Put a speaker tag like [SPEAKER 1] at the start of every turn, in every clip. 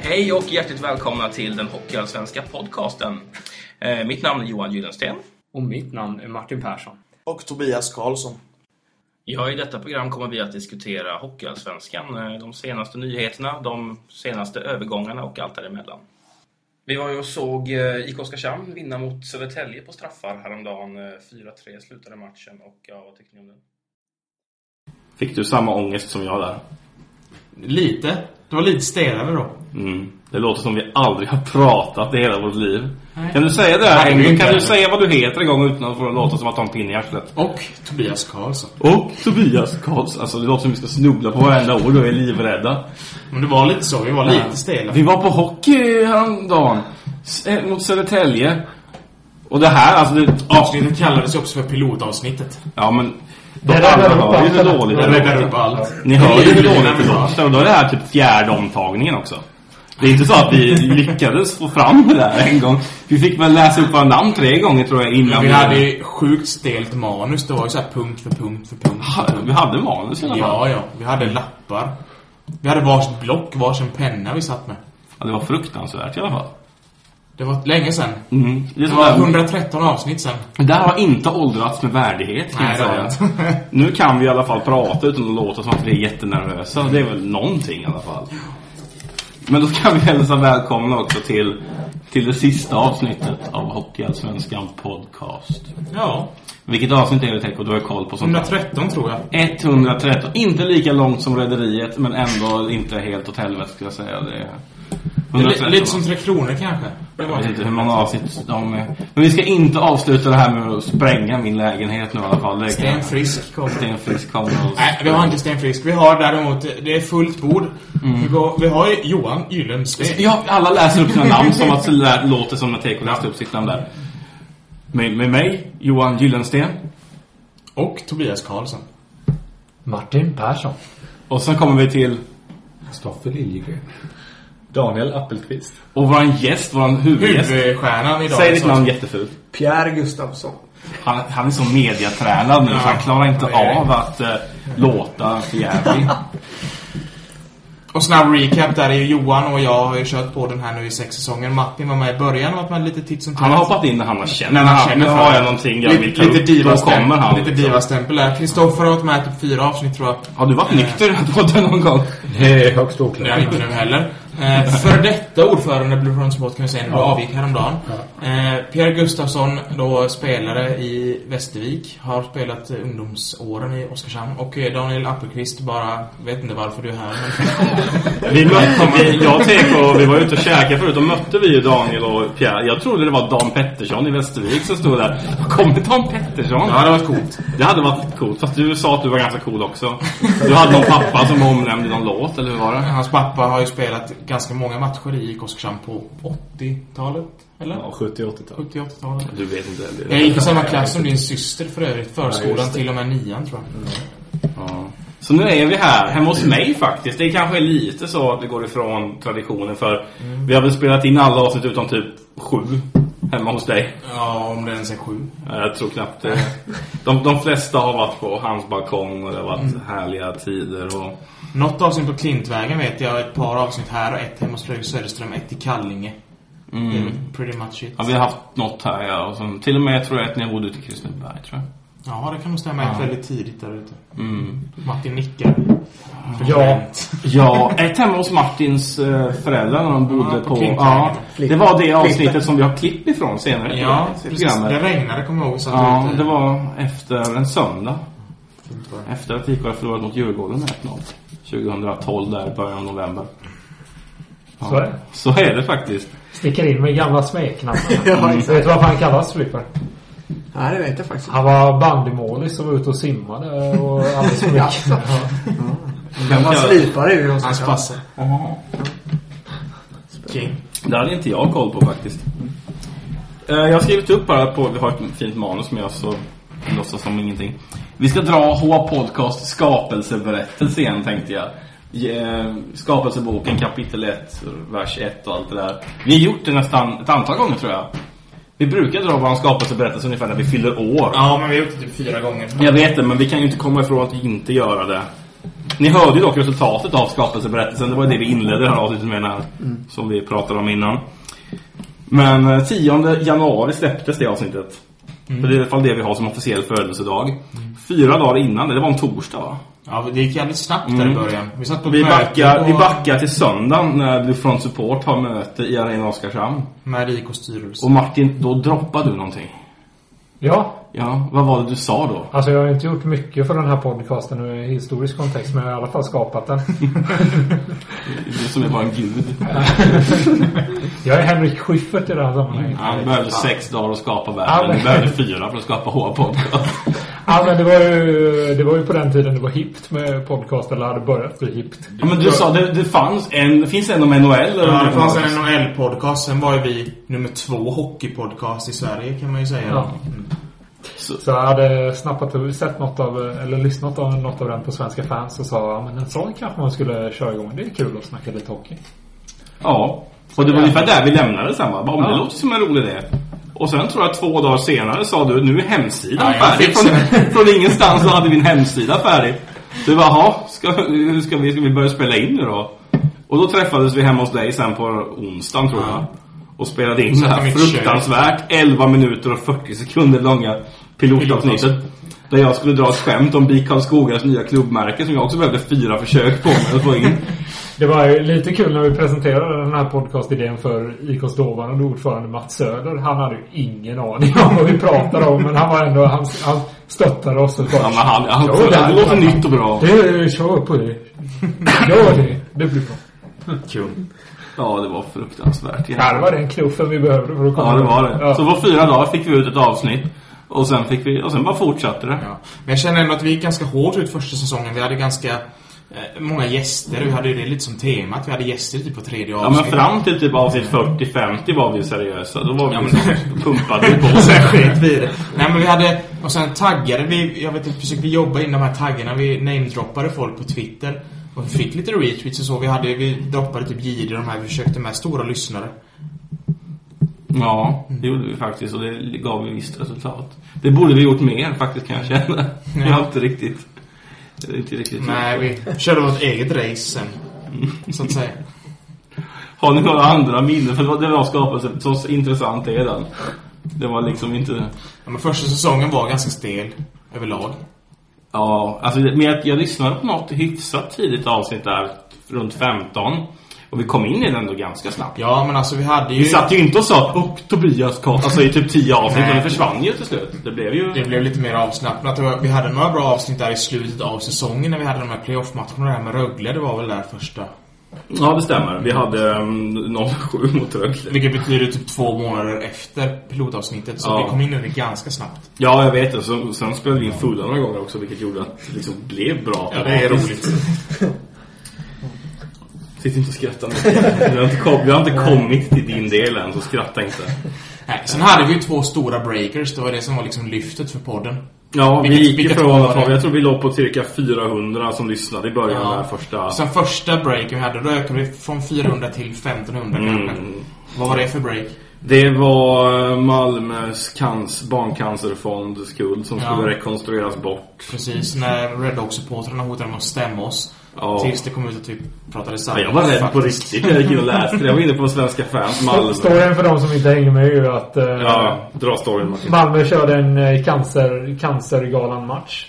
[SPEAKER 1] Hej och hjärtligt välkomna till den Hockeyallsvenska podcasten. Eh, Mitt namn är Johan Gyllensten.
[SPEAKER 2] Och mitt namn är Martin Persson.
[SPEAKER 3] Och Tobias Karlsson.
[SPEAKER 1] Ja, I detta program kommer vi att diskutera Hockeyallsvenskan, eh, de senaste nyheterna, de senaste övergångarna och allt däremellan. Vi var ju och såg eh, IK Oskarshamn vinna mot Södertälje på straffar häromdagen. Eh, 4-3 slutade matchen och ja, vad tyckte ni om den?
[SPEAKER 4] Fick du samma ångest som jag där?
[SPEAKER 5] Lite. Det var lite stelare då.
[SPEAKER 4] Mm. Det låter som vi aldrig har pratat i hela vårt liv.
[SPEAKER 5] Nej.
[SPEAKER 4] Kan du säga det här
[SPEAKER 5] Nej,
[SPEAKER 4] en
[SPEAKER 5] det är
[SPEAKER 4] gång?
[SPEAKER 5] inte
[SPEAKER 4] Kan du
[SPEAKER 5] det.
[SPEAKER 4] säga vad du heter en gång utan att få det att låta som att ta en pinne i arslet?
[SPEAKER 5] Och Tobias Karlsson.
[SPEAKER 4] Och Tobias Karls. Alltså det låter som vi ska snubbla på varenda ord och är livrädda.
[SPEAKER 5] Men det var lite så. Vi var lite stela.
[SPEAKER 4] Vi var på hockey häromdagen. S- eh, Mot Södertälje. Och det här, alltså det... Ja,
[SPEAKER 5] Avsnittet kallades ju också för pilotavsnittet.
[SPEAKER 4] ja men...
[SPEAKER 5] Det
[SPEAKER 4] De andra var ju så dåligt.
[SPEAKER 5] Det räddar upp allt.
[SPEAKER 4] Ni hör ju hur
[SPEAKER 5] Det är
[SPEAKER 4] dåligt det
[SPEAKER 5] bra.
[SPEAKER 4] låter. Och då är det här typ fjärde omtagningen också. Det är inte så att vi lyckades få fram det där en gång. Vi fick väl läsa upp våra namn tre gånger tror jag innan
[SPEAKER 5] Vi hade ju sjukt stelt manus. Det var ju så här punkt för punkt för punkt. för
[SPEAKER 4] hade,
[SPEAKER 5] punkt.
[SPEAKER 4] vi hade manus i alla fall. Ja.
[SPEAKER 5] Ja, ja. Vi hade lappar. Vi hade varsitt block, varsin penna vi satt med.
[SPEAKER 4] Det var fruktansvärt i alla fall.
[SPEAKER 5] Det var länge sen.
[SPEAKER 4] Mm. Det är
[SPEAKER 5] Det
[SPEAKER 4] så
[SPEAKER 5] var
[SPEAKER 4] där,
[SPEAKER 5] 113 avsnitt sen.
[SPEAKER 4] det där har inte åldrats med värdighet kan
[SPEAKER 5] Nej,
[SPEAKER 4] jag
[SPEAKER 5] det har
[SPEAKER 4] säga. Nu kan vi i alla fall prata utan att låta som att vi är jättenervösa. Det är väl någonting i alla fall. Men då kan vi hälsa välkomna också till, till det sista avsnittet av Hockeyallsvenskan Podcast.
[SPEAKER 5] Ja.
[SPEAKER 4] Vilket avsnitt är det Teco? Du har koll på sånt.
[SPEAKER 5] 113 tror jag.
[SPEAKER 4] 113. Inte lika långt som Rederiet, men ändå inte helt åt helvete skulle jag säga. Det är
[SPEAKER 5] Det är li-
[SPEAKER 4] 113.
[SPEAKER 5] Lite som Tre Kronor kanske. Det
[SPEAKER 4] Jag
[SPEAKER 5] var
[SPEAKER 4] vet inte hur många avsnitt de är. Men vi ska inte avsluta det här med att spränga min lägenhet nu i alla fall. Det kan jag-
[SPEAKER 5] Sten Frisk kom.
[SPEAKER 4] Sten Frisk kommer och...
[SPEAKER 5] Nej, vi har inte Sten Frisk. Vi har däremot, det är fullt bord.
[SPEAKER 4] Mm.
[SPEAKER 5] Vi, går, vi har ju Johan Gyllensten.
[SPEAKER 4] Ja, alla läser upp sina namn som att det lä- låter som när Teco läste upp sitt namn där. Med, med mig, Johan Gyllensten.
[SPEAKER 5] Och Tobias Karlsson.
[SPEAKER 2] Martin Persson.
[SPEAKER 4] Och sen kommer vi till...
[SPEAKER 6] Kristoffer Liljegren. Daniel Appelqvist.
[SPEAKER 4] Och vår gäst, vår huvudgäst.
[SPEAKER 5] Huvudstjärnan idag.
[SPEAKER 4] Säg ditt namn jättefult.
[SPEAKER 6] Pierre Gustafsson.
[SPEAKER 4] Han, han är så mediatränad nu så han klarar inte
[SPEAKER 5] Ja, det är det.
[SPEAKER 4] av att eh, låta för jävlig.
[SPEAKER 5] Och snabb recap där är ju Johan och jag har ju kört på den här nu i sex säsonger. Martin var med i början och varit med lite titt som tätt.
[SPEAKER 4] Han har hoppat in när han har känt.
[SPEAKER 5] Men han
[SPEAKER 4] "Ah,
[SPEAKER 5] känner
[SPEAKER 4] nu
[SPEAKER 5] för
[SPEAKER 4] har
[SPEAKER 5] det."
[SPEAKER 4] jag någonting jag vill ta
[SPEAKER 5] Lite, lite
[SPEAKER 4] upp. Då kommer han.
[SPEAKER 5] diva-stämpel. Lite
[SPEAKER 4] liksom.
[SPEAKER 5] diva-stämpel där. Kristoffer har varit med i typ fyra avsnitt tror jag.
[SPEAKER 4] Har du varit nykter i den här podden någon gång?
[SPEAKER 6] Eh. Det är högst
[SPEAKER 5] Det är
[SPEAKER 6] oklart.
[SPEAKER 5] inte nu heller. Eh, för detta ordförande Blue Sport kan vi säga, nu avgick häromdagen. Eh, Pierre Gustafsson, då spelare i Västervik, har spelat eh, ungdomsåren i Oskarshamn. Och eh, Daniel Appelqvist, bara, vet inte varför du är här.
[SPEAKER 4] Vi
[SPEAKER 6] Eh,
[SPEAKER 4] mötte, vi, jag och TK, vi var ute och käkade förut. Då mötte vi ju Daniel och Pierre. Jag trodde det var Dan Pettersson i Västervik som stod där. Kommer Dan Pettersson?
[SPEAKER 5] Men... Ja, det var coolt.
[SPEAKER 4] Det hade varit coolt. Fast du sa att du var ganska cool också. Du hade någon pappa som omnämnde någon låt, eller hur var det?
[SPEAKER 5] Hans pappa har ju spelat ganska många matcher i IK Oskarshamn på 80-talet, eller?
[SPEAKER 6] Ja, 70-80-tal.
[SPEAKER 5] 70-80-talet.
[SPEAKER 4] Du vet inte heller.
[SPEAKER 5] Jag gick i samma klass som din syster för övrigt. Förskolan
[SPEAKER 6] Ja, just det.
[SPEAKER 5] till och med nian, tror jag.
[SPEAKER 4] Ja. Så nu är vi här, hemma hos mig faktiskt. Det kanske är lite så att det går ifrån traditionen för
[SPEAKER 6] Mm.
[SPEAKER 4] vi har väl spelat in alla avsnitt utom typ sju hemma hos dig.
[SPEAKER 5] Ja, om det ens är sju.
[SPEAKER 4] Eh, Jag tror knappt det. De, de flesta har varit på hans balkong och det har varit
[SPEAKER 5] Mm.
[SPEAKER 4] härliga tider och...
[SPEAKER 5] Något avsnitt på Klintvägen vet jag, ett par avsnitt här och ett hemma hos Fröken Söderström, ett i Kallinge. Det är väl pretty much it.
[SPEAKER 4] Mm. Ja, vi har haft något här ja. Och som, till och med tror jag att ni bodde ute i Kristineberg tror jag.
[SPEAKER 5] Ja, det kan nog stämma. Ett väldigt tidigt där ute.
[SPEAKER 4] Mm.
[SPEAKER 5] Martin nickar.
[SPEAKER 6] Ja.
[SPEAKER 4] Ja, ett hemma hos Martins eh, föräldrar när de bodde
[SPEAKER 5] Ja, på
[SPEAKER 4] på...
[SPEAKER 5] Klintvägen.
[SPEAKER 4] ja, det var det avsnitet
[SPEAKER 6] Klippen.
[SPEAKER 4] som vi har klipp ifrån senare.
[SPEAKER 5] Ja,
[SPEAKER 4] i
[SPEAKER 5] precis. Det regnade kommer jag ihåg. Så att
[SPEAKER 4] Ja,
[SPEAKER 5] ute.
[SPEAKER 4] det var efter en söndag. Efter att IK hade förlorat mot Djurgården med 1-0. 2012 där i början av november. Ja,
[SPEAKER 7] Så är det.
[SPEAKER 4] Så är det faktiskt.
[SPEAKER 7] Sticker in med gamla smeknamnen.
[SPEAKER 6] Ja,
[SPEAKER 7] Vet du varför han kallas Flipper?
[SPEAKER 6] Nej, det vet jag faktiskt
[SPEAKER 7] Han var bandymålis och var ute och simmade och alldeles för mycket.
[SPEAKER 4] Vem
[SPEAKER 6] Man
[SPEAKER 4] kallar-
[SPEAKER 6] slipar ju hos
[SPEAKER 5] Hans passer. King.
[SPEAKER 4] Det hade inte jag koll på faktiskt. Eh, Jag har skrivit upp här på, vi har ett fint manus med oss så jag låtsas som ingenting. Vi ska dra H Podcast skapelseberättelse igen tänkte jag. Eh, Skapelseboken kapitel 1, vers 1 och allt det där. Vi har gjort det nästan ett antal gånger tror jag. Vi brukar dra vår skapelseberättelse ungefär när vi fyller år.
[SPEAKER 5] Ja, men vi har gjort det typ fyra gånger.
[SPEAKER 4] Jag vet det, men vi kan ju inte komma ifrån att inte göra det. Ni hörde ju dock resultatet av skapelseberättelsen. Det var det vi inledde det här avsnittet med, den här,
[SPEAKER 5] Mm.
[SPEAKER 4] som vi pratade om innan. Men eh, 10 januari släpptes det avsnittet.
[SPEAKER 5] Mm.
[SPEAKER 4] För det är i alla fall det vi har som officiell födelsedag. Fyra dagar innan, det var en torsdag va?
[SPEAKER 5] Ja, det gick jävligt snabbt där i
[SPEAKER 4] Mm.
[SPEAKER 5] början. Vi satt på
[SPEAKER 4] Vi
[SPEAKER 5] möte
[SPEAKER 4] backar,
[SPEAKER 5] och-
[SPEAKER 4] vi backar till söndagen när du från Support har möte i Arena Oskarshamn.
[SPEAKER 5] Med RIKOs styrelse.
[SPEAKER 4] Och Martin, då droppade du någonting.
[SPEAKER 7] Ja,
[SPEAKER 4] Ja, vad var det du sa då?
[SPEAKER 7] alltså jag har inte gjort mycket för den här podcasten i historisk kontext, men jag har i alla fall skapat den.
[SPEAKER 4] Du som är bara en gud.
[SPEAKER 7] Jag är Henrik Schyffert i det här sammanhanget.
[SPEAKER 4] Han behövde sex dagar att skapa
[SPEAKER 7] Ja,
[SPEAKER 4] världen.
[SPEAKER 7] men-
[SPEAKER 4] Du behövde fyra för att skapa H-podcast.
[SPEAKER 5] Mm.
[SPEAKER 7] Ja, men det var ju, det var ju på den tiden det var hippt med podcast, eller hade börjat bli hippt.
[SPEAKER 4] Ja, men du sa det, det fanns en, det finns en om NHL. eller
[SPEAKER 5] Ja, det
[SPEAKER 4] något
[SPEAKER 5] fanns en
[SPEAKER 4] annat.
[SPEAKER 5] NHL-podcast. Sen var ju vi nummer två hockeypodcast i Sverige kan man ju säga.
[SPEAKER 7] Ja. Så jag hade snappat, sett något av, eller lyssnat av något av den på Svenska fans och sa ja men en sån kanske man skulle köra igång. Det är kul att snacka lite hockey.
[SPEAKER 4] Ja. Och det var ungefär där vi lämnade sen va? Bara, Om det låter som en rolig idé. Och sen tror jag två dagar senare sa du nu är hemsidan
[SPEAKER 5] Ja, jag
[SPEAKER 4] färdig. Från, från ingenstans så hade vi en hemsida färdig. Du bara, jaha, ska, hur ska, vi, ska vi börja spela in nu då? Och då träffades vi hemma hos dig sen på onsdagen tror jag. Och spelade in det
[SPEAKER 5] i
[SPEAKER 4] här
[SPEAKER 5] mitt kök.
[SPEAKER 4] fruktansvärt 11 minuter och 40 sekunder långa pilotavsnittet. Där jag skulle dra ett skämt om BIK Karlskogas nya klubbmärke som jag också behövde fyra försök på mig att få in.
[SPEAKER 7] Det var ju lite kul när vi presenterade den här podcastidén för IKs dåvarande ordförande Mats Söder. Han hade ju ingen aning om vad vi pratade om men han var ändå, han, han stöttade oss och
[SPEAKER 4] Ja,
[SPEAKER 7] bara
[SPEAKER 4] men han, han,
[SPEAKER 7] Jo,
[SPEAKER 4] det,
[SPEAKER 7] det-
[SPEAKER 4] låter nytt och bra.
[SPEAKER 7] Du, kör på det. Gör det. Det blir bra.
[SPEAKER 4] Ja, det var fruktansvärt.
[SPEAKER 7] Ja, det var den kluffen vi behövde för att komma
[SPEAKER 4] Ja, det var
[SPEAKER 7] igång.
[SPEAKER 4] det.
[SPEAKER 7] Ja.
[SPEAKER 4] Så på fyra dagar fick vi ut ett avsnitt. Och sen, fick vi, och sen bara fortsatte det.
[SPEAKER 5] Ja. Men jag känner ändå att vi gick ganska hårt ut första säsongen. Vi hade ganska eh, många gäster. Vi hade ju det lite som tema att vi hade gäster typ på tredje
[SPEAKER 4] Ja, men
[SPEAKER 5] avsnittet.
[SPEAKER 4] fram till typ avsnitt 40-50 var vi ju seriösa. Då var vi
[SPEAKER 5] Ja,
[SPEAKER 4] ja,
[SPEAKER 5] men-
[SPEAKER 4] pumpade vi på.
[SPEAKER 5] Och sen sket vi i det. Nej men vi hade, och sen taggade vi, jag vet inte, försökte vi jobba in de här taggarna. Vi namedroppade folk på Twitter. Och vi fick lite retweets och så. Vi, hade, vi droppade typ Jihde och de här, vi försökte med stora lyssnare.
[SPEAKER 4] Ja, det gjorde vi faktiskt. Och det gav ju visst resultat. Det borde vi gjort mer faktiskt, kan jag känna. Vi har inte riktigt... det är Inte riktigt
[SPEAKER 5] Nej, vi körde vårt eget race sen. Så att säga.
[SPEAKER 4] Har ni några andra minnen? För det var- det var skapelsen. Så intressant är den. Det var liksom inte...
[SPEAKER 5] Ja, men första säsongen var ganska stel överlag.
[SPEAKER 4] Ja, alltså, det- men jag, jag lyssnade på något hyfsat tidigt avsnitt där, runt 15. Och vi kom in i den ändå ganska snabbt.
[SPEAKER 5] Ja, men alltså vi hade ju...
[SPEAKER 4] Vi satt ju inte och sa upp Tobias Karl, alltså i typ 10 avsnitt,
[SPEAKER 5] Nej.
[SPEAKER 4] och det försvann ju till slut. Det blev ju...
[SPEAKER 5] Det blev lite mer avslappnat. Det var- Vi hade några bra avsnitt där i slutet av säsongen när vi hade de här playoff-matcherna där med Rögle. Det var väl där första.
[SPEAKER 4] Ja, det stämmer. Vi hade um, 07 mot Rögle.
[SPEAKER 5] Vilket betyder typ två månader efter pilotavsnittet. Så
[SPEAKER 4] Ja.
[SPEAKER 5] vi kom in i det ganska snabbt.
[SPEAKER 4] Ja, jag vet det. Så, sen spelade vi in fulla några gånger också, vilket gjorde att det liksom blev bra. Sitt inte och skratta mycket. Vi har inte, kom, vi har inte kommit till din del än, så skratta inte.
[SPEAKER 5] Nej, sen hade vi ju två stora breakers. Det var det som var liksom lyftet för podden.
[SPEAKER 4] Ja, vi
[SPEAKER 5] Vilket-
[SPEAKER 4] gick
[SPEAKER 5] vilket
[SPEAKER 4] ifrån
[SPEAKER 5] var
[SPEAKER 4] att ha-
[SPEAKER 5] det?
[SPEAKER 4] Jag tror vi låg på cirka 400 som lyssnade i början
[SPEAKER 5] Ja.
[SPEAKER 4] där första...
[SPEAKER 5] Sen första breaken vi hade, då ökade vi från 400 till 1500 kanske.
[SPEAKER 4] Mm.
[SPEAKER 5] Vad var det för break?
[SPEAKER 4] Det var eh, Malmös cans- barncancerfondskuld som
[SPEAKER 5] Ja.
[SPEAKER 4] skulle rekonstrueras bort.
[SPEAKER 5] Precis, när Red Dog-supportrarna hotade med att stämma oss.
[SPEAKER 4] Ja.
[SPEAKER 5] Tills det kom ut typ att vi pratade
[SPEAKER 4] Ja,
[SPEAKER 5] sanning.
[SPEAKER 4] jag var rädd på
[SPEAKER 5] Faktiskt.
[SPEAKER 4] riktigt när jag gick in och läste det. Jag var inne på Svenska fans Malmö.
[SPEAKER 7] Storyn för de som inte hänger med är ju att eh,
[SPEAKER 4] Ja, dra storyn Martin.
[SPEAKER 7] Malmö körde en eh, cancer, cancergalan-match.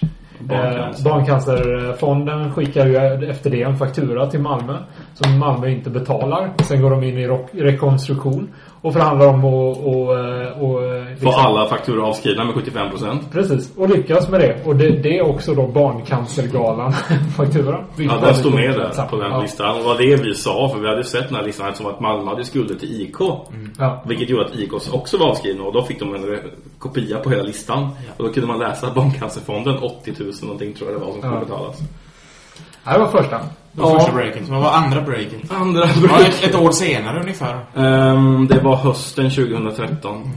[SPEAKER 7] Eh,
[SPEAKER 4] Barncancer.
[SPEAKER 7] Barncancerfonden skickar ju efter det en faktura till Malmö som Malmö inte betalar. Sen går de in i rock- rekonstruktion och förhandlar om att... Och, eh, och, eh,
[SPEAKER 4] Få
[SPEAKER 7] liksom-
[SPEAKER 4] alla fakturor avskrivna med 75%.
[SPEAKER 7] Precis, och lyckas med det. Och det, det är också då Barncancergalan-fakturan.
[SPEAKER 4] Ja, den stod med där på den listan. Och vad det vi sa, för vi hade sett den här listan som att Malmö hade skulder till IK.
[SPEAKER 7] Ja.
[SPEAKER 4] Vilket gjorde att IK också var avskrivna och då fick de en re- kopia på hela listan. Och då kunde man läsa Barncancerfonden, 80 000 någonting tror jag det var som skulle
[SPEAKER 7] Ja.
[SPEAKER 4] betalas.
[SPEAKER 7] Ja, Det var första.
[SPEAKER 5] Det var första breaket. Vad var andra breaket?
[SPEAKER 4] Andra
[SPEAKER 5] Det var ett, ett år senare ungefär.
[SPEAKER 4] Ehm, det var hösten 2013.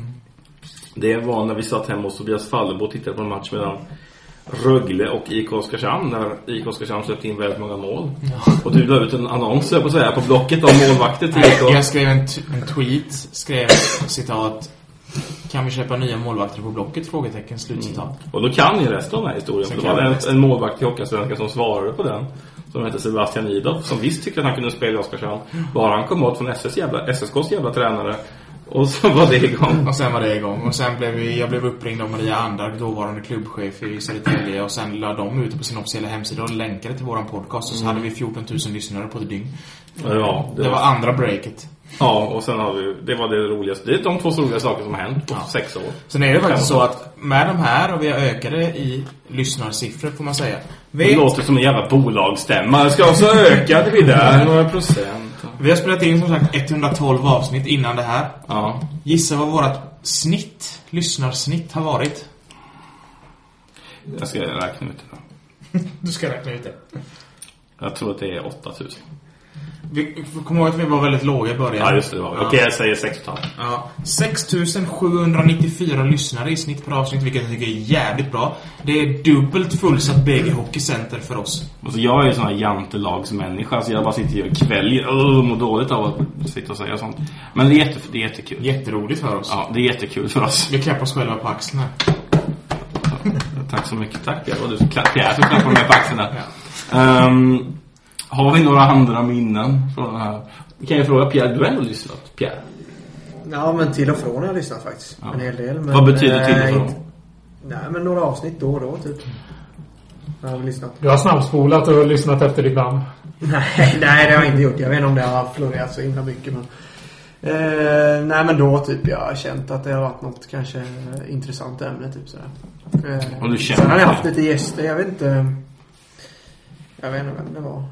[SPEAKER 4] Det var när vi satt hemma hos Tobias Fallebo och tittade på en match mellan Rögle och IK Oskarshamn. När IK Oskarshamn släppte in väldigt många mål. Och du la ut en annons, höll jag på att säga, på Blocket om målvakter till IK.
[SPEAKER 5] Jag skrev en, t- en tweet, skrev citat Kan vi köpa nya målvakter på Blocket? Frågetecken, slutcitat.
[SPEAKER 4] Mm. Och då kan ni resten av den här historien.
[SPEAKER 5] Sen
[SPEAKER 4] För det
[SPEAKER 5] kan
[SPEAKER 4] var
[SPEAKER 5] jag
[SPEAKER 4] en,
[SPEAKER 5] resten.
[SPEAKER 4] en målvakt i Hockeyallsvenskan som svarade på den. Som hette Sebastian Idov. Som visst tyckte att han kunde spela i Oskarshamn. Bara han kom åt från SS jävla, SSKs jävla tränare. Och så var det igång.
[SPEAKER 5] Och sen var det igång. Och sen blev vi, jag blev uppringd av Maria Andark, dåvarande klubbchef i Södertälje. Och sen la de ut det på sin officiella hemsida och länkade till våran podcast.
[SPEAKER 4] Mm.
[SPEAKER 5] Och så hade vi 14 000 lyssnare på ett dygn.
[SPEAKER 4] Ja,
[SPEAKER 5] Det var andra breaket.
[SPEAKER 4] Ja, och sen har vi, det var det roligaste. Det är de två roliga saker som har hänt på
[SPEAKER 5] Ja.
[SPEAKER 4] sex år.
[SPEAKER 5] Sen är det faktiskt så att med de här, och vi har ökade i lyssnarsiffror får man säga.
[SPEAKER 4] Det
[SPEAKER 5] Vi,
[SPEAKER 4] låter som en jävla bolagsstämma. Det ska också öka det blir där några procent.
[SPEAKER 5] vi har spelat in som sagt 112 avsnitt innan det här.
[SPEAKER 4] Ja.
[SPEAKER 5] Gissa vad vårt snitt, lyssnarsnitt har varit?
[SPEAKER 4] Jag ska räkna ut det.
[SPEAKER 5] Du ska räkna ut det.
[SPEAKER 4] Jag tror att det är 8000.
[SPEAKER 5] Vi kommer ihåg att vi var väldigt låga i början.
[SPEAKER 4] Ja, just det. det var. Okej, jag säger 6,5.
[SPEAKER 5] Ja, 6794 lyssnare i snitt per avsnitt, vilket jag tycker är jävligt bra. Det är dubbelt fullsatt BG Hockey Center för oss.
[SPEAKER 4] Alltså, jag är ju sån här jantelagsmänniska, så jag bara sitter ju och kväljer. Åh, mår dåligt av att sitta och säga sånt. Men det är, jätte, det är jättekul.
[SPEAKER 5] Jätteroligt för oss.
[SPEAKER 4] Ja, det är jättekul för oss.
[SPEAKER 5] Vi klappar oss själva på axlarna.
[SPEAKER 4] Tack så mycket. Tack, det var du som klapp- Pierre som klappade mig på axeln där. Ehm, har vi några andra minnen från den här? Kan jag fråga Pierre, du har ändå lyssnat? Pierre?
[SPEAKER 6] Ja, men till och från har jag lyssnat faktiskt.
[SPEAKER 4] Ja.
[SPEAKER 6] En hel del. Men,
[SPEAKER 4] Vad betyder till och
[SPEAKER 6] eh,
[SPEAKER 4] från?
[SPEAKER 6] inte- Nej, men några avsnitt då och då typ. Jag har lyssnat.
[SPEAKER 7] Du har snabbspolat och lyssnat efter ditt namn.
[SPEAKER 6] Nej, nej, det har jag inte gjort. Jag vet inte om det har florerat så himla mycket. Men... Eh, nej, men då typ jag har känt att det har varit något kanske eh, intressant ämne. Typ sådär. Eh,
[SPEAKER 4] Och du känner
[SPEAKER 6] sen har jag
[SPEAKER 4] det?
[SPEAKER 6] haft lite gäster. Jag vet inte. Jag vet inte vem det var.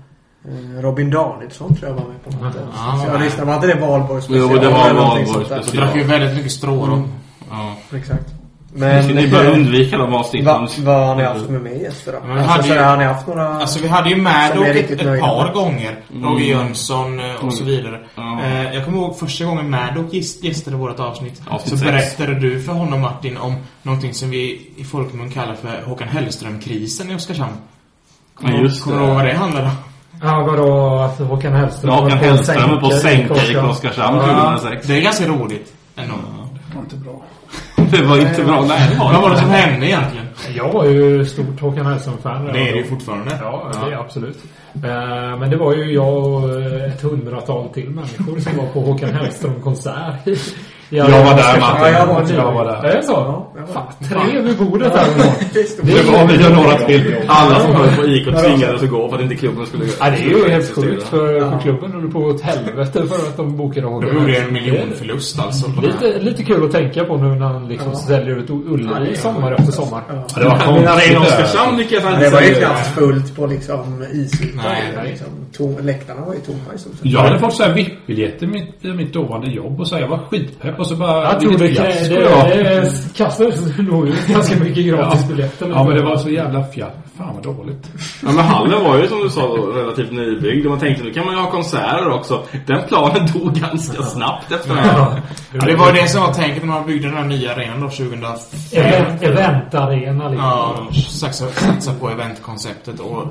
[SPEAKER 6] Eh, Robin Danielsson tror jag var med på något.
[SPEAKER 5] Ja,
[SPEAKER 6] så jag
[SPEAKER 5] nej.
[SPEAKER 6] lyssnade. Var inte det Valborg special?
[SPEAKER 4] Jo, det var
[SPEAKER 6] eller någonting
[SPEAKER 4] Valborg
[SPEAKER 6] sånt där?
[SPEAKER 5] Vi
[SPEAKER 4] special.
[SPEAKER 5] drack ju väldigt mycket strål.
[SPEAKER 4] Mm. Ja.
[SPEAKER 6] Exakt.
[SPEAKER 4] Men,
[SPEAKER 6] Men eh,
[SPEAKER 4] ni
[SPEAKER 7] Eh,
[SPEAKER 4] bör undvika de avsnitten.
[SPEAKER 6] va, vad har ni haft med mig gäster då?
[SPEAKER 5] Men vi hade
[SPEAKER 6] alltså,
[SPEAKER 5] ju-
[SPEAKER 6] sådär, har ni haft några...
[SPEAKER 5] Alltså vi hade ju med
[SPEAKER 6] Som
[SPEAKER 5] Dock
[SPEAKER 6] är
[SPEAKER 5] ett,
[SPEAKER 6] riktigt
[SPEAKER 5] ett
[SPEAKER 6] nöjda
[SPEAKER 5] par
[SPEAKER 6] med.
[SPEAKER 5] gånger. Roger Jönsson eh, och så vidare.
[SPEAKER 4] Mm. Ja.
[SPEAKER 5] Eh, Jag kommer ihåg första gången Maddock gis- gästade vårt avsnitt.
[SPEAKER 4] Avsnitt
[SPEAKER 5] så
[SPEAKER 4] sex.
[SPEAKER 5] berättade du för honom Martin om någonting som vi i folkmun kallar för Håkan Hellström-krisen i Oskarshamn.
[SPEAKER 4] Ja, just
[SPEAKER 5] Kommer
[SPEAKER 4] det.
[SPEAKER 5] du ihåg vad det handlade om?
[SPEAKER 7] Ja, vadå att Håkan Hellström
[SPEAKER 4] Håkan
[SPEAKER 7] var
[SPEAKER 4] Hellström var på sänka i
[SPEAKER 7] Oskarshamn.
[SPEAKER 4] Oskarshamn
[SPEAKER 7] Ja.
[SPEAKER 4] 2006.
[SPEAKER 5] Det är ganska roligt. Ändå.
[SPEAKER 3] Det var inte bra.
[SPEAKER 4] Det var inte bra. Nej, det var
[SPEAKER 5] Vad var det som
[SPEAKER 4] inte.
[SPEAKER 5] hände egentligen?
[SPEAKER 7] Jag var ju stort Håkan Hellström-fan.
[SPEAKER 5] Det är det ju fortfarande.
[SPEAKER 7] Ja, det är absolut. Eh, Men det var ju jag och eh, ett hundratal till människor som var på Håkan Hellström-konsert. i- i
[SPEAKER 4] Jag var där,
[SPEAKER 7] Oskarshamn.
[SPEAKER 4] Martin.
[SPEAKER 7] Ja, jag var, där.
[SPEAKER 4] Jag var där.
[SPEAKER 7] Är det så? Fan, tre vid bordet här.
[SPEAKER 4] Det var vi och några till. Alla som höll på IK tvingades att gå för att inte klubben skulle...
[SPEAKER 7] Ja, det är ju helt sjukt för, för klubben. håller på åt helvete för att de bokade Håkan
[SPEAKER 5] Då gjorde det en
[SPEAKER 7] Hellström.
[SPEAKER 5] miljonförlust alltså. på det här.
[SPEAKER 7] Lite, lite kul att tänka på nu när han liksom säljer ut Ullevi sommar efter sommar.
[SPEAKER 4] Ja, det var konstigt. Oskarshamn lyckades han
[SPEAKER 6] Det var ju
[SPEAKER 4] säga.
[SPEAKER 6] knappt fullt på liksom isytan.
[SPEAKER 5] Nej,
[SPEAKER 6] Det var liksom, tom, läktarna var ju tomma i stort sett.
[SPEAKER 3] Jag hade fått så här VIP-biljetter i mitt, i mitt dåvarande jobb och så här, jag var skitpepp och så bara...
[SPEAKER 7] Jag tror det,
[SPEAKER 3] vilket
[SPEAKER 7] det,
[SPEAKER 3] fiasko
[SPEAKER 7] det,
[SPEAKER 3] det var.
[SPEAKER 7] kastades nog ut ganska mycket gratisbiljetter.
[SPEAKER 3] Ja men det var så jävla fjatt. Fan vad dåligt.
[SPEAKER 4] Ja, men hallen var ju som du sa då, relativt nybyggd och man tänkte nu kan man ju ha konserter också. Den planen dog ganska snabbt efter det här.
[SPEAKER 5] Ja, det var ju det som var tänket när man byggde den här nya arenan då 2005.
[SPEAKER 7] Event, eventarena liksom.
[SPEAKER 5] Ja, satsa, satsa på eventkonceptet och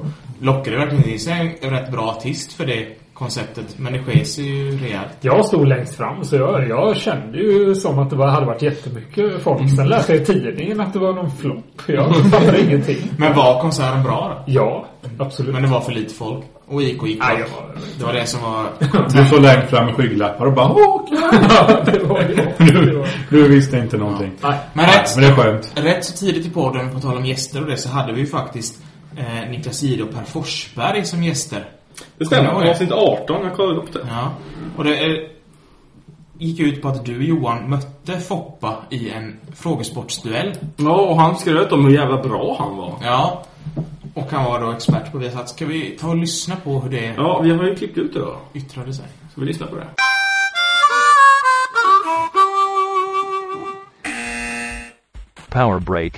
[SPEAKER 5] lockade verkligen i sig en rätt bra artist för det konceptet. Men det sker sig ju rejält.
[SPEAKER 7] Jag stod längst fram så jag, jag kände ju som att det var, hade varit jättemycket folk. Sen läste jag i tidningen att det var någon flopp. Jag fattade ingenting.
[SPEAKER 5] Men var konserten bra
[SPEAKER 7] Ja,
[SPEAKER 5] då?
[SPEAKER 7] absolut.
[SPEAKER 5] Men det var för lite folk. Och IK gick bra.
[SPEAKER 7] Nej, jag var-
[SPEAKER 5] Det var det som var...
[SPEAKER 3] Du såg längst fram med skygglappar och bara åh,
[SPEAKER 7] Ja, det var ju det
[SPEAKER 3] du,
[SPEAKER 7] var-
[SPEAKER 3] du visste inte någonting.
[SPEAKER 7] Nej.
[SPEAKER 5] Men
[SPEAKER 3] Nej,
[SPEAKER 5] rätt,
[SPEAKER 3] men det är skönt.
[SPEAKER 5] rätt så tidigt i podden, på tal om gäster och det, så hade vi ju faktiskt eh, Niklas Jihde och Per Forsberg som gäster.
[SPEAKER 4] Det stämmer. Avsnitt 18, jag kollade upp det.
[SPEAKER 5] Ja. Och det eh, gick ut på att du, Johan, mötte Foppa i en frågesportsduell.
[SPEAKER 4] Ja, och han skröt om hur jävla bra han var.
[SPEAKER 5] Ja. Och han var då expert på Viasat. Ska vi ta och lyssna på hur det
[SPEAKER 4] Ja, vi har ju klippt ut det då.
[SPEAKER 5] yttrade sig?
[SPEAKER 4] Ska vi lyssna på det?
[SPEAKER 8] Power break.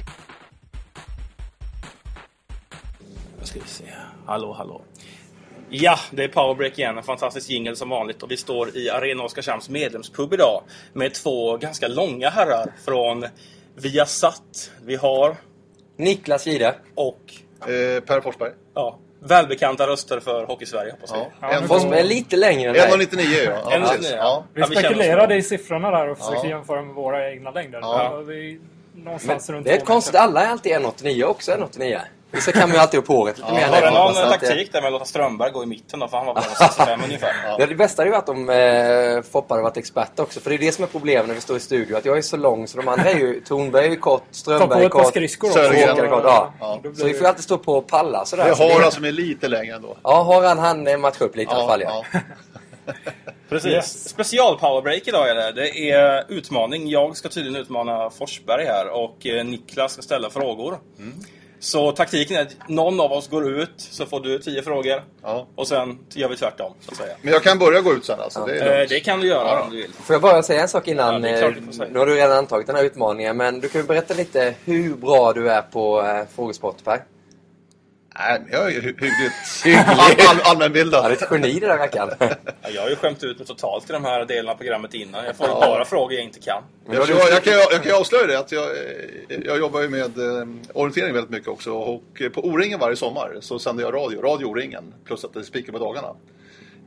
[SPEAKER 4] Vad ska vi se. Hallå, hallå. Ja, det är Powerbreak igen. En fantastisk jingel som vanligt. Och vi står i Arena Oskarshamns medlemspub idag med två ganska långa herrar från Viasat. Vi har
[SPEAKER 9] Niklas Jihde.
[SPEAKER 4] och
[SPEAKER 10] Eh, per Forsberg.
[SPEAKER 4] ja, välbekanta röster för Hockeysverige, hoppas vi.
[SPEAKER 10] Ja.
[SPEAKER 9] Forsberg är lite längre än dig.
[SPEAKER 10] 1,99 är jag. Ja,
[SPEAKER 4] En och
[SPEAKER 10] precis.
[SPEAKER 4] nio,
[SPEAKER 10] Ja.
[SPEAKER 4] Ja, vi känner oss-
[SPEAKER 11] i siffrorna där och
[SPEAKER 10] försökte
[SPEAKER 11] jämföra med våra egna längder.
[SPEAKER 10] Ja.
[SPEAKER 11] Vi,
[SPEAKER 9] Men det är ett konstigt, alla är alltid 1,89 också 1,89. Så kan man ju alltid upp håret lite mer.
[SPEAKER 1] Var det någon
[SPEAKER 9] Så att, eh,
[SPEAKER 1] taktik där med att låta Strömberg gå i mitten då? För han var bara 65 ungefär.
[SPEAKER 9] Ja, det bästa hade ju varit om eh, Foppa hade varit expert också. För det är det som är problemet när vi står i studio. Att jag är så lång så de andra är ju... Tornberg är ju kort,
[SPEAKER 10] Foppa har
[SPEAKER 9] Strömberg är
[SPEAKER 10] ett par
[SPEAKER 9] kort,
[SPEAKER 10] skridskor också.
[SPEAKER 9] Åkare är
[SPEAKER 10] Sören.
[SPEAKER 9] kort. Ja.
[SPEAKER 10] Ja.
[SPEAKER 9] Så vi får ju alltid stå på och palla sådär.
[SPEAKER 10] Vi
[SPEAKER 9] Så det är-
[SPEAKER 10] har som är lite längre ändå.
[SPEAKER 9] Ja, Haran han eh, matchar upp lite i alla fall. Ja.
[SPEAKER 1] Precis. Special powerbreak idag är det. Det är utmaning. Jag ska tydligen utmana Forsberg här och eh, Niklas ska ställa frågor.
[SPEAKER 10] Mm.
[SPEAKER 1] Så taktiken är att någon av oss går ut, så får du 10 frågor.
[SPEAKER 10] Ja.
[SPEAKER 1] Och sen gör vi tvärtom, så att säga.
[SPEAKER 10] Men jag kan börja gå ut sen alltså. Det är
[SPEAKER 1] Eh, Det kan du göra
[SPEAKER 10] Ja.
[SPEAKER 1] om du vill.
[SPEAKER 9] Får jag bara säga en sak innan?
[SPEAKER 1] Ja, det är klart
[SPEAKER 9] eh,
[SPEAKER 1] du får säga.
[SPEAKER 9] nu har du redan antagit den här utmaningen, men du kan ju berätta lite hur bra du är på eh, frågesport, Per.
[SPEAKER 10] Nej, men jag är ju hy- hyggligt
[SPEAKER 9] Hygglig.
[SPEAKER 10] all, all,
[SPEAKER 9] Ja, det är
[SPEAKER 10] allmänbildad.
[SPEAKER 9] ett geni det där rackaren.
[SPEAKER 1] Ja, Jag har ju skämt ut mig totalt i de här delarna av programmet innan. Jag får ju
[SPEAKER 10] Ja.
[SPEAKER 1] bara frågor jag inte kan.
[SPEAKER 10] Jag, jag, jag, kan, jag, jag kan ju avslöja det att jag, eh, jag jobbar ju med eh, orientering väldigt mycket också och eh, på O-ringen varje sommar så sänder jag radio, radio O-ringen plus att det är speaker på dagarna.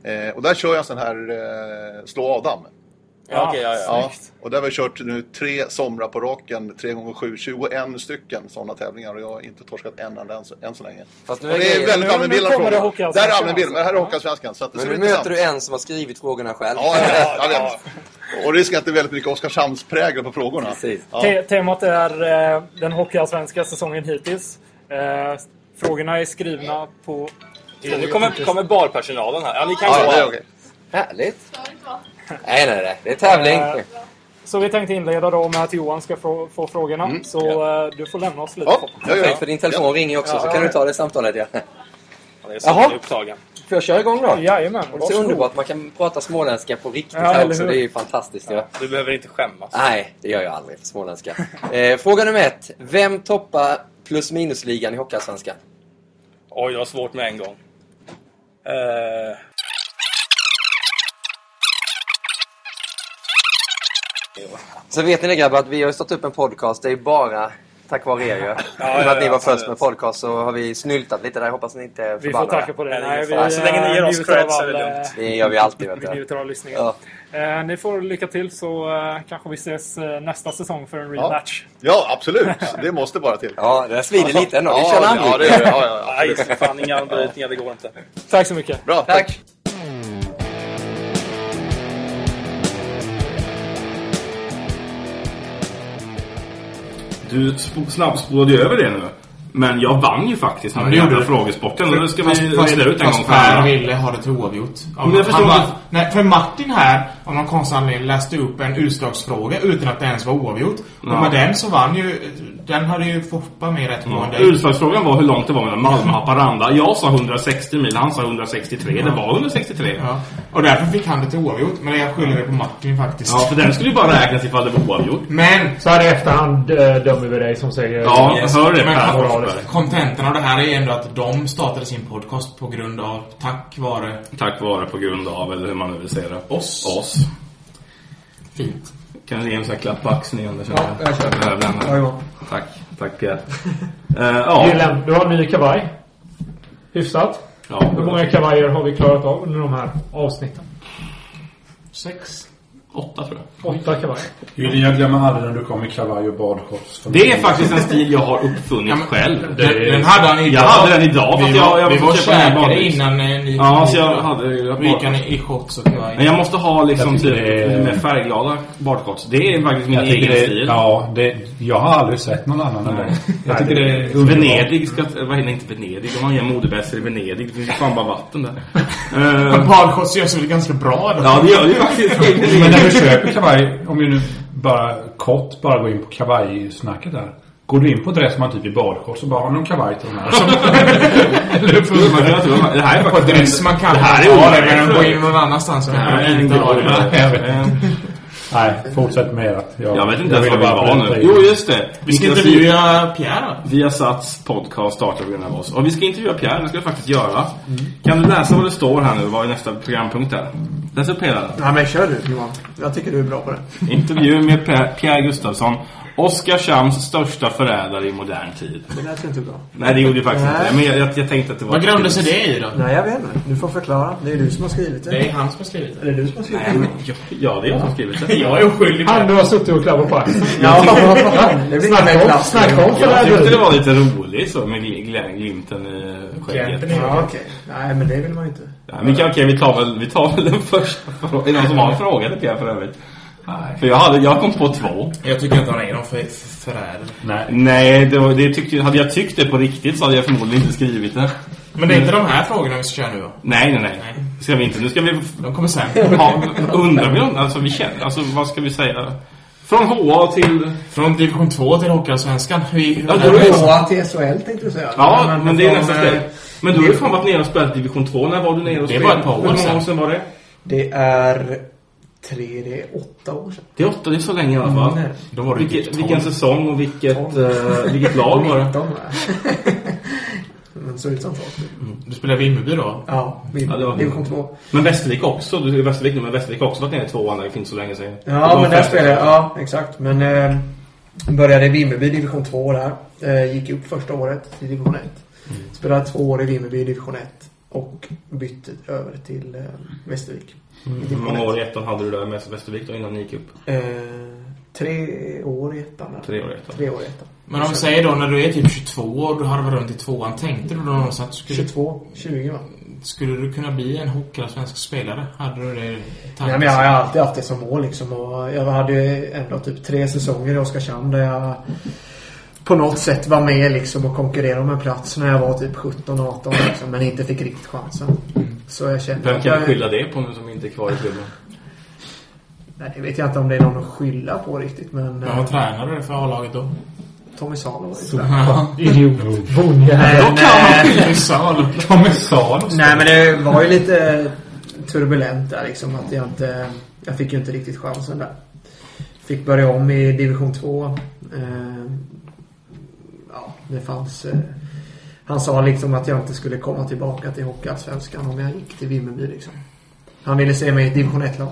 [SPEAKER 10] Eh, och där kör jag en sån här eh, slå Adam.
[SPEAKER 1] Ja, okej, ja, ja.
[SPEAKER 10] Ja, och där har vi kört nu tre somrar på raken, tre gånger sju, 21 stycken sådana tävlingar och jag har inte torskat en enda än så, än så länge.
[SPEAKER 9] Fast nu
[SPEAKER 10] Och det är
[SPEAKER 9] grejen-
[SPEAKER 10] väldigt
[SPEAKER 9] nu-
[SPEAKER 10] allmänbildad
[SPEAKER 9] nu kommer
[SPEAKER 10] fråga.
[SPEAKER 9] det Håkan
[SPEAKER 10] Där är
[SPEAKER 9] Svensson,
[SPEAKER 10] allmänbildad, men här är Håkansvenskan. Så att det
[SPEAKER 9] Men
[SPEAKER 10] ser
[SPEAKER 9] nu
[SPEAKER 10] ut intressant.
[SPEAKER 9] möter du en som har skrivit frågorna själv.
[SPEAKER 10] Ja, jag vet. Jag vet. Och risken är att det är väldigt mycket Oskarshamnsprägel på frågorna.
[SPEAKER 9] Precis.
[SPEAKER 10] Ja. Ja.
[SPEAKER 11] Te- Temat är eh, den hockeyallsvenska säsongen hittills. Eh, frågorna är skrivna på...
[SPEAKER 1] Nu kommer, kommer barpersonalen här. Ja, ni kan
[SPEAKER 10] Ja,
[SPEAKER 1] gå.
[SPEAKER 10] det är okej.
[SPEAKER 9] Härligt! Nej, nej, nej. Det är tävling.
[SPEAKER 11] Eh, Så vi tänkte inleda då med att Johan ska få, få frågorna. Så eh, du får lämna oss lite.
[SPEAKER 10] Ja, jag gör det.
[SPEAKER 9] Perfekt, för din telefon ringer ju också, så kan du ta det samtalet. Ja.
[SPEAKER 1] Det är så
[SPEAKER 9] Jaha.
[SPEAKER 1] det är upptagen.
[SPEAKER 9] Får jag köra igång då?
[SPEAKER 11] Jajamän,
[SPEAKER 9] Och Det är så underbart, man kan prata småländska på riktigt
[SPEAKER 11] Ja,
[SPEAKER 9] här
[SPEAKER 11] eller
[SPEAKER 9] också.
[SPEAKER 11] hur?
[SPEAKER 9] Det är ju fantastiskt. Ja.
[SPEAKER 1] Du behöver inte skämmas.
[SPEAKER 10] Ah.
[SPEAKER 9] Nej, det gör jag aldrig för småländska. Eh, fråga nummer ett. Vem toppar plus minus-ligan i Hockeyallsvenskan?
[SPEAKER 1] Oj, det var svårt med en gång. Eh,
[SPEAKER 9] Så vet ni det grabbar, att vi har ju startat upp en podcast. Det är ju bara tack vare er ju. I och med
[SPEAKER 1] ja,
[SPEAKER 9] att ni
[SPEAKER 1] ja,
[SPEAKER 9] var först
[SPEAKER 1] absolut.
[SPEAKER 9] med podcast så har vi snyltat lite där. Jag hoppas ni inte är
[SPEAKER 11] Vi får
[SPEAKER 9] förbannade.
[SPEAKER 11] tacka på det.
[SPEAKER 1] Nej,
[SPEAKER 11] Nej, vi,
[SPEAKER 1] det är ingen fara. Så länge ni ger
[SPEAKER 11] eh,
[SPEAKER 1] oss
[SPEAKER 11] njuter
[SPEAKER 1] cred
[SPEAKER 11] av
[SPEAKER 1] så är det
[SPEAKER 11] all,
[SPEAKER 1] lugnt.
[SPEAKER 9] Det gör vi alltid vet
[SPEAKER 11] eh, Vi
[SPEAKER 9] du.
[SPEAKER 11] njuter av lyssningen.
[SPEAKER 9] Ja.
[SPEAKER 11] Eh, ni får lycka till så eh, kanske vi ses eh, nästa säsong för en
[SPEAKER 10] Ja.
[SPEAKER 11] rematch.
[SPEAKER 10] ja, absolut. Det måste bara till.
[SPEAKER 9] ja, det där svider lite ändå. Vi kör
[SPEAKER 10] ja,
[SPEAKER 9] namn.
[SPEAKER 10] ja, det är, ja, ja,
[SPEAKER 1] Nej,
[SPEAKER 10] absolut.
[SPEAKER 1] för fan inga anbrytningar, det går inte.
[SPEAKER 11] Tack så mycket.
[SPEAKER 10] Bra, tack.
[SPEAKER 9] Tack!
[SPEAKER 4] Du sp- snabbspolade ju över det nu. Men jag vann ju faktiskt den här
[SPEAKER 5] det gjorde
[SPEAKER 4] jävla
[SPEAKER 5] du.
[SPEAKER 4] frågespotten. Och det ska
[SPEAKER 5] Fast-
[SPEAKER 4] vi
[SPEAKER 5] fast-
[SPEAKER 4] reda ut en gång
[SPEAKER 5] fast
[SPEAKER 4] för alla.
[SPEAKER 5] Per ville ha det till oavgjort. Ja,
[SPEAKER 4] Men jag förstår
[SPEAKER 5] han
[SPEAKER 4] inte.
[SPEAKER 5] bara, nej, för Martin här, av någon konstig anledning, läste upp en utslagsfråga utan att det ens var oavgjort.
[SPEAKER 4] Ja.
[SPEAKER 5] Och med den så vann ju... Den hade ju Foppa med rätt på än dig.
[SPEAKER 4] Utslagsfrågan var hur långt det var mellan Malmö och Haparanda. Jag sa 160 mil, han sa 163. Det var 163. Ja,
[SPEAKER 5] Ja. Och därför fick han det till oavgjort. Men jag skyller det på Martin faktiskt.
[SPEAKER 4] för den skulle ju bara räknas ifall det var oavgjort.
[SPEAKER 5] Men
[SPEAKER 7] Så här i efterhand eh, dömer vi dig som säger...
[SPEAKER 4] Ja,
[SPEAKER 5] Yes.
[SPEAKER 4] hör det
[SPEAKER 5] Men
[SPEAKER 4] Per
[SPEAKER 5] kon-
[SPEAKER 4] Forsberg.
[SPEAKER 5] kontentan av det här är ändå att de startade sin podcast på grund av, tack vare
[SPEAKER 4] Tack vare på grund av, eller hur man nu vill säga det.
[SPEAKER 5] oss.
[SPEAKER 4] Oss.
[SPEAKER 5] Fint.
[SPEAKER 4] Kan du ge en sån här klapp på axeln igen?
[SPEAKER 5] Ja, jag kör.
[SPEAKER 4] behöver den
[SPEAKER 5] Ja,
[SPEAKER 4] här.
[SPEAKER 5] ja.
[SPEAKER 4] Tack, tack. eh. Eh, ja.
[SPEAKER 7] Wilhelm, du har en ny kavaj. Hyfsat.
[SPEAKER 4] Ja.
[SPEAKER 7] Hur många kavajer har vi klarat av under de här avsnitten?
[SPEAKER 5] Sex.
[SPEAKER 4] Åtta tror jag.
[SPEAKER 7] Åtta kavajer.
[SPEAKER 3] Julian, jag glömmer aldrig när du kom i kavaj och badshorts.
[SPEAKER 4] Det är faktiskt en stil jag har uppfunnit
[SPEAKER 5] Ja, men-
[SPEAKER 4] själv.
[SPEAKER 5] Den, den hade han idag.
[SPEAKER 4] Jag hade den idag, fast
[SPEAKER 5] Vi
[SPEAKER 4] jag,
[SPEAKER 5] var,
[SPEAKER 4] jag
[SPEAKER 5] vi var
[SPEAKER 4] måste köpa en
[SPEAKER 5] käkade
[SPEAKER 4] badhus.
[SPEAKER 5] innan eh, ni
[SPEAKER 4] Ja, så jag hade... Jag,
[SPEAKER 5] Vi gick han i i shorts och
[SPEAKER 4] men
[SPEAKER 5] kavaj.
[SPEAKER 4] jag måste ha liksom
[SPEAKER 3] Jag
[SPEAKER 4] typ
[SPEAKER 3] tycker det är-
[SPEAKER 4] lite mer färgglada badshorts. Det är faktiskt min
[SPEAKER 3] Jag
[SPEAKER 4] egen
[SPEAKER 3] tycker det,
[SPEAKER 4] stil.
[SPEAKER 3] ja, det, jag har aldrig sett någon annan än dig. Jag tycker det är underbart.
[SPEAKER 4] Venedig ska... Vad heter det? Inte Venedig. Om man ger modebäster i Venedig. Det finns ju fan bara vatten där. Eh,
[SPEAKER 5] Men badshorts gör sig väl ganska bra då?
[SPEAKER 4] ja, det gör det ju faktiskt.
[SPEAKER 3] Men när du köper kavaj, om vi nu bara kort bara går in på kavajsnacket där. Går du in på ett restaurang typ i badshorts och bara har någon kavaj till de här? Som,
[SPEAKER 4] Jag tror man- Det här är
[SPEAKER 5] På
[SPEAKER 4] faktiskt...
[SPEAKER 5] dress man kan
[SPEAKER 4] Det här är
[SPEAKER 5] ha det,
[SPEAKER 4] omöjligt.
[SPEAKER 5] men gå in någon annanstans.
[SPEAKER 4] Det här är en
[SPEAKER 5] inte ha det.
[SPEAKER 3] jag
[SPEAKER 4] grå-
[SPEAKER 3] vet.
[SPEAKER 4] Eh,
[SPEAKER 3] nej, fortsätt med att jag...
[SPEAKER 4] Jag vet inte ens var
[SPEAKER 3] ville
[SPEAKER 4] vi
[SPEAKER 3] bara
[SPEAKER 4] var
[SPEAKER 3] berätta
[SPEAKER 4] nu.
[SPEAKER 3] det.
[SPEAKER 4] Jo, just det.
[SPEAKER 5] Vi ska intervjua eh, Pierre då?
[SPEAKER 4] Viasats podcast startar på grund av oss. Och vi ska intervjua Pierre, det ska vi faktiskt göra. Kan du läsa vad det står här nu, vad är nästa programpunkt är? Läs upp hela.
[SPEAKER 6] Nej, men kör du Johan. Jag tycker du är bra på det.
[SPEAKER 4] Intervju med Per- Pierre Gustafsson Oskarshamns största förrädare i modern tid.
[SPEAKER 6] Det lät ju inte bra.
[SPEAKER 4] Nej, det gjorde ju faktiskt
[SPEAKER 6] Nej.
[SPEAKER 4] inte. Men jag, jag, jag tänkte att det var...
[SPEAKER 6] Vad grundar sig
[SPEAKER 5] det i då?
[SPEAKER 6] Nej, jag vet inte. Du får förklara. Det är du som har skrivit det.
[SPEAKER 5] Det är han som har skrivit det.
[SPEAKER 6] Är det du som har skrivit det?
[SPEAKER 4] Ja, det är jag som har skrivit det.
[SPEAKER 5] Jag är oskyldig.
[SPEAKER 7] Han du har suttit och klappat på axeln.
[SPEAKER 6] Ja, vad fan. Det blir inte mer
[SPEAKER 7] snacka om,
[SPEAKER 6] plats.
[SPEAKER 7] snacka om
[SPEAKER 4] Jag
[SPEAKER 7] förräderi.
[SPEAKER 4] tyckte det var lite roligt så med gl- gl- glimten i skägget.
[SPEAKER 6] Ja, okej. Nej, men det vill man ju inte.
[SPEAKER 4] Ja, men okej, okej, vi tar väl, vi tar väl den första frågan. Är det någon som har en fråga till Pierre för övrigt? Nej. För jag, hade, jag kom på två.
[SPEAKER 5] Jag tycker inte han är någon för, för förrädare.
[SPEAKER 4] Nej, Nej det var, det tyckte, hade jag tyckt det på riktigt så hade jag förmodligen inte skrivit det.
[SPEAKER 5] Men det är inte de här frågorna vi ska köra nu va?
[SPEAKER 4] Nej, nej, nej. Ska vi inte. Nu ska vi...
[SPEAKER 5] De kommer sen.
[SPEAKER 4] Ja, undrar vi om... Alltså, vi känner... Alltså, vad ska vi säga? Från HA till...
[SPEAKER 5] Från division 2 till Hockeyallsvenskan. Hur-
[SPEAKER 4] Ja, då är det-
[SPEAKER 6] Råa till SHL tänkte du säga.
[SPEAKER 4] Ja, men det är nästa
[SPEAKER 6] från,
[SPEAKER 4] steg.
[SPEAKER 6] eh,
[SPEAKER 4] Men du har ju fan varit nere och spelat Division 2. När var du nere
[SPEAKER 5] Det
[SPEAKER 4] och spelade?
[SPEAKER 5] var ett par år
[SPEAKER 4] Hur många
[SPEAKER 5] sedan.
[SPEAKER 4] år sedan var det?
[SPEAKER 6] Det är tre, det är åtta år sedan.
[SPEAKER 4] Det är åtta, det är så länge i alla fall.
[SPEAKER 6] Mm, nej.
[SPEAKER 5] Då var det
[SPEAKER 4] vilket,
[SPEAKER 5] division.
[SPEAKER 4] vilken säsong och vilket,
[SPEAKER 6] Tolv.
[SPEAKER 4] eh, vilket lag var det?
[SPEAKER 6] 19 va? Men såg ut som folk.
[SPEAKER 5] Du spelar Vimmerby då?
[SPEAKER 6] Ja,
[SPEAKER 4] Ja, det var-
[SPEAKER 6] Vim- division 2.
[SPEAKER 4] Men Västervik också. Du är i Västervik nu, men Västervik har också varit nere i tvåan. Det finns så länge sedan. Det
[SPEAKER 6] Ja,
[SPEAKER 4] var
[SPEAKER 6] men där
[SPEAKER 4] fest.
[SPEAKER 6] spelade jag. Ja, exakt. Men eh, började i Vimmerby, division 2 där. Eh, gick upp första året till division 1.
[SPEAKER 4] Mm.
[SPEAKER 6] Spelade två år i Vimmerby, division 1. Och bytte över till eh, Västervik. i
[SPEAKER 4] Hur
[SPEAKER 6] division
[SPEAKER 4] många
[SPEAKER 6] ett.
[SPEAKER 4] år i ettan hade du där med Västervik då innan ni gick upp?
[SPEAKER 6] Eh, tre år i ettan. där.
[SPEAKER 4] Tre år i ettan.
[SPEAKER 6] Tre år i ettan.
[SPEAKER 5] Men om vi säger då när du är typ 22 och du harvar runt i tvåan. Tänkte du då någonstans att du skulle,
[SPEAKER 6] 22, 20 va?
[SPEAKER 5] skulle du kunna bli en hockeyallsvensk spelare? Hade du det i
[SPEAKER 6] Nej, men jag
[SPEAKER 4] alltså.
[SPEAKER 6] har alltid haft det som mål liksom. Och jag hade ju ändå typ tre säsonger i Oskarshamn där jag på något sätt var med liksom och konkurrerade om en plats när jag var typ 17-18 liksom, men inte fick riktigt chansen. Så jag kände...
[SPEAKER 4] Mm. Vem
[SPEAKER 6] att
[SPEAKER 4] kan
[SPEAKER 6] jag-
[SPEAKER 4] jag skylla det på nu som inte är kvar i klubben?
[SPEAKER 6] Nej, det vet jag inte om det är någon att skylla på riktigt men...
[SPEAKER 5] Men
[SPEAKER 6] eh,
[SPEAKER 5] vad tränade du för A-laget då?
[SPEAKER 6] Tommy Salo var ju
[SPEAKER 7] Så,
[SPEAKER 6] där.
[SPEAKER 7] fan, Idiot. Bonjävel.
[SPEAKER 6] Men, eh,
[SPEAKER 5] Sal.
[SPEAKER 7] Kommissar.
[SPEAKER 6] Nej men det var ju lite turbulent där liksom. Att jag, inte, jag fick ju inte riktigt chansen där. Fick börja om i division 2. Eh, ja, det fanns... Eh, han sa liksom att jag inte skulle komma tillbaka till Hockeyallsvenskan om jag gick till Vimmerby liksom. Han ville se mig i ett division 1-lag.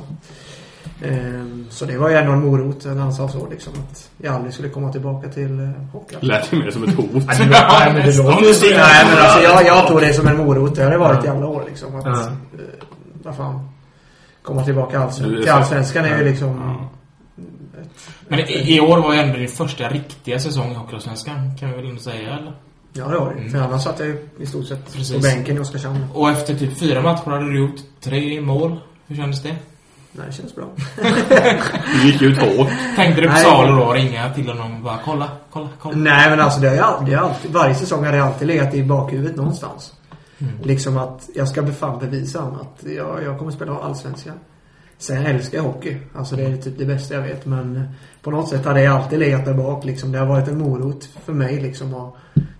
[SPEAKER 6] Eh, så det var ju ändå en morot när han sa så liksom. Att jag aldrig skulle komma tillbaka till eh, Hockeyallsvenskan.
[SPEAKER 4] Lät ju mer som ett hot.
[SPEAKER 7] Nej, men det låter...
[SPEAKER 6] Nej, men alltså, jag, jag tog det som en morot. Det har det varit i alla år. Liksom, att,
[SPEAKER 7] Ja.
[SPEAKER 6] eh, vad fan. Komma tillbaka alls,
[SPEAKER 4] Du är
[SPEAKER 6] till
[SPEAKER 4] så-
[SPEAKER 6] Allsvenskan är ju liksom...
[SPEAKER 5] Men i, i år var ju ändå din första riktiga säsong i Hockeyallsvenskan. Kan vi väl ändå säga eller?
[SPEAKER 6] Ja, det var det ju. För annars satt jag ju i stort sett
[SPEAKER 5] Precis.
[SPEAKER 6] på bänken i Oskarshamn.
[SPEAKER 5] Och efter typ fyra matcher hade du gjort tre mål. Hur kändes det?
[SPEAKER 6] Nej, det känns bra.
[SPEAKER 4] Du gick ut hårt.
[SPEAKER 5] Tänkte du på
[SPEAKER 6] Nej.
[SPEAKER 5] Salo då? Ringa till honom och bara kolla, kolla, kolla.
[SPEAKER 6] Nej, men alltså det har jag alltid, det har alltid... Varje säsong har det alltid legat i bakhuvudet någonstans. Liksom att jag ska fan bevisa honom att jag, jag kommer spela Allsvenskan. Sen älskar jag hockey. Alltså det är typ det bästa jag vet. Men på något sätt har det alltid legat där bak. Liksom. Det har varit en morot för mig liksom att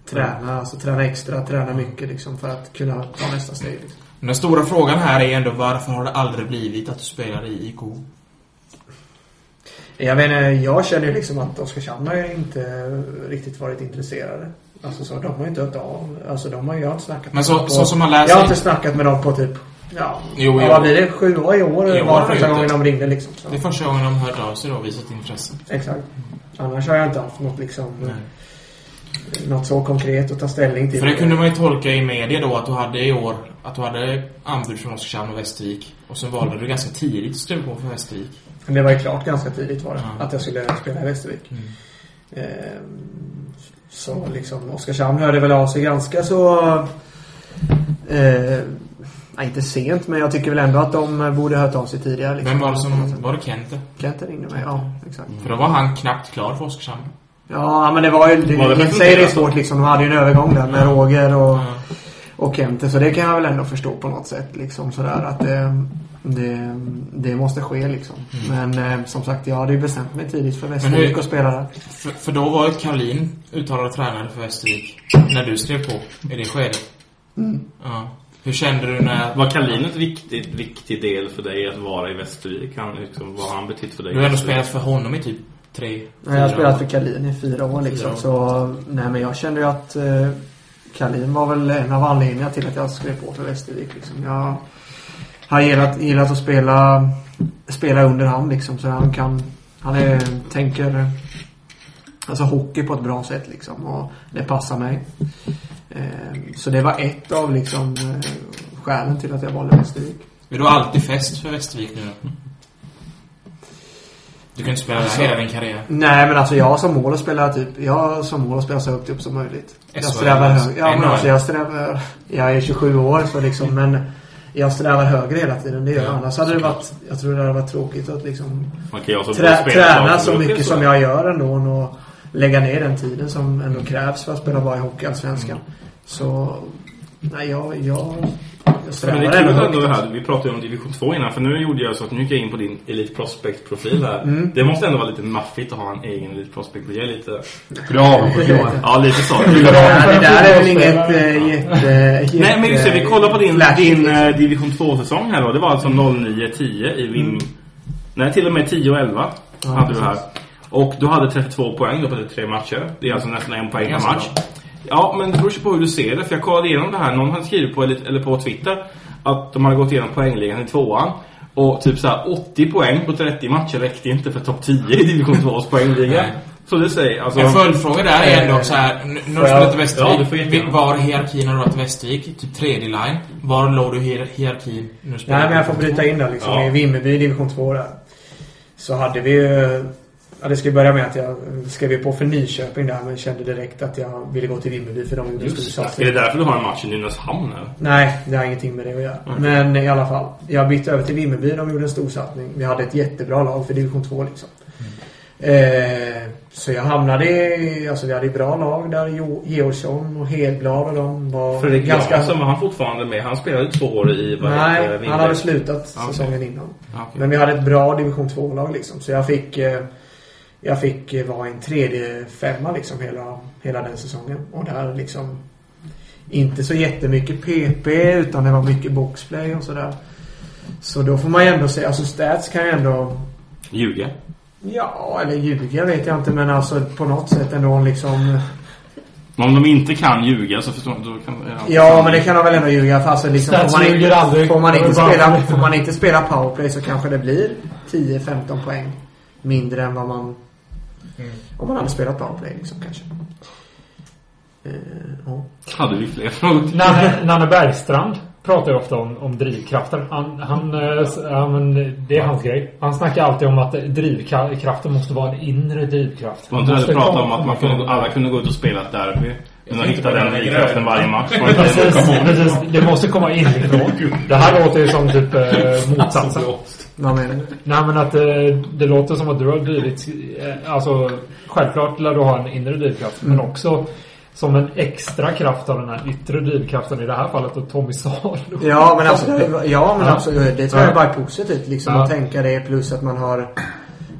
[SPEAKER 6] träna. Alltså träna extra, träna mycket liksom för att kunna ta nästa steg. Liksom.
[SPEAKER 5] Den stora frågan här är ändå varför har det aldrig blivit att du spelar i IK?
[SPEAKER 6] Jag menar, jag känner ju liksom att Oskarshamn har ju inte riktigt varit intresserade. Alltså så, de har ju inte hört av. Alltså de har ju, jag har inte snackat
[SPEAKER 5] Men
[SPEAKER 6] med
[SPEAKER 5] så-
[SPEAKER 6] dem på,
[SPEAKER 5] så som man läser-
[SPEAKER 6] Jag har inte snackat med dem på typ, ja,
[SPEAKER 5] Jo,
[SPEAKER 6] ja
[SPEAKER 5] jo.
[SPEAKER 6] vad blir det? Sju år i år
[SPEAKER 5] I år har
[SPEAKER 6] var
[SPEAKER 5] det Mm.
[SPEAKER 6] första
[SPEAKER 5] inte.
[SPEAKER 6] gången de ringde liksom. Så.
[SPEAKER 5] Det är första gången de hört av sig då och visat intresse.
[SPEAKER 6] Exakt. Annars har jag inte haft något liksom, något så konkret att ta ställning till.
[SPEAKER 5] För det kunde man ju tolka i media då att du hade i år att du hade anbud från Oskarshamn och Västervik. Och sen valde du ganska tidigt att skriva på för Västervik.
[SPEAKER 6] Men det var ju klart ganska tidigt var det.
[SPEAKER 5] Ja. Mm.
[SPEAKER 6] Att jag skulle spela i Västervik. Ehm, så liksom Oskarshamn hörde väl av sig ganska så... Eh, nej, inte sent men jag tycker väl ändå att de borde hört av sig tidigare. Liksom.
[SPEAKER 5] Vem var det som... Var det Kente?
[SPEAKER 6] Kent ringde mig. Ja, exakt.
[SPEAKER 5] För då var han knappt klar för Oskarshamn.
[SPEAKER 6] Ja, men det var ju... Det,
[SPEAKER 4] Var det
[SPEAKER 6] i och för sig det är svårt liksom. De hade ju en övergång där med Roger och, och Kente. Så det kan jag väl ändå förstå på något sätt. Liksom sådär att det, det, det måste ske liksom. Men eh, som sagt, jag hade ju bestämt mig tidigt för Västervik
[SPEAKER 5] hur-
[SPEAKER 6] att spela där.
[SPEAKER 5] För, för då var ju Karolin uttalad tränare för Västervik. När du skrev på i det skedet.
[SPEAKER 6] Mm.
[SPEAKER 5] Ja. Hur kände du när...
[SPEAKER 4] Var Kalin ett viktigt, viktig del för dig att vara i Västervik? Han, liksom, vad har han betytt för dig?
[SPEAKER 5] Du har ändå spelat för honom i typ tre,
[SPEAKER 6] Nej, jag har
[SPEAKER 5] fyra
[SPEAKER 6] spelat
[SPEAKER 5] år.
[SPEAKER 6] för Kalin i fyra år liksom.
[SPEAKER 5] Fyra år.
[SPEAKER 6] Så, nej, men jag kände ju att eh, Kalin var väl en av anledningarna till att jag skrev på för Västervik. Liksom. Jag har gillat, gillat att spela, spela under hand liksom. Så han kan... Han är, tänker Alltså hockey på ett bra sätt liksom. Och det passar mig. Eh, Så det var ett av liksom eh, skälen till att jag valde Västervik.
[SPEAKER 5] Är du alltid fest för Västervik nu då? Du kan inte spela
[SPEAKER 6] Alltså-
[SPEAKER 5] hela din karriär.
[SPEAKER 6] Nej, men alltså jag har som mål att spela typ, jag har som mål att spela så högt upp som möjligt. Jag
[SPEAKER 5] SHL,
[SPEAKER 6] strävar
[SPEAKER 5] alltså.
[SPEAKER 6] högre. Ja, men
[SPEAKER 5] NHL.
[SPEAKER 6] alltså jag strävar... Jag är 27 år så liksom, men jag strävar högre hela tiden. Det gör jag.
[SPEAKER 4] Ja,
[SPEAKER 6] Annars hade det varit, jag tror det hade varit tråkigt att liksom
[SPEAKER 4] Man kan ju också
[SPEAKER 6] trä,
[SPEAKER 4] spela
[SPEAKER 6] träna
[SPEAKER 4] dagen
[SPEAKER 6] så
[SPEAKER 4] runt,
[SPEAKER 6] mycket
[SPEAKER 4] så.
[SPEAKER 6] som jag gör ändå och lägga ner den tiden som ändå krävs för att spela bara i Hockeyallsvenskan.
[SPEAKER 4] Mm.
[SPEAKER 6] Så, nej, jag, jag, jag
[SPEAKER 4] Ja,
[SPEAKER 6] strävar
[SPEAKER 4] Men det är kul
[SPEAKER 6] ändå
[SPEAKER 4] ändå det
[SPEAKER 6] högt.
[SPEAKER 4] här. Vi pratade ju om Division 2 innan. För nu gjorde jag så att nu gick jag in på din Elite Prospect-profil här.
[SPEAKER 6] Mm.
[SPEAKER 4] Det måste ändå vara lite maffigt att ha en egen Elite Prospect. Jag är lite...
[SPEAKER 3] Du har avundsjuk, Johan.
[SPEAKER 4] Ja, lite så.
[SPEAKER 3] Vill du ha en
[SPEAKER 6] Ja, det där är väl inget eh, jätte...
[SPEAKER 4] Nej, men just det. Vi kollar på din,
[SPEAKER 6] flashigt,
[SPEAKER 4] din eh, Division 2-säsong här då. Det var alltså 09-10 i Vim... Nej, till och med 10 och 11
[SPEAKER 6] Ja,
[SPEAKER 4] hade du här.
[SPEAKER 6] precis.
[SPEAKER 4] Och du hade 32 poäng då på de tre matcher. Det är alltså nästan en poäng per
[SPEAKER 5] Ganska
[SPEAKER 4] match. Ja, men det beror ju på hur du ser det. För jag kollade igenom det här. Någon hade skrivit på, eller på Twitter att de hade gått igenom poängligan i tvåan. Och typ så här 80 poäng på 30 matcher räckte inte för topp 10 i division 2s poängliga.
[SPEAKER 5] Nej.
[SPEAKER 4] Så det säger alltså...
[SPEAKER 5] en följdfråga där är ändå så här. n- När du
[SPEAKER 4] Ja,
[SPEAKER 5] spelade till
[SPEAKER 4] ja, du får
[SPEAKER 5] Västervik,
[SPEAKER 4] jättegärna.
[SPEAKER 5] var i hierarkin när du var till Västervik? Typ tredje line. Var låg du i hier- hierarkin när du spelade?
[SPEAKER 6] Nej, men jag får bryta in där liksom.
[SPEAKER 5] Ja.
[SPEAKER 6] I Vimmerby, division 2 där. Så hade vi ju... Ja, det ska ju börja med att jag skrev ju på för Nyköping där men kände direkt att jag ville gå till Vimmerby för de gjorde en stor
[SPEAKER 4] Just det.
[SPEAKER 6] satsning.
[SPEAKER 4] Är det därför du har en match i Nynäshamn här?
[SPEAKER 6] Nej, det har ingenting med det att göra.
[SPEAKER 4] Okej.
[SPEAKER 6] Men i alla fall. Jag bytte över till Vimmerby. De gjorde en stor satsning. Vi hade ett jättebra lag för division 2 liksom.
[SPEAKER 4] Mm.
[SPEAKER 6] Eh, så jag hamnade i... Alltså vi hade ju bra lag där. Jo- Georgsson och Hedblad och de var
[SPEAKER 4] Fredrik ganska... Jansson var han fortfarande med. Han spelade två år i... vad heter det,
[SPEAKER 6] Nej, han
[SPEAKER 4] Vinberg.
[SPEAKER 6] hade slutat
[SPEAKER 4] Ja, okej.
[SPEAKER 6] säsongen innan.
[SPEAKER 4] Ja, okej.
[SPEAKER 6] Men vi hade ett bra division 2-lag liksom. Så jag fick, eh, jag fick eh, vara en tredje femma liksom hela, hela den säsongen. Och där liksom inte så jättemycket PP utan det var mycket boxplay och sådär. Så då får man ju ändå säga, alltså stats kan ju ändå,
[SPEAKER 4] Ljuga.
[SPEAKER 6] ja eller ljuga vet jag inte men alltså på något sätt ändå liksom
[SPEAKER 4] Men om de inte kan ljuga så förstår då kan... Ja,
[SPEAKER 6] Ja, men det kan de väl ändå ljuga för alltså, liksom, får, man
[SPEAKER 7] Stats ljuger
[SPEAKER 6] inte,
[SPEAKER 7] aldrig.
[SPEAKER 6] får, man
[SPEAKER 7] Det
[SPEAKER 6] inte
[SPEAKER 7] är bara-
[SPEAKER 6] spela, får man inte spela powerplay så kanske det blir 10-15 poäng mindre än vad man... Om man hade spelat powerplay liksom kanske. Eh, ja.
[SPEAKER 4] Hade vi fler frågor?
[SPEAKER 7] Nanne, Nanne Bergstrand pratar ju ofta om, om drivkraften. Han, han, eh, s- ja, men det är hans grej. Han snackar alltid om att drivkraften måste vara en inre drivkraft.
[SPEAKER 4] Man hade
[SPEAKER 7] Måste
[SPEAKER 4] pratat
[SPEAKER 7] komma
[SPEAKER 4] om att man
[SPEAKER 7] från-
[SPEAKER 4] kunde, gå- alla kunde gå ut och spela ett derby. Men de
[SPEAKER 7] tänkte på
[SPEAKER 4] hittade den
[SPEAKER 7] den
[SPEAKER 4] drivkraften
[SPEAKER 7] grejen.
[SPEAKER 4] varje match. Var det inte det
[SPEAKER 7] Precis,
[SPEAKER 4] de kom ihåg?
[SPEAKER 7] precis, det måste komma inifrån. Det här låter ju som typ eh, motsatsen.
[SPEAKER 6] Vad menar du?
[SPEAKER 7] Nej men att eh, det låter som att du har drivit, eh, alltså självklart lär du ha en inre drivkraft men också som en extra kraft av den här yttre drivkraften i det här fallet och Tommy Saar.
[SPEAKER 6] Ja, men alltså, det- ja, men alltså det tror jag
[SPEAKER 7] Ja.
[SPEAKER 6] bara är positivt liksom
[SPEAKER 7] Ja.
[SPEAKER 6] att tänka det plus att man har...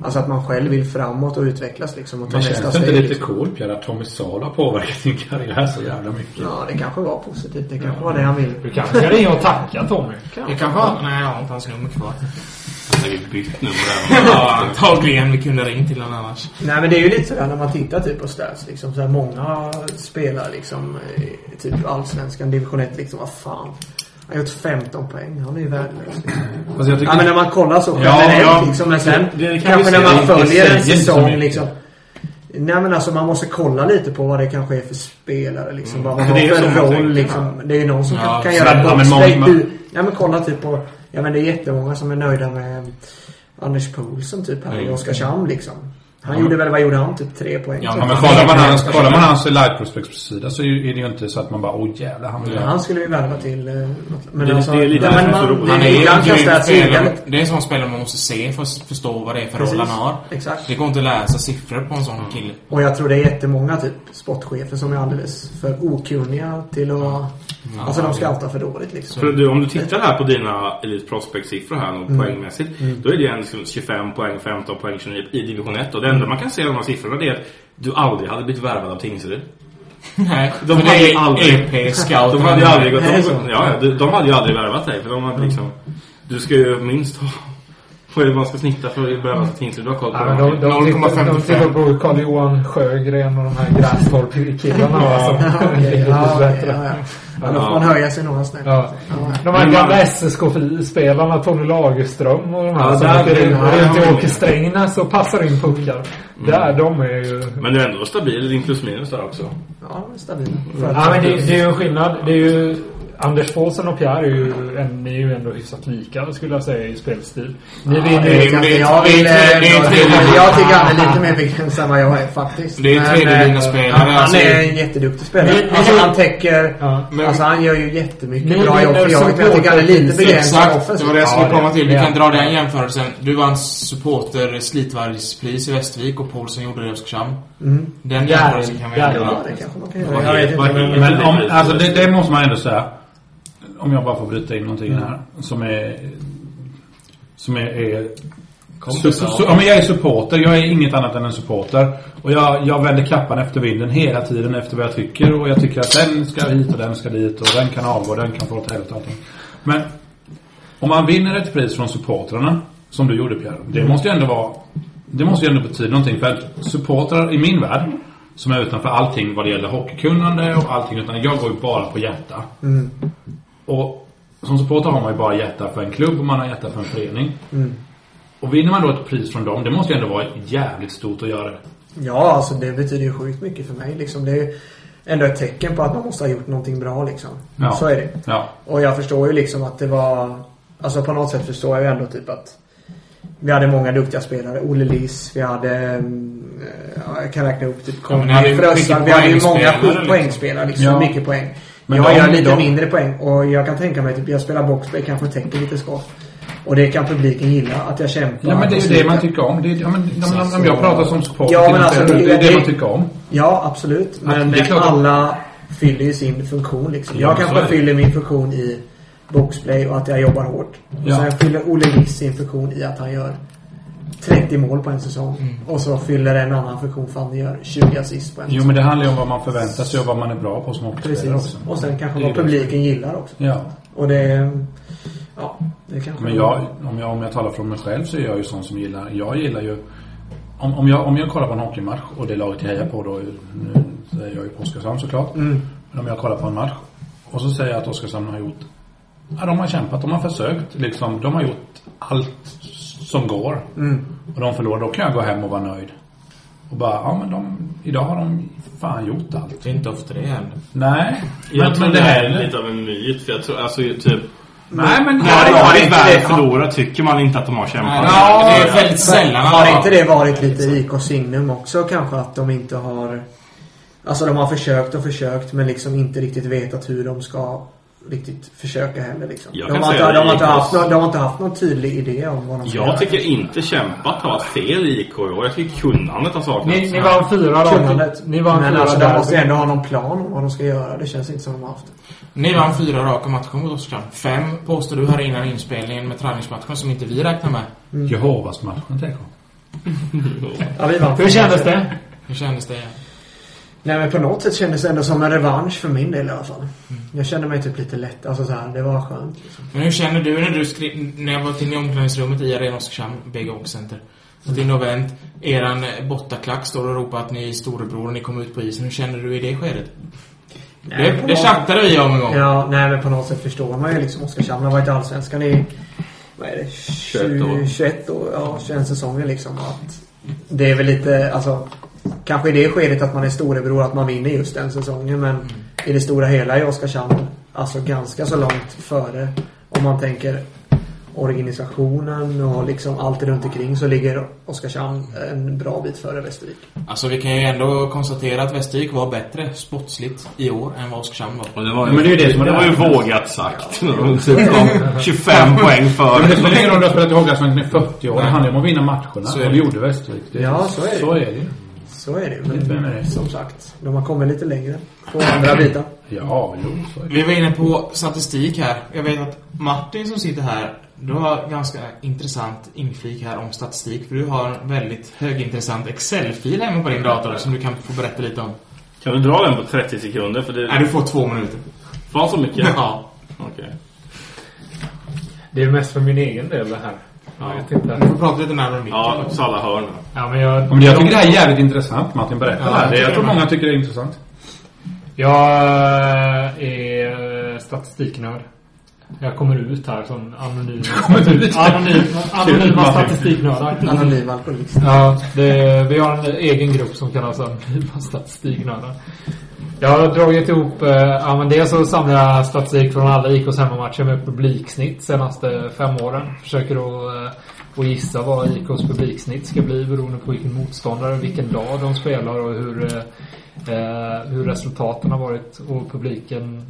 [SPEAKER 6] Alltså att man själv vill framåt och utvecklas liksom och ta
[SPEAKER 3] Men
[SPEAKER 6] nästa
[SPEAKER 3] känns det inte
[SPEAKER 6] steg.
[SPEAKER 3] lite
[SPEAKER 6] Liksom.
[SPEAKER 3] coolt Pierre att Tommy Sahl har påverkat din karriär så jävla mycket?
[SPEAKER 6] Ja, det kanske var positivt. Det kanske var det han ville.
[SPEAKER 7] Du kanske ska ringa och tacka Tommy.
[SPEAKER 5] Vi kan ha... Nej, jag har inte hans nummer kvar.
[SPEAKER 4] Nej, vi bytt nummer
[SPEAKER 5] Ja,
[SPEAKER 4] även.
[SPEAKER 5] antagligen. Vi kunde ha ringt till honom annars.
[SPEAKER 6] Nej men det är ju lite sådär när man tittar typ på stats liksom. Såhär, många spelar liksom i typ allsvenskan, division 1 liksom. Vad fan. Han har gjort 15 poäng. Han är ju värdelös. Liksom.
[SPEAKER 3] Alltså jag tycker...
[SPEAKER 6] Ja men när man kollar så
[SPEAKER 3] Ja,
[SPEAKER 6] generellt
[SPEAKER 3] ja.
[SPEAKER 6] liksom. Men sen
[SPEAKER 3] Det- det kan
[SPEAKER 6] kanske
[SPEAKER 3] vi
[SPEAKER 6] när
[SPEAKER 3] säga,
[SPEAKER 6] man
[SPEAKER 3] det
[SPEAKER 6] följer en
[SPEAKER 3] säger inte så
[SPEAKER 6] säsong
[SPEAKER 3] mycket.
[SPEAKER 6] liksom. Nej men alltså man måste kolla lite på vad det kanske är för spelare liksom. Vad man
[SPEAKER 3] Mm.
[SPEAKER 4] För det är
[SPEAKER 6] har
[SPEAKER 4] ju så
[SPEAKER 6] för
[SPEAKER 4] man
[SPEAKER 6] roll
[SPEAKER 4] tänker,
[SPEAKER 6] liksom. Det är ju någon som
[SPEAKER 5] Ja,
[SPEAKER 6] kan, kan
[SPEAKER 5] så
[SPEAKER 6] göra
[SPEAKER 3] men- ja, men
[SPEAKER 6] boxplay.
[SPEAKER 3] många-
[SPEAKER 6] Du- Ja men kolla typ på... Ja men det är jättemånga som är nöjda med Anders Poulsen typ här i
[SPEAKER 5] Mm.
[SPEAKER 6] Oskarshamn liksom. Han gjorde väl, vad gjorde han? Typ tre poäng.
[SPEAKER 5] Ja,
[SPEAKER 6] typ.
[SPEAKER 3] Ja, men kollar man hans, kollar man hans Light Prospects-sida så är ju- är det ju inte så att man bara åh jävlar han vill
[SPEAKER 6] Ja, han skulle vi värva till... eh, något- Men
[SPEAKER 4] Det-
[SPEAKER 6] alltså,
[SPEAKER 4] det är lite
[SPEAKER 6] nej, men
[SPEAKER 4] därför
[SPEAKER 6] man,
[SPEAKER 4] Robert-
[SPEAKER 6] det
[SPEAKER 5] Han
[SPEAKER 6] är
[SPEAKER 5] är ju
[SPEAKER 6] ibland
[SPEAKER 5] en grym
[SPEAKER 6] kastar jag
[SPEAKER 5] spelare.
[SPEAKER 6] tygen.
[SPEAKER 5] Det är en sån spelare man måste se för att förstå vad det är för roll han
[SPEAKER 6] Precis.
[SPEAKER 5] har.
[SPEAKER 6] Exakt.
[SPEAKER 5] Det går inte att läsa siffror på en
[SPEAKER 4] Mm.
[SPEAKER 5] sån kille.
[SPEAKER 6] Och jag tror det är jättemånga typ sportchefer som är alldeles för okunniga till att... alltså de scoutar för dåligt liksom.
[SPEAKER 4] För du, om du tittar här på dina Elite Prospect-siffror här och
[SPEAKER 6] Mm.
[SPEAKER 4] poängmässigt. Då är det en liksom 25 poäng, 15 poäng, 29 i division 1. Och det enda man kan se av de här siffrorna det är att du aldrig hade blivit värvad av Tingsryd.
[SPEAKER 5] Nej,
[SPEAKER 4] De
[SPEAKER 5] för
[SPEAKER 4] hade
[SPEAKER 5] det
[SPEAKER 4] ju
[SPEAKER 5] är
[SPEAKER 4] aldrig-
[SPEAKER 5] EP, scout.
[SPEAKER 4] De hade ju aldrig gått
[SPEAKER 6] Nej,
[SPEAKER 4] de,
[SPEAKER 6] så. Mm.
[SPEAKER 4] ja, ja, de, de hade ju aldrig värvat dig för de hade liksom Du ska ju minst ha Vad är det man ska snitta för i början av tingsrätt? Du har koll på
[SPEAKER 7] Ja, men de, de, tittar- de tittar på Carl-Johan Sjögren och de här Grästorp-killarna. va, som är
[SPEAKER 6] okej.
[SPEAKER 7] lite
[SPEAKER 6] Ja, okej,
[SPEAKER 7] bättre.
[SPEAKER 6] ja, ja. Ja, då får man höja sig några snäpp.
[SPEAKER 7] Ja. De här gamla SSK-spelarna, Tony Lagerström och de här
[SPEAKER 4] Ja,
[SPEAKER 7] som
[SPEAKER 4] där-
[SPEAKER 7] åker runt
[SPEAKER 4] där-
[SPEAKER 7] runt
[SPEAKER 4] där-
[SPEAKER 7] i Åke Strängnäs och passar in puckar. Där, de är ju...
[SPEAKER 4] Men du är ändå stabil, din plus minus där också.
[SPEAKER 6] Ja, stabil.
[SPEAKER 7] Ja, men det, det är ju en skillnad. Det är ju, Anders Paulsen och Pierre är ju, en- ni är ju ändå hyfsat lika skulle jag säga i spelstil. Ni
[SPEAKER 6] Ja,
[SPEAKER 7] vinner
[SPEAKER 6] det vet jag inte. Jag vill, eh, jag tycker han är lite mer begränsad än vad jag är faktiskt.
[SPEAKER 5] Det är en
[SPEAKER 6] Men,
[SPEAKER 5] tredje
[SPEAKER 6] eh,
[SPEAKER 5] linje spelare,
[SPEAKER 6] Han, han
[SPEAKER 5] alltså.
[SPEAKER 6] är en jätteduktig spelare.
[SPEAKER 5] Men-
[SPEAKER 6] alltså,
[SPEAKER 5] men-
[SPEAKER 6] han täcker...
[SPEAKER 5] Men-
[SPEAKER 6] alltså han gör ju jättemycket
[SPEAKER 5] Ni
[SPEAKER 6] bra
[SPEAKER 5] vinner
[SPEAKER 6] jobb för jaget. Men jag tycker han är lite
[SPEAKER 5] supporterpriset.
[SPEAKER 6] begränsad
[SPEAKER 5] Exakt, det var det jag skulle
[SPEAKER 6] Ja,
[SPEAKER 5] komma till. Vi
[SPEAKER 6] ja.
[SPEAKER 5] kan dra den jämförelsen. Du vann supporter slitvargspris i Västervik och Paulsen gjorde det i Oskarshamn.
[SPEAKER 6] Mm.
[SPEAKER 5] Den
[SPEAKER 6] Där-
[SPEAKER 5] jämförelsen kan vi
[SPEAKER 6] där-
[SPEAKER 5] göra.
[SPEAKER 6] ja, det kanske man kan
[SPEAKER 5] Det
[SPEAKER 6] göra.
[SPEAKER 5] var
[SPEAKER 6] Jag
[SPEAKER 5] helt-
[SPEAKER 6] vet
[SPEAKER 5] var
[SPEAKER 6] inte,
[SPEAKER 5] helt-
[SPEAKER 3] Men om, alltså det, det måste man ändå säga. Om jag bara får bryta in någonting här. Som är... Som är... är så, så, så, ja, men jag är supporter. Jag är inget annat än en supporter. Och jag, jag vänder kappan efter vinden hela tiden efter vad jag tycker. Och jag tycker att den ska hit och den ska dit. Och den kan avgå och den kan få åt helvete och allting. Men om man vinner ett pris från supportrarna. Som du gjorde Pierre. Det måste ju ändå vara... Det måste ju ändå betyda någonting. För att supportrar i min värld. Som är utanför allting vad det gäller hockeykunnande och allting. Utan jag går ju bara på hjärta.
[SPEAKER 6] Mm.
[SPEAKER 3] Och som supporter har man ju bara hjärta för en klubb och man har hjärta för en förening.
[SPEAKER 6] Mm.
[SPEAKER 3] Och vinner man då ett pris från dem, det måste ju ändå vara jävligt stort att göra det.
[SPEAKER 6] Ja, alltså det betyder ju sjukt mycket för mig. Liksom, det är ju ändå ett tecken på att man måste ha gjort någonting bra liksom.
[SPEAKER 3] Ja.
[SPEAKER 6] Så är det.
[SPEAKER 3] Ja.
[SPEAKER 6] Och jag förstår ju liksom att det var... Alltså på något sätt förstår jag ju ändå typ att vi hade många duktiga spelare. Olle Liss, vi hade... mm, eh, ja, Jag kan räkna upp typ
[SPEAKER 5] Ja, men ni hade ju
[SPEAKER 6] Conny Frössan.
[SPEAKER 5] mycket
[SPEAKER 6] Vi hade ju många
[SPEAKER 5] poängspelare, liksom.
[SPEAKER 6] poängspelare liksom.
[SPEAKER 5] Ja.
[SPEAKER 6] Mycket poäng.
[SPEAKER 5] Men
[SPEAKER 6] jag
[SPEAKER 5] de-
[SPEAKER 6] gör lite
[SPEAKER 5] de-
[SPEAKER 6] mindre poäng och jag kan tänka mig typ jag spelar boxplay, kanske täcker lite skott. Och det kan publiken gilla, att jag kämpar.
[SPEAKER 3] Ja men det är ju
[SPEAKER 6] och
[SPEAKER 3] det man
[SPEAKER 6] sliter.
[SPEAKER 3] tycker om. Det är, ja, men, ja, men, om- om jag pratar som supporter
[SPEAKER 6] Ja,
[SPEAKER 3] till
[SPEAKER 6] men
[SPEAKER 3] en
[SPEAKER 6] alltså,
[SPEAKER 3] spelare, det är det man
[SPEAKER 6] det-
[SPEAKER 3] tycker om.
[SPEAKER 6] Ja, absolut. Men
[SPEAKER 3] det är klart att-
[SPEAKER 6] alla fyller ju sin funktion liksom.
[SPEAKER 3] Ja,
[SPEAKER 6] Jag
[SPEAKER 3] men så är
[SPEAKER 6] kanske
[SPEAKER 3] det.
[SPEAKER 6] fyller min funktion i boxplay och att jag jobbar hårt. Och
[SPEAKER 3] Ja.
[SPEAKER 6] Sen fyller Olle Liss sin funktion i att han gör 30 mål på en säsong.
[SPEAKER 3] Mm.
[SPEAKER 6] Och så fyller en annan funktion för att han gör 20 assist på en
[SPEAKER 3] Jo
[SPEAKER 6] säsong.
[SPEAKER 3] men det handlar ju om vad man förväntar sig och vad man är bra på som hockeyspelare
[SPEAKER 6] Precis.
[SPEAKER 3] också.
[SPEAKER 6] Och sen kanske
[SPEAKER 3] Det är
[SPEAKER 6] vad
[SPEAKER 3] ju det.
[SPEAKER 6] publiken gillar också.
[SPEAKER 3] Ja.
[SPEAKER 6] Och det... Ja, det kanske...
[SPEAKER 3] Men jag, om, jag, om jag talar från mig själv så är jag ju sån som gillar... Jag gillar ju... Om, om, jag, om jag kollar på en hockeymatch och det laget jag hejar på då... Nu säger jag ju på Oskarshamn såklart.
[SPEAKER 6] Mm.
[SPEAKER 3] Men om jag kollar på en match och så säger jag att Oskarshamn har gjort... Ja, de har kämpat. De har försökt. Liksom, de har gjort allt som går.
[SPEAKER 6] Mm.
[SPEAKER 3] Och de förlorar. Då kan jag gå hem och vara nöjd. Och bara, ja men de... Idag har de fan gjort allt.
[SPEAKER 5] Det är inte ofta det händer.
[SPEAKER 3] Nej.
[SPEAKER 4] Jag
[SPEAKER 3] men,
[SPEAKER 4] tror
[SPEAKER 3] men
[SPEAKER 4] det
[SPEAKER 3] det
[SPEAKER 4] här
[SPEAKER 3] här...
[SPEAKER 4] är lite av en myt, för jag tror, alltså typ...
[SPEAKER 3] Nej, men-
[SPEAKER 6] Mm.
[SPEAKER 4] När det
[SPEAKER 3] Ja,
[SPEAKER 4] har
[SPEAKER 3] det är
[SPEAKER 4] ett
[SPEAKER 3] inte
[SPEAKER 4] värde
[SPEAKER 3] det.
[SPEAKER 4] förlorat tycker man inte att de har kämpat.
[SPEAKER 6] Har inte det varit lite IK signum också kanske? Att de inte har... Alltså de har försökt och försökt men liksom inte riktigt vetat hur de ska riktigt försöka heller liksom.
[SPEAKER 4] Jag
[SPEAKER 6] De
[SPEAKER 4] kan
[SPEAKER 6] har,
[SPEAKER 4] säga
[SPEAKER 6] inte,
[SPEAKER 4] det,
[SPEAKER 6] de, har inte
[SPEAKER 4] IKs
[SPEAKER 6] haft någon, de har inte haft någon tydlig idé om vad de ska
[SPEAKER 4] Jag
[SPEAKER 6] göra.
[SPEAKER 4] tycker inte kämpat har varit fel i IK i år. Jag tycker kunnandet har saknats.
[SPEAKER 7] Ni, ni vann fyra rader.
[SPEAKER 6] Kunnandet.
[SPEAKER 7] Ni vann
[SPEAKER 6] Men
[SPEAKER 7] fyra
[SPEAKER 6] alltså de måste ju
[SPEAKER 7] där.
[SPEAKER 6] ändå ha någon plan om vad de ska göra. Det känns inte som de har haft det.
[SPEAKER 5] Ni vann fyra raka matcher mot Oskarshamn. Fem påstår du här innan inspelningen med träningsmatchen som inte vi räknar med.
[SPEAKER 6] Mm.
[SPEAKER 3] Jehovas-matchen, tänk
[SPEAKER 6] Ja, vi vann.
[SPEAKER 7] Hur kändes det?
[SPEAKER 5] Hur kändes det?
[SPEAKER 6] Nej men på något sätt kändes det ändå som en revansch för min del i alla fall. Jag kände mig typ lite lätt. Alltså så här, det var skönt. Liksom.
[SPEAKER 5] Men hur känner du när du skri- när jag var till i omklädningsrummet i Arena Oskarshamn, BG Center. Satt in och vänt. Eran bottaklack står och ropar att ni är storebror och ni kommer ut på isen. Hur känner du i det skedet?
[SPEAKER 6] Nej,
[SPEAKER 5] det
[SPEAKER 6] på
[SPEAKER 5] det
[SPEAKER 6] något-
[SPEAKER 5] chattade vi om en gång.
[SPEAKER 6] Ja, nej men på något sätt förstår man ju liksom. Oskarshamn har varit i Allsvenskan i, vad är det, 20,
[SPEAKER 4] 21 år.
[SPEAKER 6] 21 år, ja 21 säsonger liksom. Att det är väl lite, alltså, kanske i det skedet att man är storebror att man vinner just den säsongen. Men i det stora hela är Oskarshamn alltså ganska så långt före. Om man tänker organisationen och liksom allt runt omkring så ligger Oskarshamn en bra bit före Västervik.
[SPEAKER 5] Alltså vi kan ju ändå konstatera att Västervik var bättre sportsligt i år än vad Oskarshamn var.
[SPEAKER 4] Och det var ju, det var ju vågat sagt. Typ om 25 poäng för...
[SPEAKER 3] Men det spelar ingen roll om du har spelat i Hockeyallsvenskan i 40 år. Det handlar ju om att vinna
[SPEAKER 4] Så
[SPEAKER 3] matcherna. Så
[SPEAKER 4] är
[SPEAKER 3] och
[SPEAKER 4] det.
[SPEAKER 3] det gjorde Västervik. Det-
[SPEAKER 6] Ja, så är det.
[SPEAKER 3] Så är det ju.
[SPEAKER 6] Så är det
[SPEAKER 3] Det är
[SPEAKER 6] men
[SPEAKER 3] det.
[SPEAKER 6] som sagt, de har kommit lite längre på andra bitar.
[SPEAKER 3] Ja, jo, så är det.
[SPEAKER 5] Vi var inne på statistik här. Jag vet att Martin som sitter här, du har ganska intressant inflik här om statistik. För du har en väldigt högintressant Excel-fil hemma på din dator som du kan få berätta lite om.
[SPEAKER 4] Kan du dra den på 30 sekunder? För det...
[SPEAKER 5] Nej, du får två minuter.
[SPEAKER 4] Fan så mycket?
[SPEAKER 5] Ja.
[SPEAKER 4] Okej.
[SPEAKER 7] Det är mest för min egen del det här. Jag vet inte.
[SPEAKER 5] Vi får prata lite närmare om micken.
[SPEAKER 4] Ja, så alla hör nu.
[SPEAKER 7] Ja, men jag...
[SPEAKER 3] men jag tycker det här är jävligt intressant Martin berättar
[SPEAKER 7] Ja,
[SPEAKER 3] det här.
[SPEAKER 7] jag
[SPEAKER 3] Jag
[SPEAKER 7] tycker
[SPEAKER 3] tror
[SPEAKER 7] det.
[SPEAKER 3] många tycker det är intressant.
[SPEAKER 7] Jag eh, är statistiknörd. Jag kommer ut här som anonym.
[SPEAKER 3] Kommer ut?
[SPEAKER 7] Anonym,
[SPEAKER 3] Kul,
[SPEAKER 7] anonyma
[SPEAKER 3] Martin.
[SPEAKER 7] statistiknördar.
[SPEAKER 5] Alltså,
[SPEAKER 6] Anonym alkoholist.
[SPEAKER 7] Ja, det, vi har en egen grupp som kallas Anonyma statistiknördar. Jag har dragit ihop, eh, ja men dels så samlar jag statistik från alla IKs hemmamatcher med publiksnitt senaste fem åren. Försöker då eh, att gissa vad IKs publiksnitt ska bli beroende på vilken motståndare, vilken dag de spelar och hur, eh, eh, hur resultaten har varit och publiken,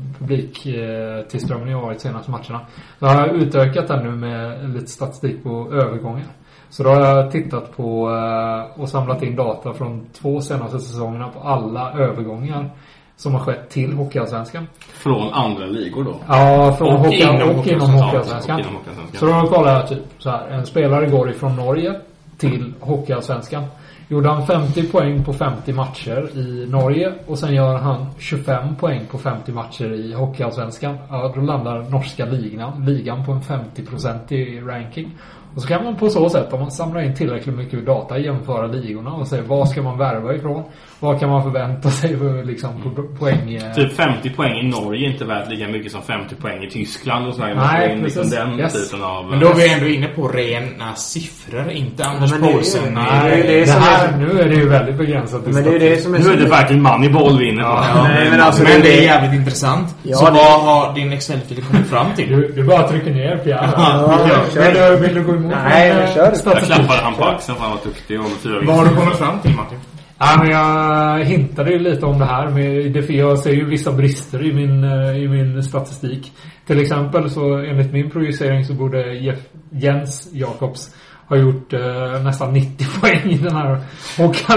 [SPEAKER 7] publiktillströmningen har varit senaste matcherna. Jag har utökat den nu med lite statistik på övergångar. Så då har jag tittat på eh, och samlat in data från två senaste säsongerna på alla övergångar som har skett till Hockeyallsvenskan.
[SPEAKER 4] Från andra ligor då?
[SPEAKER 7] Ja, från
[SPEAKER 4] Och
[SPEAKER 7] hockey,
[SPEAKER 4] inom
[SPEAKER 7] och inom
[SPEAKER 4] Hockeyallsvenskan.
[SPEAKER 7] Hockeyallsvenskan.
[SPEAKER 4] Och inom Hockeyallsvenskan.
[SPEAKER 7] Så då kollar jag typ så här. En spelare går ifrån Norge till Hockeyallsvenskan. Gjorde han 50 poäng på 50 matcher i Norge och sen gör han 25 poäng på 50 matcher i Hockeyallsvenskan. Ja, då landar norska ligan, ligan på en 50-procentig ranking. Och så kan man på så sätt, om man samlar in tillräckligt mycket data, jämföra ligorna och se vad ska man värva ifrån? Vad kan man förvänta sig för liksom po- poäng... eh,
[SPEAKER 4] Typ 50 poäng i Norge är inte värt lika mycket som 50 poäng i Tyskland och sådär. Man
[SPEAKER 7] Nej,
[SPEAKER 4] får in liksom
[SPEAKER 7] precis.
[SPEAKER 4] den
[SPEAKER 7] Yes.
[SPEAKER 4] typen av...
[SPEAKER 5] Men då är vi ändå inne på rena siffror, inte Anders
[SPEAKER 6] men det är ju-
[SPEAKER 5] Paulsen.
[SPEAKER 6] det är ju det
[SPEAKER 7] Det
[SPEAKER 6] som
[SPEAKER 7] här,
[SPEAKER 6] är-
[SPEAKER 7] nu är det ju väldigt begränsat. i
[SPEAKER 6] Men det är ju det som är
[SPEAKER 4] Nu är det
[SPEAKER 6] så...
[SPEAKER 4] faktiskt Moneyball vi är inne på.
[SPEAKER 5] Ja,
[SPEAKER 6] nej,
[SPEAKER 5] men,
[SPEAKER 6] men alltså,
[SPEAKER 5] men
[SPEAKER 6] det-
[SPEAKER 5] det är jävligt intressant.
[SPEAKER 6] Ja,
[SPEAKER 5] så
[SPEAKER 6] det-
[SPEAKER 5] vad har din Excel-fil kommit fram till?
[SPEAKER 7] Du, du bara trycker ner Pierre.
[SPEAKER 6] Ja,
[SPEAKER 7] Vill
[SPEAKER 6] kör.
[SPEAKER 7] du, vill du gå emot
[SPEAKER 6] Nej,
[SPEAKER 7] min,
[SPEAKER 6] men
[SPEAKER 7] eh,
[SPEAKER 6] kör.
[SPEAKER 4] Jag
[SPEAKER 7] statistik?
[SPEAKER 4] klappade han på axeln för han var duktig och med fyra
[SPEAKER 5] Vad har
[SPEAKER 4] vinster.
[SPEAKER 5] du kommit fram till, Martin?
[SPEAKER 7] Ja, men jag hintade ju lite om det här. Med, det- för jag ser ju vissa brister i min, eh, i min statistik. Till exempel så enligt min projicering så borde Jeff, Jens Jakobs ha gjort eh, nästan 90 poäng i den här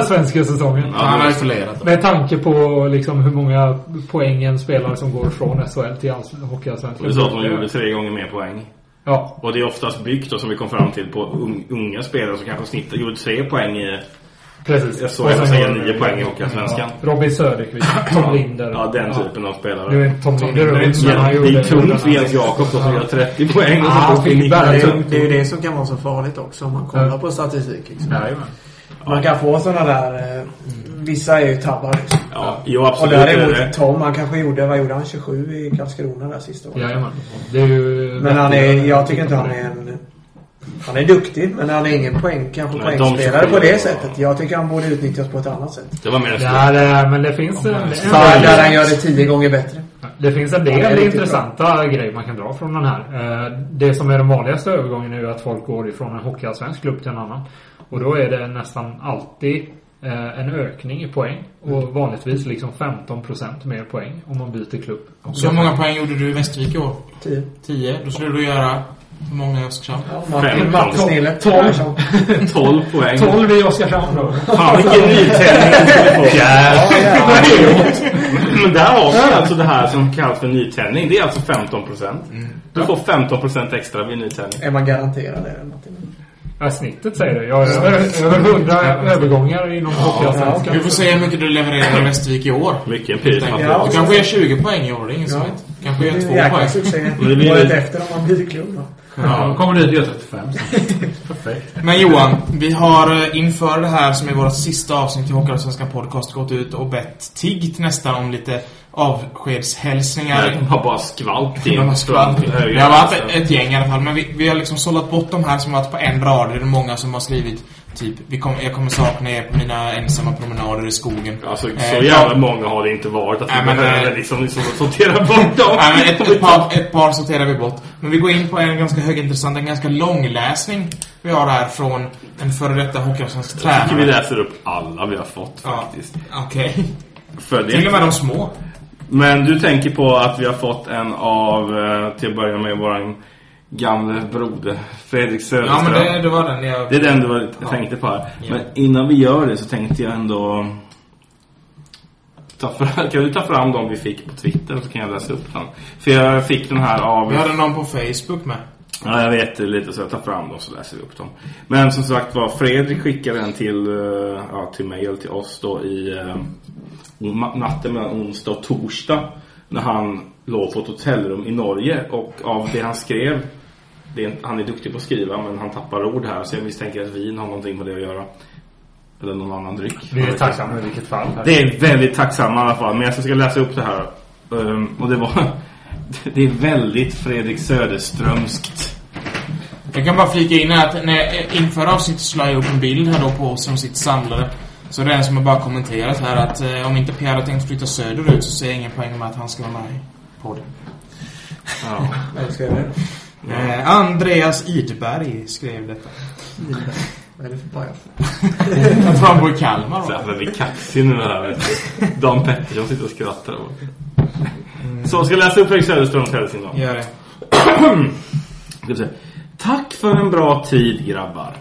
[SPEAKER 7] svenska säsongen.
[SPEAKER 5] Ja, han har isolerat
[SPEAKER 7] Med tanke på liksom hur många poäng en spelare som går från SHL till alls- Hockeyallsvenskan.
[SPEAKER 4] Du sa att de gjorde tre gånger mer poäng.
[SPEAKER 7] Ja,
[SPEAKER 4] Och det är oftast byggt då, som vi kom fram till på un- unga spelare som kanske snittar, gjorde tre poäng i...
[SPEAKER 7] precis.
[SPEAKER 4] Jag såg
[SPEAKER 7] Och sen
[SPEAKER 4] jag säga
[SPEAKER 7] går-
[SPEAKER 4] nio poäng i Hockeyallsvenskan.
[SPEAKER 7] Robin Söderqvist, Tom Linder.
[SPEAKER 4] Ja, den typen av spelare.
[SPEAKER 7] Nu är Tom Linder runt, men han
[SPEAKER 4] Ja,
[SPEAKER 7] gjorde...
[SPEAKER 4] det är tungt för
[SPEAKER 7] gjorde-
[SPEAKER 4] Jens Jakob som gör 30 poäng och
[SPEAKER 7] Ah,
[SPEAKER 4] så får
[SPEAKER 7] fick
[SPEAKER 4] vi
[SPEAKER 7] bära
[SPEAKER 6] Det är, ju-
[SPEAKER 4] 19.
[SPEAKER 6] det är ju det som kan vara så farligt också om man kollar på statistik. Liksom.
[SPEAKER 7] Jajamän.
[SPEAKER 6] Man kan få sådana där... Eh, vissa är ju tabbar. Liksom.
[SPEAKER 4] Ja, jo
[SPEAKER 6] Och
[SPEAKER 4] absolut. det är det.
[SPEAKER 6] däremot Tom, han kanske gjorde... Vad gjorde han? 27 i Karlskrona där sista året.
[SPEAKER 7] Jajamän. Det är ju...
[SPEAKER 6] Men han är, jag tycker inte han är en... Han är duktig, men han är ingen poäng, kanske
[SPEAKER 4] Nej,
[SPEAKER 6] poängspelare
[SPEAKER 4] de-
[SPEAKER 6] på det sättet. Jag tycker han borde utnyttjas på ett annat sätt.
[SPEAKER 4] Det var mer
[SPEAKER 7] Det här, eh, men det finns, en,
[SPEAKER 6] Där, där
[SPEAKER 7] en,
[SPEAKER 6] han gör det tio gånger bättre.
[SPEAKER 7] det finns en
[SPEAKER 6] Ja, det är
[SPEAKER 7] del
[SPEAKER 6] riktigt
[SPEAKER 7] intressanta grejer man kan dra från den här. Eh, Det som är den vanligaste övergången är ju att folk går ifrån en hockeyallsvensk klubb till en annan. Och då är det nästan alltid eh, en ökning i poäng. Och vanligtvis liksom 15% mer poäng om man byter klubb.
[SPEAKER 5] Så hur många poäng gjorde du i Västervik i år?
[SPEAKER 6] Tio.
[SPEAKER 5] 10. Då skulle du göra... Hur många i Oskarshamn?
[SPEAKER 6] Ja,
[SPEAKER 4] Femton.
[SPEAKER 6] Martin, Martin Snille.
[SPEAKER 7] Tolv.
[SPEAKER 6] Persson.
[SPEAKER 4] 12 poäng.
[SPEAKER 7] 12 i Oskarshamn då.
[SPEAKER 4] Fan vilken nytändning du får. Men där har vi alltså det här som kallas för nytändning. Det är alltså 15 procent. Du får 15 procent extra vid nytändning.
[SPEAKER 6] Är man garanterad det? Martin?
[SPEAKER 7] Ja, snittet säger det. Jag har över, över 100 övergångar inom hockeyallsvenskan.
[SPEAKER 5] Du får se hur mycket du levererar i Västervik i år.
[SPEAKER 4] Mycket empiriskt
[SPEAKER 6] Ja.
[SPEAKER 4] material.
[SPEAKER 5] Du kanske gör 20 poäng i år, det är ingen som vet. kanske
[SPEAKER 6] Det
[SPEAKER 5] gör
[SPEAKER 6] är
[SPEAKER 5] 2
[SPEAKER 6] en jäkla
[SPEAKER 5] poäng.
[SPEAKER 6] succé.
[SPEAKER 4] det blir-
[SPEAKER 6] Året efter om man byter klubb då.
[SPEAKER 3] Ja, de kommer dit och gör 35 sen. Perfekt.
[SPEAKER 5] Men Johan, vi har eh, inför det här som är vårt sista avsnitt i Hockeyallsvenskan Podcast gått ut och bett TIG till nästa om lite avskedshälsningar.
[SPEAKER 4] Det var bara skvalp
[SPEAKER 5] Det
[SPEAKER 4] in.
[SPEAKER 5] har varit ett gäng i alla fall, men vi, vi har liksom sållat bort de här som har varit på en rad. Det är många som har skrivit typ vi kom, jag kommer sakna er på mina ensamma promenader i skogen.
[SPEAKER 4] Alltså
[SPEAKER 5] Eh,
[SPEAKER 4] så jävla många har det inte varit att
[SPEAKER 5] Nej,
[SPEAKER 4] vi
[SPEAKER 5] men,
[SPEAKER 4] behöver
[SPEAKER 5] eh,
[SPEAKER 4] liksom, liksom sortera bort dem.
[SPEAKER 5] Ja, men ett, ett, par, ett par sorterar vi bort. Men vi går in på en ganska högintressant, en ganska lång läsning vi har här från en före detta hockeyallsvensk
[SPEAKER 4] Jag tycker vi
[SPEAKER 5] tränare.
[SPEAKER 4] läser upp alla vi har fått
[SPEAKER 5] Ja.
[SPEAKER 4] faktiskt.
[SPEAKER 5] Okej.
[SPEAKER 4] För det
[SPEAKER 5] Till och med de små.
[SPEAKER 4] Men du tänker på att vi har fått en av, eh, till att börja med, våran gamle broder Fredrik
[SPEAKER 5] Ja,
[SPEAKER 4] Söderström.
[SPEAKER 5] men det, det var den jag...
[SPEAKER 4] Det är den du var- tänkte på här.
[SPEAKER 5] Ja.
[SPEAKER 4] Men innan vi gör det så tänkte jag ändå... Ta fram, kan du ta fram de vi fick på Twitter så kan jag läsa upp den. För jag fick den här av...
[SPEAKER 5] Vi hade någon på Facebook med.
[SPEAKER 4] Ja, jag vet det lite så jag tar fram dem så läser vi upp dem. Men som sagt var, Fredrik skickade den till, eh, ja, till mig eller till oss då i eh, ma- natten mellan onsdag och torsdag. När han låg på ett hotellrum i Norge och av det han skrev
[SPEAKER 1] det är, han är duktig på att skriva men han tappar ord här så jag misstänker att vin har någonting med det att göra. Eller någon annan dryck.
[SPEAKER 7] Vi är tacksamma i vilket fall.
[SPEAKER 1] Det är väldigt tacksamma i alla fall. Men jag ska läsa upp det här. Ehm, och det var... Det är väldigt Fredrik Söderströmskt.
[SPEAKER 5] Jag kan bara flika in här att när jag inför avsnittet så la jag upp en bild här då på oss som sitter samlade. Så det är en som har bara kommenterat här att eh, om inte Pierre har tänkt flytta söderut så ser jag ingen poäng med att han ska vara med i podden.
[SPEAKER 1] Ja.
[SPEAKER 5] Jag skrev det. Eh, Andreas Idberg skrev detta.
[SPEAKER 6] Vad är det för pajor?
[SPEAKER 5] jag tror han bor i Kalmar.
[SPEAKER 1] Så jävla vi kaxig nu här vet du. Dan Pettersson sitter och skrattar. där borta. Så, ska jag läsa upp Fredrik Söderströms hälsning då?
[SPEAKER 5] Gör det.
[SPEAKER 1] Ska vi se. Tack för en bra tid grabbar.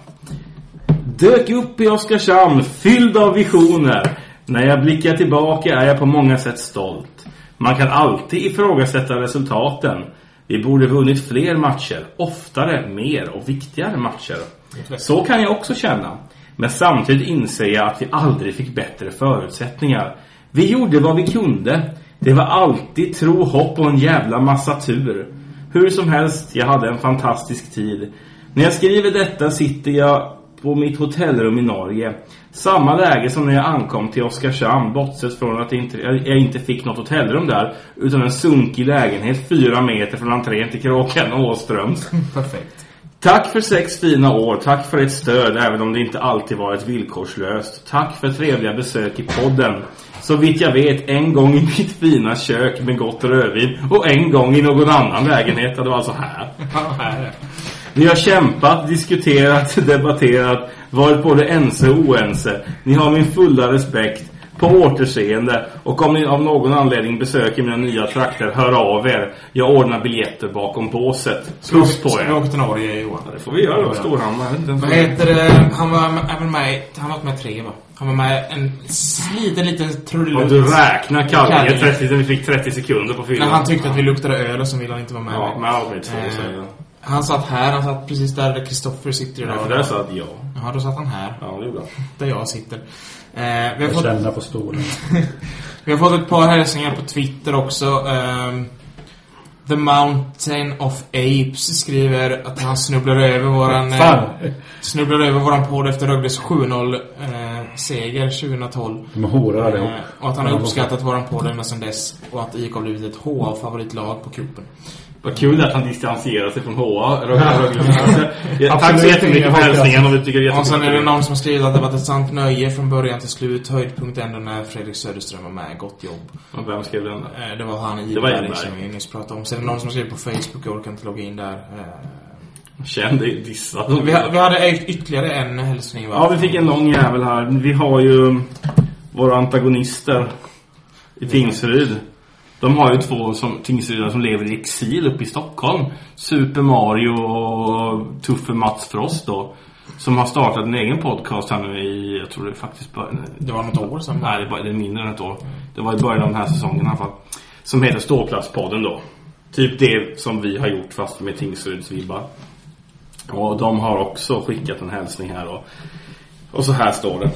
[SPEAKER 1] Dök upp i Oskarshamn fylld av visioner. När jag blickar tillbaka är jag på många sätt stolt. Man kan alltid ifrågasätta resultaten. Vi borde vunnit fler matcher, oftare, mer och viktigare matcher. Så kan jag också känna. Men samtidigt inser jag att vi aldrig fick bättre förutsättningar. Vi gjorde vad vi kunde. Det var alltid tro, hopp och en jävla massa tur. Hur som helst, jag hade en fantastisk tid. När jag skriver detta sitter jag på mitt hotellrum i Norge. Samma läge som när jag ankom till Oskarshamn, bortsett från att jag inte- jag inte fick något hotellrum där, utan en sunkig lägenhet fyra meter från entrén till Kråkan och Åströms.
[SPEAKER 5] Perfekt.
[SPEAKER 1] Tack för sex fina år. Tack för ert stöd, även om det inte alltid varit villkorslöst. Tack för trevliga besök i podden. Så vitt jag vet, en gång i mitt fina kök med gott rödvin och en gång i någon annan lägenhet. Ja, Det var alltså här. Ni har kämpat, diskuterat, debatterat, varit både ense och oense. Ni har min fulla respekt. På återseende. Och om ni av någon anledning besöker mina nya trakter, hör av er. Jag ordnar biljetter bakom båset. Puss på er.
[SPEAKER 5] Ska vi åka till Norge, Johan?
[SPEAKER 1] Det får vi göra då. Storhammar. jag vet inte ens
[SPEAKER 5] Vad
[SPEAKER 1] vad det
[SPEAKER 5] heter det? Han var med, han var med, han var med tre va? Han var med en liten, liten trudelutt.
[SPEAKER 1] Om du räknar Kallinge, 30, vi fick 30 sekunder på
[SPEAKER 5] När
[SPEAKER 1] fyllan.
[SPEAKER 5] han tyckte att vi luktade öl och så ville han inte vara med.
[SPEAKER 1] Ja, men Albert två
[SPEAKER 5] Eh,
[SPEAKER 1] säger jag.
[SPEAKER 5] Han satt här, han satt precis där där Kristoffer sitter idag.
[SPEAKER 1] Nej, för där satt jag.
[SPEAKER 5] Ja, då satt han här.
[SPEAKER 1] Ja, det gjorde han.
[SPEAKER 5] Där jag sitter. Eh, vi har
[SPEAKER 3] Jag
[SPEAKER 5] fått-
[SPEAKER 3] känner på stolen.
[SPEAKER 5] vi har fått ett par hälsningar på Twitter också. Ehm, The Mountain of Apes skriver att han snubblar över våran... eh,
[SPEAKER 3] Fan.
[SPEAKER 5] snubblar över våran podd efter Rögles 7-0-seger 2012.
[SPEAKER 3] De är horor allihop.
[SPEAKER 5] Eh, och att han har uppskattat våran podd ända sedan dess. Och att IK har blivit ett HA-favoritlag på cupen.
[SPEAKER 1] Vad kul att han distanserar sig från HA. Rögle- Rögle- Ja, Tack så
[SPEAKER 5] Absolut
[SPEAKER 1] jättemycket
[SPEAKER 5] inga
[SPEAKER 1] för
[SPEAKER 5] hopplösa.
[SPEAKER 1] hälsningen. Om du tycker det är
[SPEAKER 5] Och sen är det
[SPEAKER 1] jättekul.
[SPEAKER 5] någon som har skrivit att det varit ett sant nöje från början till slut. Höjdpunkt ändå när Fredrik Söderström var med. Gott jobb.
[SPEAKER 1] Och Vem skrev den då?
[SPEAKER 5] Eh, Det var han i
[SPEAKER 1] Det var
[SPEAKER 5] Berg
[SPEAKER 1] Ingvar.
[SPEAKER 5] som vi nyss pratade om. Sen är det någon som har skrivit på Facebook. Jag orkar inte logga in där. Eh,
[SPEAKER 1] Känn dig dissad.
[SPEAKER 5] Vi, ha- vi hade yt- ytterligare en hälsning va?
[SPEAKER 1] Ja, vi fick en lång jävel här. Vi har ju våra antagonister i Tingsryd. De har ju två som, Tingsrydare som lever i exil uppe i Stockholm. Super Mario och tuffe Mats Frost då. Som har startat en egen podcast här nu i, jag tror det faktiskt början...
[SPEAKER 5] Det var något år sedan.
[SPEAKER 1] Nej, det var- det är mindre än ett år. Det var i början av den här säsongen i alla fall. Som heter Ståplatspodden då. Typ det som vi har gjort fast med Tingsryds vibbar. Och de har också skickat en hälsning här då. Och så här står det.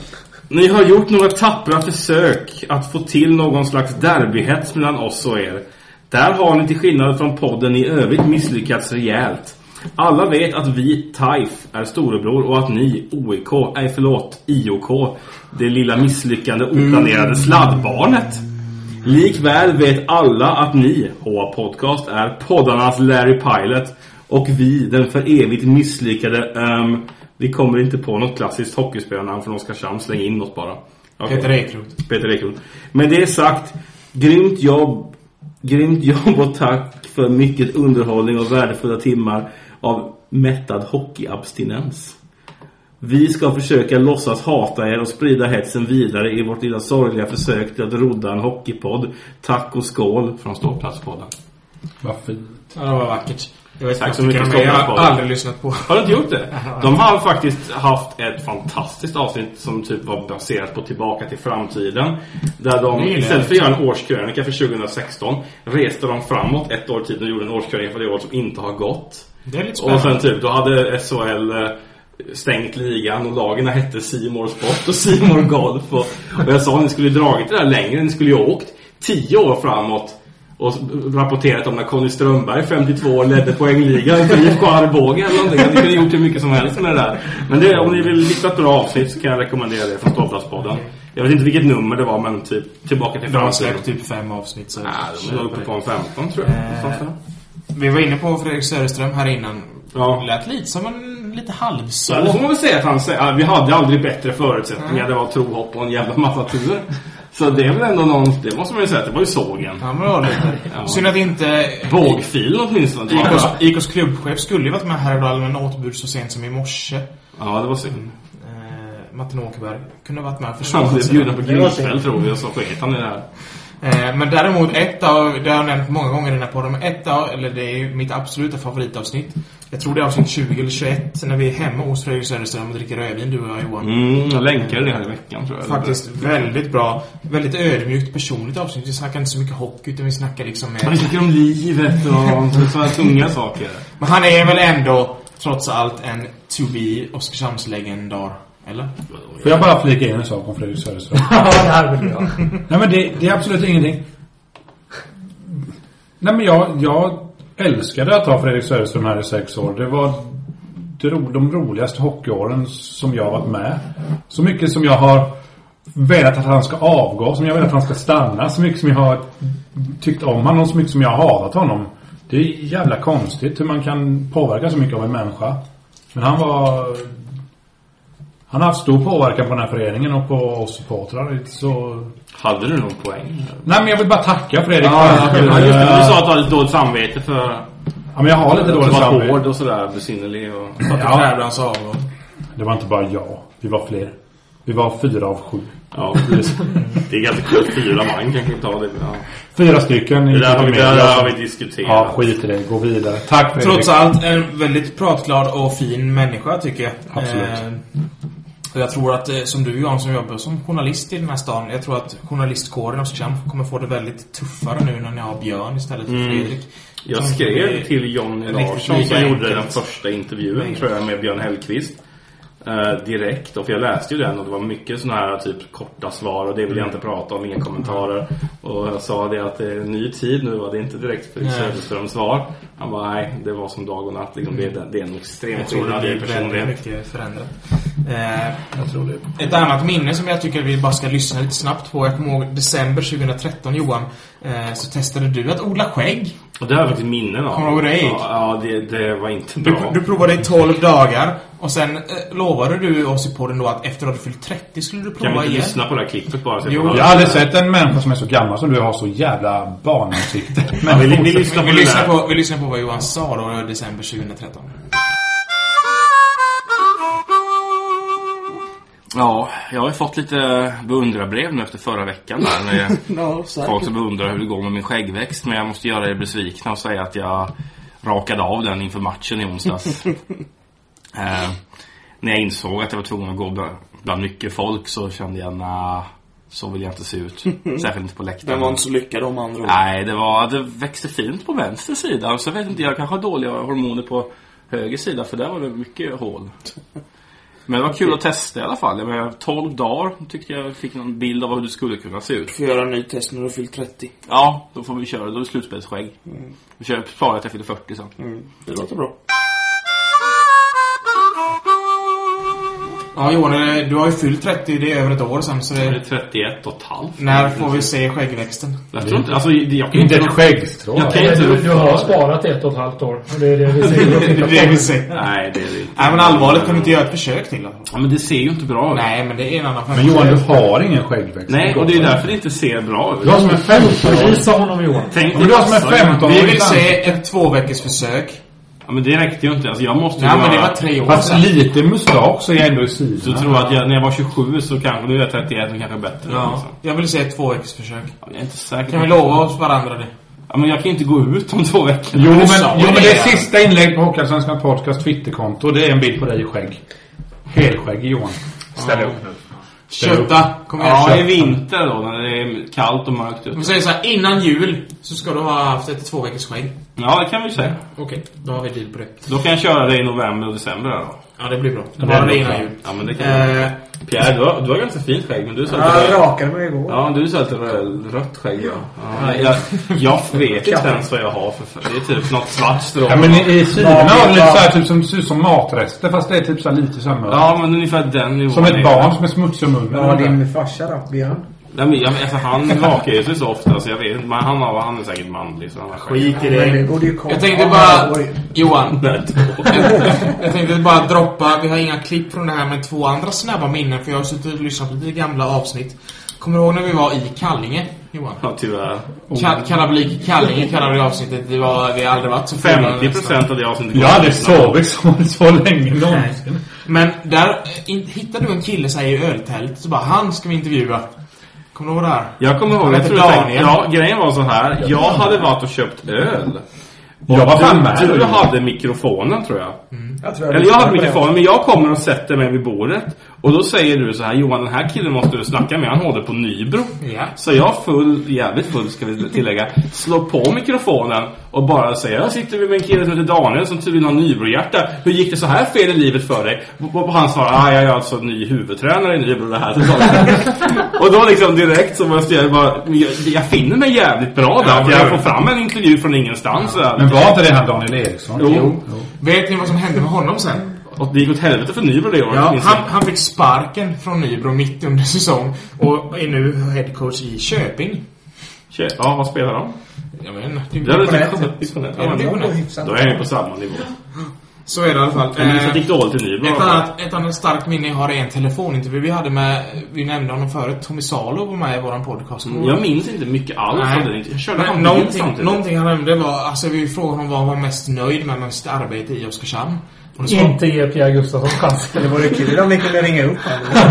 [SPEAKER 1] Ni har gjort några tappra försök att få till någon slags derbyhets mellan oss och er. Där har ni till skillnad från podden i övrigt misslyckats rejält. Alla vet att vi, TAIF, är storebror och att ni, OIK, nej förlåt, IOK, det lilla misslyckande oplanerade sladdbarnet. Likväl vet alla att ni, HA Podcast, är poddarnas Larry Pilot och vi, den för evigt misslyckade... ehm, vi kommer inte på något klassiskt hockeyspelarnamn från Oskarshamn. Släng in något bara. Okej.
[SPEAKER 5] Peter Ekeroth.
[SPEAKER 1] Peter Ekeroth. Men det är sagt, grymt jobb. Grymt jobb och tack för mycket underhållning och värdefulla timmar av mättad hockeyabstinens. Vi ska försöka låtsas hata er och sprida hetsen vidare i vårt lilla sorgliga försök till att rodda en hockeypodd. Tack och skål från Ståplatspodden.
[SPEAKER 3] Vad fint.
[SPEAKER 5] Ja, det var vackert. Jag vet
[SPEAKER 1] Tack
[SPEAKER 5] inte
[SPEAKER 1] så
[SPEAKER 5] vad jag
[SPEAKER 1] mycket
[SPEAKER 5] tycker om det. Jag har
[SPEAKER 1] Ståplatspodden.
[SPEAKER 5] aldrig lyssnat på.
[SPEAKER 1] Har du inte gjort det? De har faktiskt haft ett fantastiskt avsnitt som typ var baserat på Tillbaka till framtiden. Där
[SPEAKER 5] Det
[SPEAKER 1] de
[SPEAKER 5] gillar
[SPEAKER 1] istället
[SPEAKER 5] jag.
[SPEAKER 1] för att göra en årskrönika för 2016 reste de framåt ett år i tiden och gjorde en årskrönika för det år som inte har gått.
[SPEAKER 5] Det är lite
[SPEAKER 1] Och
[SPEAKER 5] spännande.
[SPEAKER 1] sen typ, då hade SHL eh, stängt ligan och lagen hette Simor Sport och Simor Golf. Och, och jag sa ni skulle ju dragit det där längre, ni skulle ju ha åkt tio år framåt.
[SPEAKER 4] Och rapporterat om när Conny Strömberg, 52 år, ledde poängligan för IFK Arboga eller någonting. Ni kunde gjort hur mycket som helst med det där. Men det, om ni vill hitta ett bra avsnitt så kan jag rekommendera det från Ståplatspodden. Jag vet inte vilket nummer det var, men typ Tillbaka till
[SPEAKER 5] De har
[SPEAKER 4] framtiden.
[SPEAKER 5] släppt typ fem avsnitt. Så
[SPEAKER 4] Nej, de var uppe på en 15 tror jag. Sånt där.
[SPEAKER 5] vi var inne på Fredrik Söderström här innan.
[SPEAKER 4] Ja.
[SPEAKER 5] Lät lite som en lite halvså.
[SPEAKER 4] Så det får man väl säga att han säger. ja, Vi hade aldrig bättre förutsättningar. Det var trohopp och en jävla massa tur. Så det är väl ändå någon... Det måste man ju säga att det var ju sågen.
[SPEAKER 5] Ja, men det var lite.
[SPEAKER 4] Ja.
[SPEAKER 5] Synd att inte...
[SPEAKER 4] Bågfilen åtminstone. Det var
[SPEAKER 5] IKs,
[SPEAKER 4] bra.
[SPEAKER 5] IKs klubbchef skulle ju varit med här idag, men återbud så sent som i morse.
[SPEAKER 4] Ja, det var synd.
[SPEAKER 5] Eh, Martin Åkerberg kunde varit med och
[SPEAKER 4] Han
[SPEAKER 5] försvarat
[SPEAKER 4] blev
[SPEAKER 5] sig.
[SPEAKER 4] bjuden på griskväll tror vi och så sket han i det här.
[SPEAKER 5] Eh, Men däremot ett av, det har jag nämnt många gånger i den här podden, men ett av, eller det är ju mitt absoluta favoritavsnitt. Jag tror det är avsnitt 20 eller 21, när vi är hemma hos Fredrik Söderström och dricker rödvin, du och jag Johan.
[SPEAKER 4] Mm, jag länkade det här i veckan tror jag.
[SPEAKER 5] Faktiskt väldigt bra. Väldigt ödmjukt personligt avsnitt. Vi snackar inte så mycket hockey, utan vi snackar liksom... eh,
[SPEAKER 4] Man tycker om livet och sådana tunga saker.
[SPEAKER 5] Men han är väl ändå, trots allt, en to be Oskarshamnslegendar? Eller?
[SPEAKER 3] Får jag bara flika in en sak om Fredrik Söderström? Nej men det, det är absolut ingenting. Nej men jag, jag älskade att ha Fredrik Söderström här i sex år. Det var det ro, de roligaste hockeyåren som jag har varit med. Så mycket som jag har velat att han ska avgå, som jag velat att han ska stanna. Så mycket som jag har tyckt om honom, så mycket som jag har hatat honom. Det är jävla konstigt hur man kan påverka så mycket av en människa. Men han var... Han har haft stor påverkan på den här föreningen och på oss supportrar. Så
[SPEAKER 4] Hade du någon poäng?
[SPEAKER 3] Nej, men jag vill bara tacka Fredrik
[SPEAKER 4] Ja,
[SPEAKER 3] för eh,
[SPEAKER 4] ja, just det. Du sa att du hade lite dåligt samvete för...
[SPEAKER 3] Ja, men jag har lite
[SPEAKER 4] att du
[SPEAKER 3] dåligt
[SPEAKER 4] var
[SPEAKER 3] samvete.
[SPEAKER 4] hård och sådär, besynnerlig och...
[SPEAKER 5] Att du krävde hans avgång.
[SPEAKER 3] Det var inte bara jag. Vi var fler. Vi var fyra av sju.
[SPEAKER 4] Ja, precis. Det är ganska kul. Fyra man kanske ta det. Ja.
[SPEAKER 3] Fyra stycken.
[SPEAKER 4] Det där har vi-
[SPEAKER 3] Inte
[SPEAKER 4] det där
[SPEAKER 3] mer.
[SPEAKER 4] har vi diskuterat.
[SPEAKER 3] Ja, skit i det. Gå vidare. Tack Fredrik.
[SPEAKER 5] Trots allt en väldigt pratglad och fin människa tycker jag.
[SPEAKER 3] Absolut.
[SPEAKER 5] Eh, och jag tror att, eh, som du Johan, som jobbar som journalist i den här stan. Jag tror att journalistkåren i Oskarshamn kommer få det väldigt tuffare nu när ni har Björn istället för
[SPEAKER 4] Mm.
[SPEAKER 5] Fredrik.
[SPEAKER 4] Jag
[SPEAKER 5] Som
[SPEAKER 4] skrev
[SPEAKER 5] blir
[SPEAKER 4] till Jonny
[SPEAKER 5] riktigt lika
[SPEAKER 4] Larsson Mm. som Mm. gjorde den
[SPEAKER 5] enkelt.
[SPEAKER 4] första intervjun
[SPEAKER 5] Nej.
[SPEAKER 4] tror jag med Björn Hellkvist. eh, direkt, och för jag läste ju den och det var mycket sådana här typ korta svar och det vill jag inte prata om, inga kommentarer. Och jag sa det att det är en ny tid nu och det är inte direkt Fredrik
[SPEAKER 5] Nej.
[SPEAKER 4] Söderströms svar. Han bara nej, det var som dag och natt. Liksom, det, är- det är en extrem
[SPEAKER 5] Jag tror det
[SPEAKER 4] skillnad i
[SPEAKER 5] blir väldigt
[SPEAKER 4] personlighet.
[SPEAKER 5] mycket förändrat. Eh, Ett annat minne som jag tycker vi bara ska lyssna lite snabbt på. Jag kommer ihåg december 2013 Johan. Eh, så testade du att odla skägg.
[SPEAKER 4] Och det har jag faktiskt minnen av.
[SPEAKER 5] Kommer du ihåg hur det gick?
[SPEAKER 4] Ja, ja det, det var inte
[SPEAKER 5] Du,
[SPEAKER 4] bra.
[SPEAKER 5] du provade i 12 dagar. Och sen eh, lovade du oss i podden då att efter att du fyllt 30 skulle du prova
[SPEAKER 4] Kan vi inte
[SPEAKER 5] igen.
[SPEAKER 4] lyssna på det här klippet bara? så
[SPEAKER 5] Jo.
[SPEAKER 4] får höra?
[SPEAKER 3] Jag har aldrig sett en människa som är så gammal som du har så jävla barnansikte.
[SPEAKER 4] Ja, vi, vi
[SPEAKER 5] Vi,
[SPEAKER 4] lyssnar
[SPEAKER 5] vi,
[SPEAKER 4] på det
[SPEAKER 5] lyssnar
[SPEAKER 4] där.
[SPEAKER 5] på, vi lyssnar på vad Johan sa då i december 2013.
[SPEAKER 4] Ja, jag har ju fått lite beundrarbrev nu efter förra veckan där. Med folk som beundrar hur det går med min skäggväxt. Men jag måste göra er besvikna och säga att jag rakade av den inför matchen i onsdags. eh, när jag insåg att jag var tvungen att gå bland, bland mycket folk så kände jag, nah, så vill jag inte se ut. Särskilt inte på läktaren.
[SPEAKER 12] Den var inte så lyckad om andra ord.
[SPEAKER 4] Nej, det, var, det växte fint på vänster sida. Och så vet inte, jag kanske har dåliga hormoner på höger sida för där var det mycket hål. Men det var kul att testa i alla fall. Jag menar, 12 dagar tyckte jag fick någon bild av hur du skulle kunna se ut.
[SPEAKER 12] Får göra en ny test när du har fyllt 30.
[SPEAKER 4] Ja, då får vi köra. Då är det slutspelsskägg.
[SPEAKER 12] Mm.
[SPEAKER 4] Vi kör sparar att jag fyller 40 sen.
[SPEAKER 12] Det låter bra.
[SPEAKER 5] Ja Johan, eh, du har ju fyllt 30. Det är över ett år sen. Så
[SPEAKER 4] Det är
[SPEAKER 5] det,
[SPEAKER 4] 31 och ett halvt.
[SPEAKER 5] när får vi se skäggväxten?
[SPEAKER 4] Jag tror inte... Alltså, jag kan
[SPEAKER 3] Inte ett skäggstrå.
[SPEAKER 4] Jag kan
[SPEAKER 7] Nej,
[SPEAKER 4] inte...
[SPEAKER 7] du, du har sparat ett och ett halvt år. Och det är det vi
[SPEAKER 5] Det är det vi
[SPEAKER 7] ser.
[SPEAKER 5] ser.
[SPEAKER 4] Nej, det är det inte.
[SPEAKER 5] Nej men allvarligt, kunde du inte göra ett försök till då?
[SPEAKER 4] Ja, men det ser ju inte bra ut.
[SPEAKER 5] Nej, men det är en annan
[SPEAKER 3] Men Johan, du har ingen skäggväxt.
[SPEAKER 4] Nej, och det är ju därför det inte ser bra ut.
[SPEAKER 3] Du har som en 15-åring.
[SPEAKER 7] Visa honom Johan.
[SPEAKER 4] Tänk
[SPEAKER 3] Men du har som en
[SPEAKER 4] dig-
[SPEAKER 3] 15-åring.
[SPEAKER 5] Vi vill se ett tvåveckorsförsök.
[SPEAKER 4] Ja, men det räckte ju inte. Alltså, jag måste ju
[SPEAKER 5] Nej, men det
[SPEAKER 4] göra-
[SPEAKER 5] var tre år
[SPEAKER 3] Fast
[SPEAKER 5] sedan.
[SPEAKER 3] lite mustasch är ändå i
[SPEAKER 4] Så jag
[SPEAKER 3] sidan.
[SPEAKER 4] tror att jag, när jag var 27 så kanske, nu är jag 31 och kanske bättre.
[SPEAKER 5] Ja,
[SPEAKER 4] Liksom.
[SPEAKER 5] jag vill se ett tvåveckorsförsök.
[SPEAKER 4] Jag är inte
[SPEAKER 5] Kan
[SPEAKER 4] säker. på-
[SPEAKER 5] vi lova oss varandra det?
[SPEAKER 4] Ja, men jag kan ju inte gå ut om två veckor.
[SPEAKER 3] Jo, men,
[SPEAKER 5] sa
[SPEAKER 3] jo,
[SPEAKER 5] det.
[SPEAKER 3] men det är sista inlägg på Hockeyallsvenskans podcast Twitterkonto. Det är en bild på dig i skägg. Helskägg Johan. Ställ upp nu. Ställ upp.
[SPEAKER 5] Kötta! Kom igen,
[SPEAKER 4] Ja,
[SPEAKER 5] kött.
[SPEAKER 4] i vinter då när det är kallt och mörkt
[SPEAKER 5] Vi
[SPEAKER 4] ute.
[SPEAKER 5] säger så här, innan jul så ska du ha haft ett tvåveckorsskägg.
[SPEAKER 4] Ja, det kan vi säga.
[SPEAKER 5] Okej, då har vi deal på det.
[SPEAKER 4] Då kan jag köra det i november och december här då.
[SPEAKER 5] Ja, det blir bra.
[SPEAKER 4] Ja,
[SPEAKER 5] Bara det
[SPEAKER 4] blir
[SPEAKER 5] innan
[SPEAKER 4] bra.
[SPEAKER 5] jul.
[SPEAKER 4] Ja, men det kan uh, Pierre, du har, du har ganska fint skägg, men du sa
[SPEAKER 5] Ja, jag rakade mig igår.
[SPEAKER 4] Ja, du sa lite rö- rött skägg, ja. ja
[SPEAKER 5] Nej.
[SPEAKER 4] jag, jag vet inte ens vad jag har för färg. Det är typ något svart strå.
[SPEAKER 3] Ja, men i, i Kina har det lite så här, typ som, ser ut som matrester fast det är typ så här lite samma.
[SPEAKER 4] Ja, men ungefär den nivån.
[SPEAKER 3] Som
[SPEAKER 4] är
[SPEAKER 3] ett
[SPEAKER 4] det.
[SPEAKER 3] barn som är smutsig om munnen.
[SPEAKER 6] Vad har din farsa då? Björn?
[SPEAKER 4] Nej, men, jag, alltså, han rakar ju sig så ofta, så jag vet inte. Men han, har, han är säkert manlig, så han har skägg.
[SPEAKER 5] Skit i det. Eh, Jag tänkte bara... Johan. jag tänkte bara droppa, vi har inga klipp från det här med två andra snabba minnen för jag har suttit och lyssnat på lite gamla avsnitt. Kommer du ihåg när vi var i Kallinge, Johan?
[SPEAKER 4] Ja, tyvärr.
[SPEAKER 5] Ka- Kalabalik Kallinge kallade vi avsnittet. Det var, vi har aldrig varit så fulla
[SPEAKER 4] 50 procent av det avsnittet
[SPEAKER 3] Jag har aldrig sovit så, så länge någonsin.
[SPEAKER 5] Men där eh, in, hittade du en kille så här, i öltältet så bara han ska vi intervjua. Kommer du ihåg det här?
[SPEAKER 4] Jag kommer ihåg,
[SPEAKER 5] Han
[SPEAKER 4] jag
[SPEAKER 5] hette
[SPEAKER 4] tror jag tänkte,
[SPEAKER 5] Daniel.
[SPEAKER 4] ja, grejen var så här. Jag hade varit och köpt öl. Och
[SPEAKER 3] Jag var fan
[SPEAKER 4] du-
[SPEAKER 3] med.
[SPEAKER 4] Du hade mikrofonen tror jag.
[SPEAKER 6] Jag tror jag
[SPEAKER 4] Eller jag hade
[SPEAKER 6] lyssnade på
[SPEAKER 4] mikrofonen, men jag kommer och sätter mig vid bordet. Och då säger du så här, Johan den här killen måste du snacka med, han håller på Nybro.
[SPEAKER 5] Ja.
[SPEAKER 4] Så jag full, jävligt full ska vi tillägga, slår på mikrofonen och bara säger, jag sitter med en kille som heter Daniel som tydligen har Nybrohjärta. Hur gick det så här fel i livet för dig? Och han svarar, ah, jag är alltså ny huvudtränare i Nybro det här Och då liksom direkt så måste jag bara, jag, jag finner mig jävligt bra där.
[SPEAKER 3] Ja,
[SPEAKER 4] för
[SPEAKER 3] men-
[SPEAKER 4] jag får fram en intervju från ingenstans. Ja.
[SPEAKER 3] Men var inte det han Daniel Eriksson?
[SPEAKER 4] Jo.
[SPEAKER 5] Vet ni vad som hände med honom sen?
[SPEAKER 4] Och det gick åt helvete för Nybro det året.
[SPEAKER 5] Ja,
[SPEAKER 4] minns jag.
[SPEAKER 5] han, han fick sparken från Nybro mitt under säsong och är nu headcoach i Köping.
[SPEAKER 4] Tjej, Ja, vad spelar de?
[SPEAKER 5] Jag menar,
[SPEAKER 4] Det hade inte
[SPEAKER 5] imponerande.
[SPEAKER 4] kommit disponent.
[SPEAKER 5] Ja, det är imponerande.
[SPEAKER 4] Då är jag på samma nivå.
[SPEAKER 5] Så är det i alla fall.
[SPEAKER 4] Men det
[SPEAKER 5] Eh,
[SPEAKER 4] gick dåligt i Nybro.
[SPEAKER 5] Ett annat, ett annat starkt minne jag har är en telefonintervju vi hade med, vi nämnde honom förut, Tommy Salo var med i våran podcast.
[SPEAKER 4] Mm, jag minns inte mycket alls av det. Jag körde
[SPEAKER 5] Men
[SPEAKER 4] han bil
[SPEAKER 5] någonting,
[SPEAKER 4] samtidigt.
[SPEAKER 5] någonting han nämnde var, alltså vi frågade honom vad han var mest nöjd med med sitt arbete i Oskarshamn. Och det svar-
[SPEAKER 7] Inte ge Pierre Gustafsson chansen.
[SPEAKER 6] Det vore kul om ni kunde ringa upp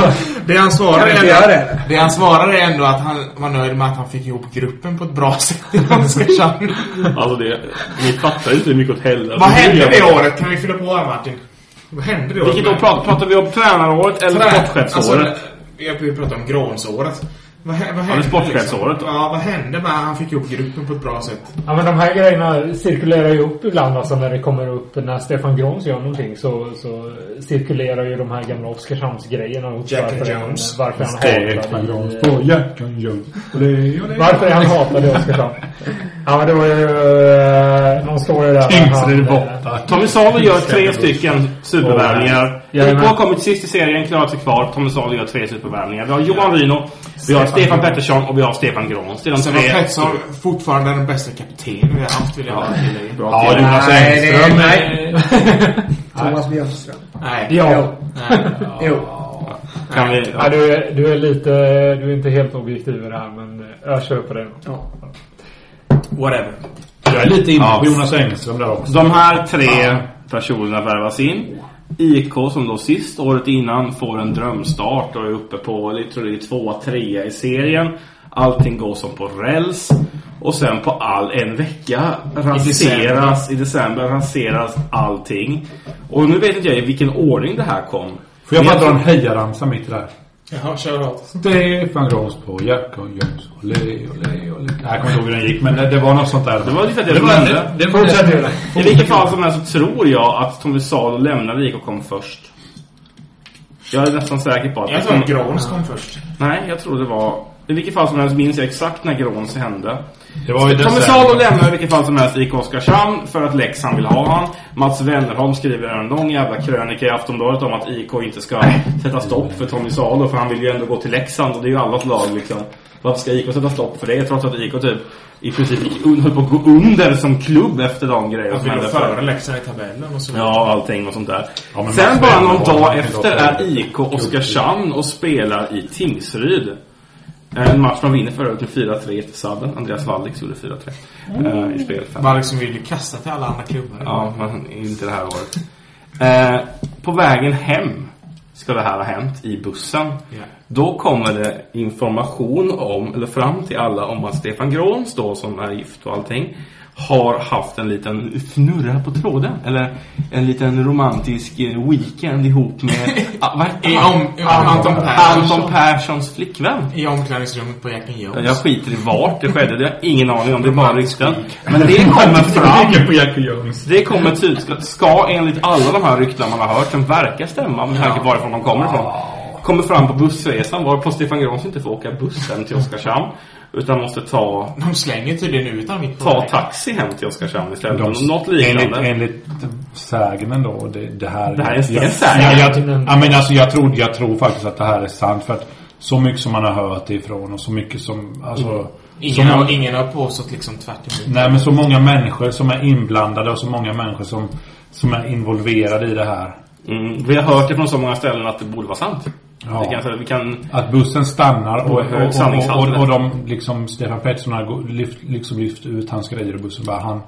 [SPEAKER 5] Det han svarar
[SPEAKER 6] Kan vi
[SPEAKER 5] är
[SPEAKER 6] inte
[SPEAKER 5] ändå,
[SPEAKER 6] göra det?
[SPEAKER 5] det han svarar är ändå att han var nöjd med att han fick ihop gruppen på ett bra sätt i Oskarshamn.
[SPEAKER 4] Alltså det, ni fattar inte hur mycket åt helvete.
[SPEAKER 5] Vad hände det året? Kan vi fylla på här Martin? Vad hände det året?
[SPEAKER 4] Vilket år pratar, pratar vi om? Tränaråret eller
[SPEAKER 5] Trä-
[SPEAKER 4] sportchefsåret?
[SPEAKER 5] Alltså, jag vill prata om Grånsåret. Vad, hä- vad
[SPEAKER 4] det är
[SPEAKER 5] hände
[SPEAKER 4] sportchefsåret
[SPEAKER 5] liksom? Ja, vad hände med att han fick ihop gruppen på ett bra sätt?
[SPEAKER 7] Ja men de här grejerna cirkulerar ju upp ibland alltså när det kommer upp, när Stefan Grons gör någonting så, så cirkulerar ju de här gamla Oskarshamnsgrejerna upp.
[SPEAKER 5] Jack and
[SPEAKER 7] varför
[SPEAKER 5] Jones.
[SPEAKER 7] Han, varför han
[SPEAKER 3] Stefan Grans
[SPEAKER 7] hatade...
[SPEAKER 3] på Jackan Jones. Olé, olé.
[SPEAKER 7] Varför han hatade Oskarshamn. Ja men det var ju eh, någon story där. när han,
[SPEAKER 3] Tingsryd
[SPEAKER 7] eh,
[SPEAKER 3] borta.
[SPEAKER 4] Tommy Salo gör tre stycken supervärvningar.
[SPEAKER 7] Ja,
[SPEAKER 4] IK
[SPEAKER 7] men-
[SPEAKER 4] har kommit sist i serien, klarat sig kvar. Tommy Salo gör tre supervärvningar. Vi har Johan Ryno, vi har Stefan Pettersson och vi har Stefan Grans. Det är de
[SPEAKER 5] Sen var
[SPEAKER 4] tre...
[SPEAKER 5] Pettersson Alltså, fortfarande den bästa kaptenen vi har haft, vill jag bara tillägga.
[SPEAKER 4] Bra
[SPEAKER 3] Ja,
[SPEAKER 4] till.
[SPEAKER 3] Jonas
[SPEAKER 6] Nej, det är-
[SPEAKER 3] Engström.
[SPEAKER 6] nej. Thomas Björnström.
[SPEAKER 5] Nej.
[SPEAKER 7] Ja.
[SPEAKER 5] Nej.
[SPEAKER 6] Jo.
[SPEAKER 4] Kan vi...
[SPEAKER 7] Ja, du, är, du är lite... Du är inte helt objektiv i det här men eh, jag köper det.
[SPEAKER 6] Ja.
[SPEAKER 5] Whatever.
[SPEAKER 3] Jag är lite inne
[SPEAKER 4] Ja.
[SPEAKER 3] på Jonas Engström där också.
[SPEAKER 4] De här tre personerna värvas in. IK som då sist året innan får en drömstart och är uppe på, jag tror det är tvåa, trea i serien. Allting går som på räls. Och sen på all en vecka raseras, i december raseras allting. Och nu vet inte jag i vilken ordning det här kom.
[SPEAKER 3] Får jag
[SPEAKER 4] Men
[SPEAKER 3] bara dra en hejaramsa mitt i det här?
[SPEAKER 5] Jaha, kör hårt.
[SPEAKER 3] Stefan Grans på Jackan Jones. Olé, olé, olé. Jag kommer inte ihåg hur den gick men det, det var något sånt där.
[SPEAKER 4] Det var ungefär det
[SPEAKER 3] det
[SPEAKER 4] som
[SPEAKER 3] var,
[SPEAKER 4] hände.
[SPEAKER 3] det, det var,
[SPEAKER 4] I vilket fall som helst så tror jag att Tommy Salo lämnade IK och kom först. Jag är nästan säker på att
[SPEAKER 5] Jag
[SPEAKER 4] det
[SPEAKER 5] tror
[SPEAKER 4] kom-
[SPEAKER 5] att Grons kom först.
[SPEAKER 4] Nej, jag tror det var... I vilket fall som helst minns jag exakt när Gråns hände.
[SPEAKER 3] det var ju
[SPEAKER 4] Tommy
[SPEAKER 3] december.
[SPEAKER 4] Salo lämnar i vilket fall som helst IK Oskarshamn för att Leksand vill ha han. Mats Wennerholm skriver en lång jävla krönika i Aftonbladet om att IK inte ska sätta stopp för Tommy Salo för han vill ju ändå gå till Leksand och det är ju allas lag liksom. Varför ska IK sätta stopp för det trots att IK typ i princip gick un- höll på att gå under som klubb efter de grejerna
[SPEAKER 5] Att
[SPEAKER 4] som
[SPEAKER 5] vi låg
[SPEAKER 4] hände förra
[SPEAKER 5] före Leksand i tabellen och så vidare.
[SPEAKER 4] Ja, allting och sånt där.
[SPEAKER 3] Ja, men
[SPEAKER 4] Sen
[SPEAKER 3] Mats
[SPEAKER 4] bara
[SPEAKER 3] Wennerholm,
[SPEAKER 4] någon dag
[SPEAKER 3] han kan
[SPEAKER 4] efter
[SPEAKER 3] gå på-
[SPEAKER 4] är IK Oskarshamn och spelar i Tingsryd. En match man vinner förut med 4-3 efter sadden. Andreas Wallix gjorde 4-3 eh, i spel fem.
[SPEAKER 5] Bara liksom ville kasta till alla andra klubbar.
[SPEAKER 4] Ja, men inte det här året. Eh, på vägen hem ska det här ha hänt i bussen.
[SPEAKER 5] Ja.
[SPEAKER 4] Då kommer det information om, eller fram till alla om att Stefan Grons då som är gift och allting har haft en liten fnurra på tråden. Eller en liten romantisk eh, weekend ihop med ah, vad heter
[SPEAKER 5] I
[SPEAKER 4] han?
[SPEAKER 5] om- i om- Anton Persson.
[SPEAKER 4] Anton Perssons flickvän.
[SPEAKER 5] I omklädningsrummet på Jacken Jones.
[SPEAKER 4] Jag skiter i vart det skedde. Det har jag ingen aning om. Det är bara rykten. Men det kommer fram. Det kommer ett utskott. Ska enligt alla de här ryktena man har hört, som verkar stämma med tanke på varifrån de kommer ifrån. Kommer fram på bussresan varpå Stefan Grans inte får åka buss hem till Oskarshamn. Utan måste ta...
[SPEAKER 5] De slänger tydligen ut honom mitt på
[SPEAKER 4] Ta
[SPEAKER 5] vägen.
[SPEAKER 4] taxi hem till Oskarshamn istället.
[SPEAKER 3] De-
[SPEAKER 4] Något liknande.
[SPEAKER 3] Enligt, enligt sägnen då. Det, det här
[SPEAKER 4] Det här är- det är
[SPEAKER 3] jag,
[SPEAKER 4] sägen.
[SPEAKER 3] jag, jag, ja, men alltså, jag, tror, jag tror faktiskt att det här är sant. För att så mycket som man har hört ifrån och så mycket som... Alltså,
[SPEAKER 4] Mm.
[SPEAKER 5] Ingen,
[SPEAKER 3] som
[SPEAKER 5] har, ingen har påstått liksom tvärt emot.
[SPEAKER 3] Nej men så många människor som är inblandade och så många människor som, som är involverade i det här.
[SPEAKER 4] Mm, vi har hört det från så många ställen att det borde vara sant.
[SPEAKER 3] Ja.
[SPEAKER 4] Det kan, vi kan...
[SPEAKER 3] Att bussen stannar och, och,
[SPEAKER 4] Och Mm, hög
[SPEAKER 3] och,
[SPEAKER 4] sanningshalt.
[SPEAKER 3] och, och de liksom Stefan Pettersson har gå- lyft, liksom lyft ut hans grejer ur bussen bara han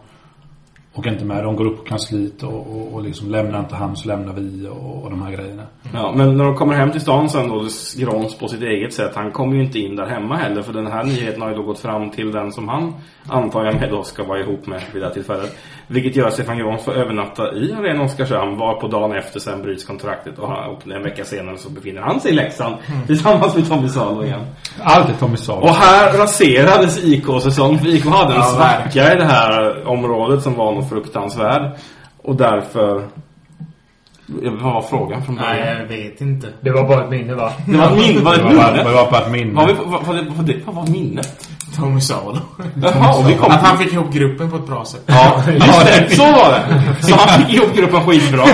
[SPEAKER 3] åker inte med. De går upp på kansliet och, och, och liksom lämnar inte han så lämnar vi och, och de här grejerna.
[SPEAKER 4] Ja, men när de kommer hem till stan sen då, Grans på sitt eget sätt, han kommer ju inte in där hemma heller. För den här nyheten har ju då gått fram till den som han, antar jag med då, ska vara ihop med vid det här tillfället. Vilket gör att Stefan Grans får övernatta i Arena Oskarshamn, var på dagen efter sen bryts kontraktet och, han, och en vecka senare så befinner han sig i Leksand
[SPEAKER 3] Mm.
[SPEAKER 4] tillsammans med Tommy Salo igen.
[SPEAKER 3] Alltid Tommy Salo.
[SPEAKER 4] Och här raserades IK-säsongen. För IK hade en
[SPEAKER 3] Ja,
[SPEAKER 4] svacka i det här området som var något fruktansvärd. Och därför... Vad var frågan från början?
[SPEAKER 5] Nej, jag vet inte.
[SPEAKER 7] Det var bara ett minne va?
[SPEAKER 4] Det var ett minne.
[SPEAKER 7] Det var
[SPEAKER 4] Var det ett
[SPEAKER 7] bara-
[SPEAKER 4] minne?
[SPEAKER 7] det
[SPEAKER 3] var bara ett minne.
[SPEAKER 4] Vad, vi- vad, vad, vad, vad, vad var minnet?
[SPEAKER 5] Tommy Salo.
[SPEAKER 4] Jaha, och vi kom
[SPEAKER 5] Att han
[SPEAKER 4] till-
[SPEAKER 5] fick ihop gruppen på ett bra sätt.
[SPEAKER 4] Ja, just det. Så var det. Så han fick ihop gruppen skitbra.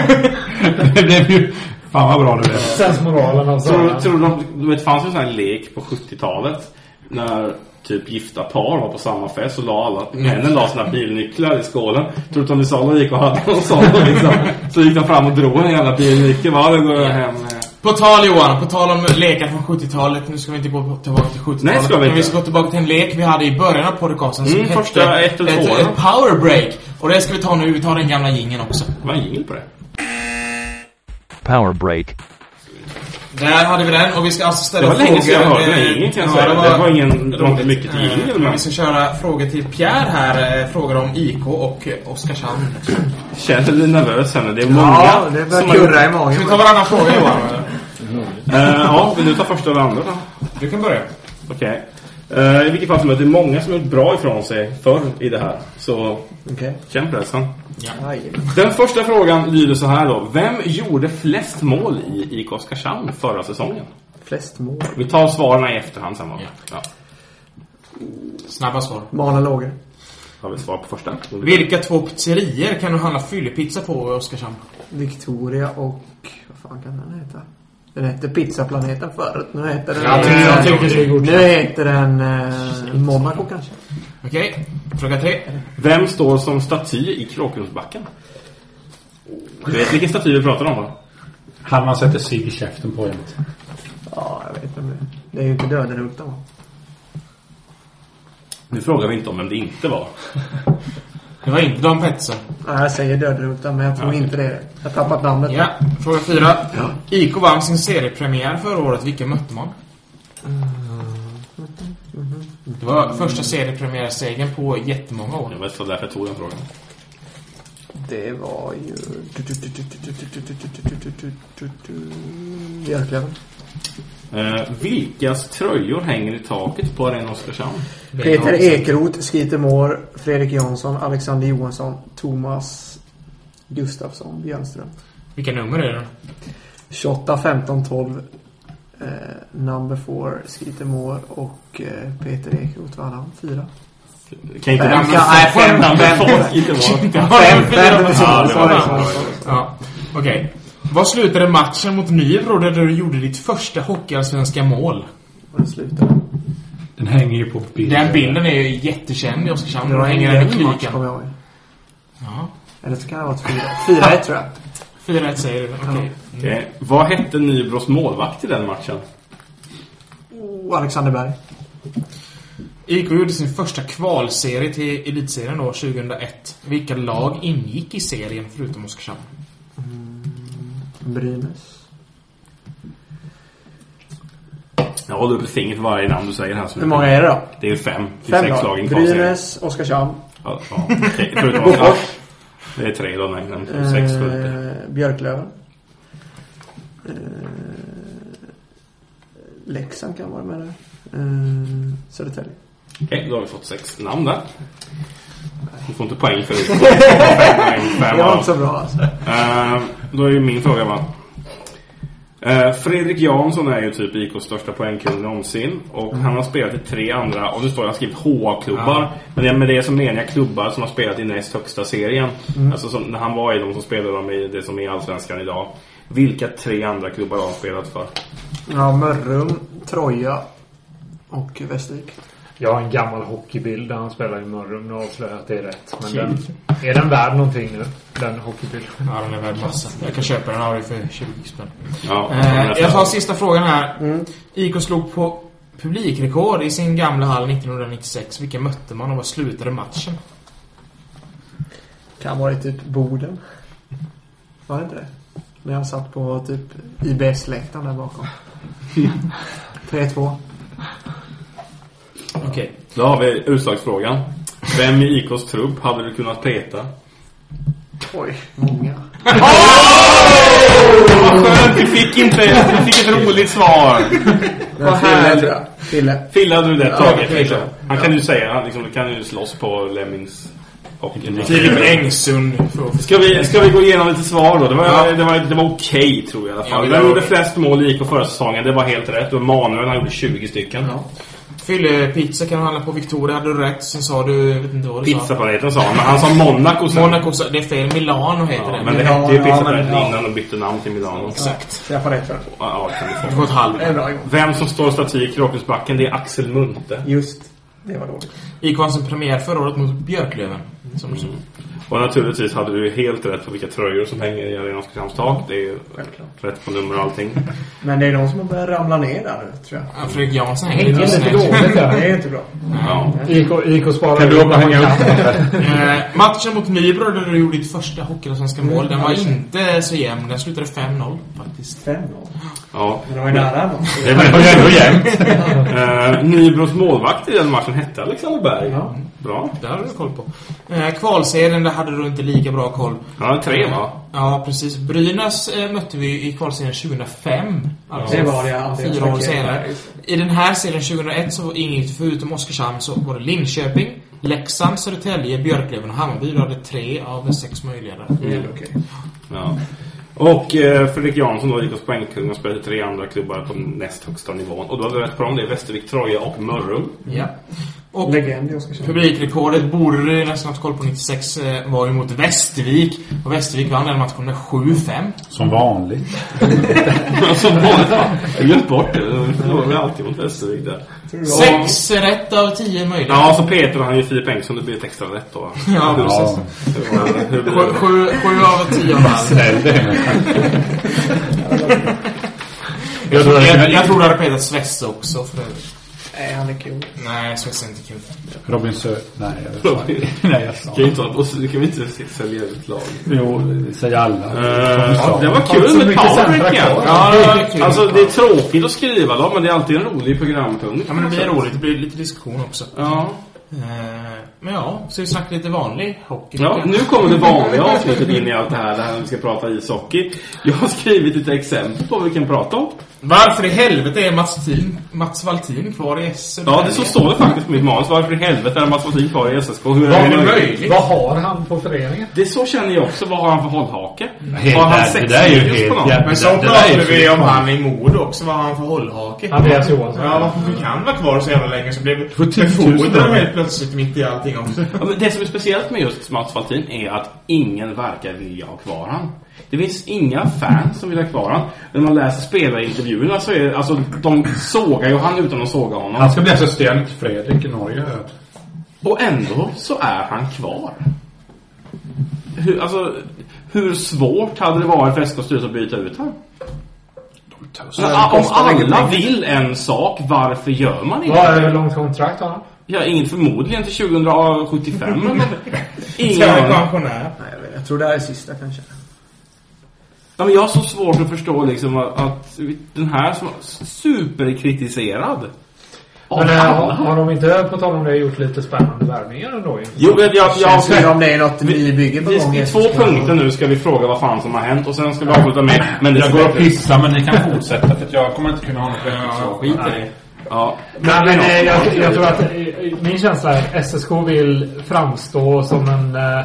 [SPEAKER 3] det blev ju... Fan vad bra det blev.
[SPEAKER 7] Sensmoralen alltså. av
[SPEAKER 4] Tror,
[SPEAKER 7] sagan.
[SPEAKER 4] tror de, du vet, det fanns ju en sån här lek på 70-talet när typ gifta par var på samma fest och la alla, männen la sina bilnycklar i skålen. Tror du Tommy Salo gick och hade någon sån liksom. Så gick de fram och drog en jävla bilnyckel. Va, då går jag hem. eh.
[SPEAKER 5] På tal Johan, på tal om lekar från 70-talet. Nu ska vi inte gå tillbaka till 70-talet.
[SPEAKER 4] Nej, ska vi
[SPEAKER 5] Men vi
[SPEAKER 4] inte.
[SPEAKER 5] ska gå tillbaka till en lek vi hade i början av podcasten
[SPEAKER 4] Mm, första ett eller
[SPEAKER 5] ett-
[SPEAKER 4] två,
[SPEAKER 5] ett
[SPEAKER 4] ja.
[SPEAKER 5] Power break. Och det ska vi ta nu. Vi tar den gamla jingeln också.
[SPEAKER 4] Vad är jingel på det?
[SPEAKER 8] Power break.
[SPEAKER 5] Där hade vi den och vi ska alltså ställa
[SPEAKER 4] Det var
[SPEAKER 5] frågor.
[SPEAKER 4] länge sedan jag hörde den
[SPEAKER 5] Eh,
[SPEAKER 4] här jingeln, kan jag
[SPEAKER 5] ja,
[SPEAKER 4] säga. Det var ingen- det var inte mycket till
[SPEAKER 5] Eh,
[SPEAKER 4] jingel,
[SPEAKER 5] men
[SPEAKER 4] men-
[SPEAKER 5] Vi ska köra frågor till Pierre här. eh, Frågor om IK och eh, Oskarshamn.
[SPEAKER 4] Känner du dig nervös här nu? Det är många som har gjort-
[SPEAKER 5] Ska vi ta varannan fråga Johan?
[SPEAKER 4] Eh, ja, vill du ta första eller andra?
[SPEAKER 5] Du kan börja.
[SPEAKER 4] Okej. Eh, I vilket fall som helst, det är många som har gjort bra ifrån sig förr i det här. Så
[SPEAKER 6] Okej.
[SPEAKER 4] känn pressen. Den första frågan lyder så här då. Vem gjorde flest mål i IK Oskarshamn förra säsongen?
[SPEAKER 6] Flest mål.
[SPEAKER 4] Vi tar svaren i efterhand sen va? Ja.
[SPEAKER 5] Snabba svar.
[SPEAKER 6] Mala lågor.
[SPEAKER 4] Har vi svar på första?
[SPEAKER 5] Vilka två pizzerier kan du handla fyllepizza på i Oskarshamn?
[SPEAKER 6] Victoria och... Vad fan kan den heta? Den hette Pizzaplaneten förut. Nu heter den...
[SPEAKER 5] Jag tycker- jag tycker det är godkänt.
[SPEAKER 6] Nu heter den... Eh, Monaco kanske?
[SPEAKER 5] Okej, fråga tre.
[SPEAKER 4] Vem står som staty i Kråkrumsbacken? Du vet vilken staty vi pratar om va?
[SPEAKER 3] Han man sätter sig i käften på jämt.
[SPEAKER 6] Ja, jag vet inte. Det är ju inte Dödenhulta va?
[SPEAKER 4] Nu frågar vi inte om vem det inte var.
[SPEAKER 5] Det var inte Dan Pettersson.
[SPEAKER 6] Nej, jag säger Dödenhulta men jag tror
[SPEAKER 5] Ja, okej.
[SPEAKER 6] inte det. är det. Jag har tappat namnet.
[SPEAKER 5] Ja, fråga fyra. IK vann sin seriepremiär förra året. Vilka mötte man? Det var första seriepremiärsegern på jättemånga år.
[SPEAKER 4] Det var så därför jag tog den frågan.
[SPEAKER 6] Det var ju... Björklöven.
[SPEAKER 4] Eh, vilkas tröjor hänger i taket på Arena Oskarshamn?
[SPEAKER 6] Peter E. Ekeroth, Skeeter Moore, Fredrik Jansson, Alexander Johansson, Thomas Gustafsson, Björnström.
[SPEAKER 5] Vilka nummer är det?
[SPEAKER 6] 28, 15, 12. Eh, number 4, Skeeter Moore och eh, Peter Ekeroth vann han. Fyra.
[SPEAKER 4] Kan inte
[SPEAKER 6] Fem,
[SPEAKER 4] namnet
[SPEAKER 6] kan- nej,
[SPEAKER 4] fem,
[SPEAKER 6] fem,
[SPEAKER 4] namnet
[SPEAKER 6] fem.
[SPEAKER 4] folk inte vara.
[SPEAKER 6] Fem, fem,
[SPEAKER 5] Ja,
[SPEAKER 6] sorry,
[SPEAKER 5] det var
[SPEAKER 6] sorry,
[SPEAKER 5] det.
[SPEAKER 6] sorry,
[SPEAKER 5] Ja, Okej. Vad slutade matchen mot Nybro där du gjorde ditt första hockeyallsvenska mål?
[SPEAKER 6] Vad slutade
[SPEAKER 3] Den hänger ju på bilden.
[SPEAKER 5] Den bilden är ju jättekänd i Oskarshamn.
[SPEAKER 6] Det
[SPEAKER 5] Då
[SPEAKER 6] var
[SPEAKER 5] hänger
[SPEAKER 6] en
[SPEAKER 5] den i
[SPEAKER 6] jämn match,
[SPEAKER 5] klykan.
[SPEAKER 6] kommer jag ihåg.
[SPEAKER 5] Ja.
[SPEAKER 6] Eller så kan det ha varit fyra. Fyra, ett, tror jag.
[SPEAKER 5] 4-1 säger du. Okej.
[SPEAKER 4] Okej. Eh, Vad hette Nybros målvakt i den matchen?
[SPEAKER 6] Oh, Alexander Berg.
[SPEAKER 5] IK gjorde sin första kvalserie till Elitserien då, 2001. Vilka lag ingick i serien förutom Oskarshamn?
[SPEAKER 6] Brynäs.
[SPEAKER 4] Jag håller upp ett finger för varje namn du säger här. så
[SPEAKER 6] Hur många är det då?
[SPEAKER 4] Det är ju fem. Det är
[SPEAKER 6] Fem
[SPEAKER 4] sex lag
[SPEAKER 6] lag.
[SPEAKER 4] i en kvalserie.
[SPEAKER 6] Brynäs, Oskarshamn,
[SPEAKER 4] Ja, ja, okej. Förutom
[SPEAKER 6] Bofors.
[SPEAKER 4] ja, Det är tre då, nej. nej, Sex, sju.
[SPEAKER 6] Eh, Björklöven. Eh, Leksand kan vara med där. Eh, Södertälje.
[SPEAKER 4] Okej, då har vi fått sex namn där. Du får inte poäng för det. Fem poäng, fem
[SPEAKER 6] Det var
[SPEAKER 4] av
[SPEAKER 6] inte så
[SPEAKER 4] dem.
[SPEAKER 6] bra, alltså.
[SPEAKER 4] Eh, Då är ju min fråga va. Eh, Fredrik Jansson är ju typ IKs största poängkung någonsin. Och han har spelat i tre andra, och nu står det han skrivit HA-klubbar.
[SPEAKER 13] Ja.
[SPEAKER 4] Men det- med det som menar jag klubbar som har spelat i näst högsta serien.
[SPEAKER 13] Mm.
[SPEAKER 4] Alltså som, när han var i de som spelade dem i det som är Allsvenskan idag. Vilka tre andra klubbar har han spelat för?
[SPEAKER 6] Ja, Mörrum, Troja och Västervik.
[SPEAKER 7] Jag har en gammal hockeybild där han spelar i Mörrum. Nu avslöjar jag att det är rätt. Men den, är den värd någonting nu? Den hockeybilden?
[SPEAKER 5] Ja, den är värd massa. Jag kan köpa den av dig för 20 spänn.
[SPEAKER 4] Ja,
[SPEAKER 5] Eh, jag tar sista frågan här. IK slog på publikrekord i sin gamla hall 1996. Vilka mötte man och vad slutade matchen?
[SPEAKER 6] Kan vara i typ Boden. Var det inte det? När jag satt på typ IBS-läktaren där bakom. 3-2.
[SPEAKER 5] Okej.
[SPEAKER 4] Då har vi utslagsfrågan. Vem i IKs trupp hade du kunnat peta?
[SPEAKER 6] Oj, många.
[SPEAKER 4] Vad skönt, vi fick inte vi fick ett roligt svar. Vad härligt.
[SPEAKER 6] Fille.
[SPEAKER 4] Fille hade du det
[SPEAKER 6] Ja,
[SPEAKER 4] taget.
[SPEAKER 6] Fille.
[SPEAKER 4] Fille. Han kan ju säga, han liksom, kan ju slåss på Lemmings. Och
[SPEAKER 5] Typ
[SPEAKER 4] Typ
[SPEAKER 5] Filip Engsund.
[SPEAKER 4] Ska vi, ska vi gå igenom lite svar då? Det var, det var, det var okej tror jag i alla
[SPEAKER 5] Ja,
[SPEAKER 4] fall.
[SPEAKER 5] det var
[SPEAKER 4] Vem gjorde
[SPEAKER 5] okej.
[SPEAKER 4] flest mål i IK förra säsongen? Det var helt rätt. Och Manuel han gjorde 20 stycken.
[SPEAKER 5] Fyllepizza kan du handla på Victoria, hade du rätt. Sen sa du... Jag vet inte vad du sa.
[SPEAKER 4] Pizzaplaneten sa han, men han sa Monaco sen.
[SPEAKER 5] Monaco, sa- det är fel. Milano heter
[SPEAKER 4] Ja,
[SPEAKER 5] det.
[SPEAKER 4] men det hette ju
[SPEAKER 5] Milano,
[SPEAKER 4] Pizza
[SPEAKER 5] ja, men-
[SPEAKER 4] Planet
[SPEAKER 5] ja.
[SPEAKER 4] innan de bytte namn till Milano.
[SPEAKER 5] Exakt.
[SPEAKER 6] Jag får rätt för det.
[SPEAKER 4] Ja, ja, kan
[SPEAKER 5] Du får ett halvt.
[SPEAKER 4] Det är bra, Vem som står staty i Kråkensbacken, det är Axel Munthe.
[SPEAKER 6] Just. Det var dåligt.
[SPEAKER 5] IK vann sin premiär förra året mot Björklöven. Som
[SPEAKER 4] Mm.
[SPEAKER 5] du sa.
[SPEAKER 4] Och naturligtvis hade du ju helt rätt på vilka tröjor som hänger i Arena Oskarshamns tak. Det är ju rätt på nummer och allting.
[SPEAKER 6] Men det är de som har börjat ramla ner där nu, tror jag.
[SPEAKER 5] Ja, Fredrik Jansson
[SPEAKER 7] hänger ju lite dåligt där.
[SPEAKER 6] Det är inte bra.
[SPEAKER 4] Ja.
[SPEAKER 7] IK, IK sparar
[SPEAKER 4] Kan du
[SPEAKER 7] ut
[SPEAKER 4] åka
[SPEAKER 7] när man
[SPEAKER 4] hänga
[SPEAKER 7] kan.
[SPEAKER 5] Eh, matchen mot Nybro där du gjorde ditt första hockeyallsvenska mål, den var
[SPEAKER 7] Mm.
[SPEAKER 5] inte så jämn. Den slutade 5-0 faktiskt.
[SPEAKER 6] 5-0?
[SPEAKER 4] Ja.
[SPEAKER 6] Men det var ju nära ändå.
[SPEAKER 4] Det var ju ändå jämnt. Eh, Nybros målvakt i den matchen hette Alexander Berg. Bra.
[SPEAKER 5] Det hade du koll på. Eh, kvalserien, där hade du inte lika bra koll.
[SPEAKER 4] Ja, tre, va?
[SPEAKER 5] Ja, precis. Brynäs eh, mötte vi i kvalserien 2005. Alltså
[SPEAKER 6] Det var det, ja.
[SPEAKER 5] fyra år
[SPEAKER 6] Okej.
[SPEAKER 5] senare. I den här serien 2001 så ingick förutom Oskarshamn så var det Linköping, Leksand, Södertälje, Björklöven och Hammarby. Du hade tre av sex möjliga där.
[SPEAKER 4] Mm. Ja. Och eh, Fredrik Jansson då, IKs poängkung, har spelat i tre andra klubbar på näst högsta nivån. Och då hade du rätt på dem. Det är Västervik, Troja och Mörrum.
[SPEAKER 5] Ja. Och
[SPEAKER 6] Legend i Oskarshamn.
[SPEAKER 5] publikrekordet borde du ju nästan haft koll på 96 eh, var ju mot Västervik. Och Västervik vann den matchen med 7-5.
[SPEAKER 3] Som vanligt.
[SPEAKER 4] Som vanligt. va? Jag glömde bort det. Vi förlorar alltid mot Västervik där.
[SPEAKER 5] Sex rätt av tio möjliga.
[SPEAKER 4] Ja, så Peter han ju Filip Bengtsson. Det blir ett extra rätt då.
[SPEAKER 5] Ja, precis.
[SPEAKER 4] Ja. Hur blir
[SPEAKER 5] Sju,
[SPEAKER 4] det?
[SPEAKER 5] sju, sju av tio av allt.
[SPEAKER 4] Snäll du.
[SPEAKER 5] jag, tror, jag, jag tror det hade petat Svesse också för övrigt.
[SPEAKER 6] Nej, han är cool.
[SPEAKER 5] Nej, Svesse är inte kul.
[SPEAKER 3] Robin Sö... Nej, jag vet
[SPEAKER 4] Robin.
[SPEAKER 3] inte. Nej, jag sa
[SPEAKER 4] Kan ju inte vara på- kan vi inte sälja ut lag?
[SPEAKER 3] Jo, det säger alla.
[SPEAKER 4] Eh,
[SPEAKER 3] Som sa.
[SPEAKER 4] det var
[SPEAKER 3] Allt
[SPEAKER 4] kul
[SPEAKER 3] så
[SPEAKER 4] med
[SPEAKER 3] mycket
[SPEAKER 4] powerbrickan.
[SPEAKER 3] centra kvar.
[SPEAKER 4] Ja,
[SPEAKER 3] Det är kul.
[SPEAKER 4] alltså det är tråkigt att skriva då, men det är alltid en rolig programpunkt.
[SPEAKER 5] Ja, men det blir roligt. Det blir lite diskussion också.
[SPEAKER 4] Ja.
[SPEAKER 5] Eh, Men ja, så vi snackar lite vanlig hockey.
[SPEAKER 4] Ja, nu kommer det vanliga avsnittet in i allt det här, det här när vi ska prata ishockey. Jag har skrivit lite exempel på vad vi kan prata om.
[SPEAKER 5] Varför i helvete är Mats, Tin, Mats Valtin kvar i SSL?
[SPEAKER 4] Ja, det så står det faktiskt på mitt manus. Varför i helvete är Mats Wallin kvar i SSK? Hur
[SPEAKER 5] Vad
[SPEAKER 4] är det
[SPEAKER 5] är
[SPEAKER 4] möjligt?
[SPEAKER 7] Vad har han på föreningen?
[SPEAKER 4] Det så känner jag också. Vad har han för hållhake?
[SPEAKER 7] Helt
[SPEAKER 4] har han
[SPEAKER 7] ärligt, det där är ju
[SPEAKER 4] videos
[SPEAKER 7] helt
[SPEAKER 4] någon?
[SPEAKER 7] jävla-
[SPEAKER 5] Men så
[SPEAKER 7] Det där är
[SPEAKER 5] pratade
[SPEAKER 7] ju
[SPEAKER 5] vi
[SPEAKER 7] fint.
[SPEAKER 5] om han i Modo också, vad har han för hållhake?
[SPEAKER 7] Andreas Johansson.
[SPEAKER 5] Ja, varför fick han vara kvar så jävla länge så blev
[SPEAKER 4] 70 000
[SPEAKER 5] befordrad helt plötsligt mitt i allting också.
[SPEAKER 4] Ja, men det som är speciellt med just Mats Valtin är att ingen verkar vilja ha kvar han. Det finns inga fans som vill ha kvar han. När man läser spelarintervjuerna så är det, alltså, de sågar ju han utan att såga honom.
[SPEAKER 3] Han ska bli assistent Fredrik i Norge. har jag hört.
[SPEAKER 4] Och ändå så är han kvar. Hur, alltså, hur svårt hade det varit för SKs styrelse att byta ut honom?
[SPEAKER 3] tusen.
[SPEAKER 4] Men, ah, om
[SPEAKER 3] Kostar inget
[SPEAKER 4] alla
[SPEAKER 3] pengar.
[SPEAKER 4] vill en sak, varför gör man inte
[SPEAKER 7] Vad är
[SPEAKER 4] det?
[SPEAKER 7] hur eh, långt kontrakt har han?
[SPEAKER 4] Ja, inget förmodligen till 2075 eller något.
[SPEAKER 6] Ska
[SPEAKER 4] Ingen
[SPEAKER 6] jag
[SPEAKER 4] aning.
[SPEAKER 6] vara
[SPEAKER 5] pensionär?
[SPEAKER 6] Nej, jag, vet, jag tror det här är sista kanske.
[SPEAKER 4] Ja, men jag har så svårt att förstå liksom att, att den här som superkritiserad
[SPEAKER 7] Men äh, har, har de inte, på tal om det, gjort lite spännande värvningar ändå?
[SPEAKER 4] Jo, men jag... jag
[SPEAKER 6] vi, nybygge
[SPEAKER 4] vi, I två punkter nu ska vi fråga vad fan som har hänt och sen ska vi avsluta med... Men det
[SPEAKER 3] jag
[SPEAKER 4] ska
[SPEAKER 3] går och
[SPEAKER 4] inte-
[SPEAKER 3] pissar men ni kan fortsätta för att jag kommer inte kunna ha något
[SPEAKER 4] Ja, skit i det. Ja.
[SPEAKER 7] Nej, men eh, jag, jag tror att eh, min känsla är att SSK vill framstå som en, eh,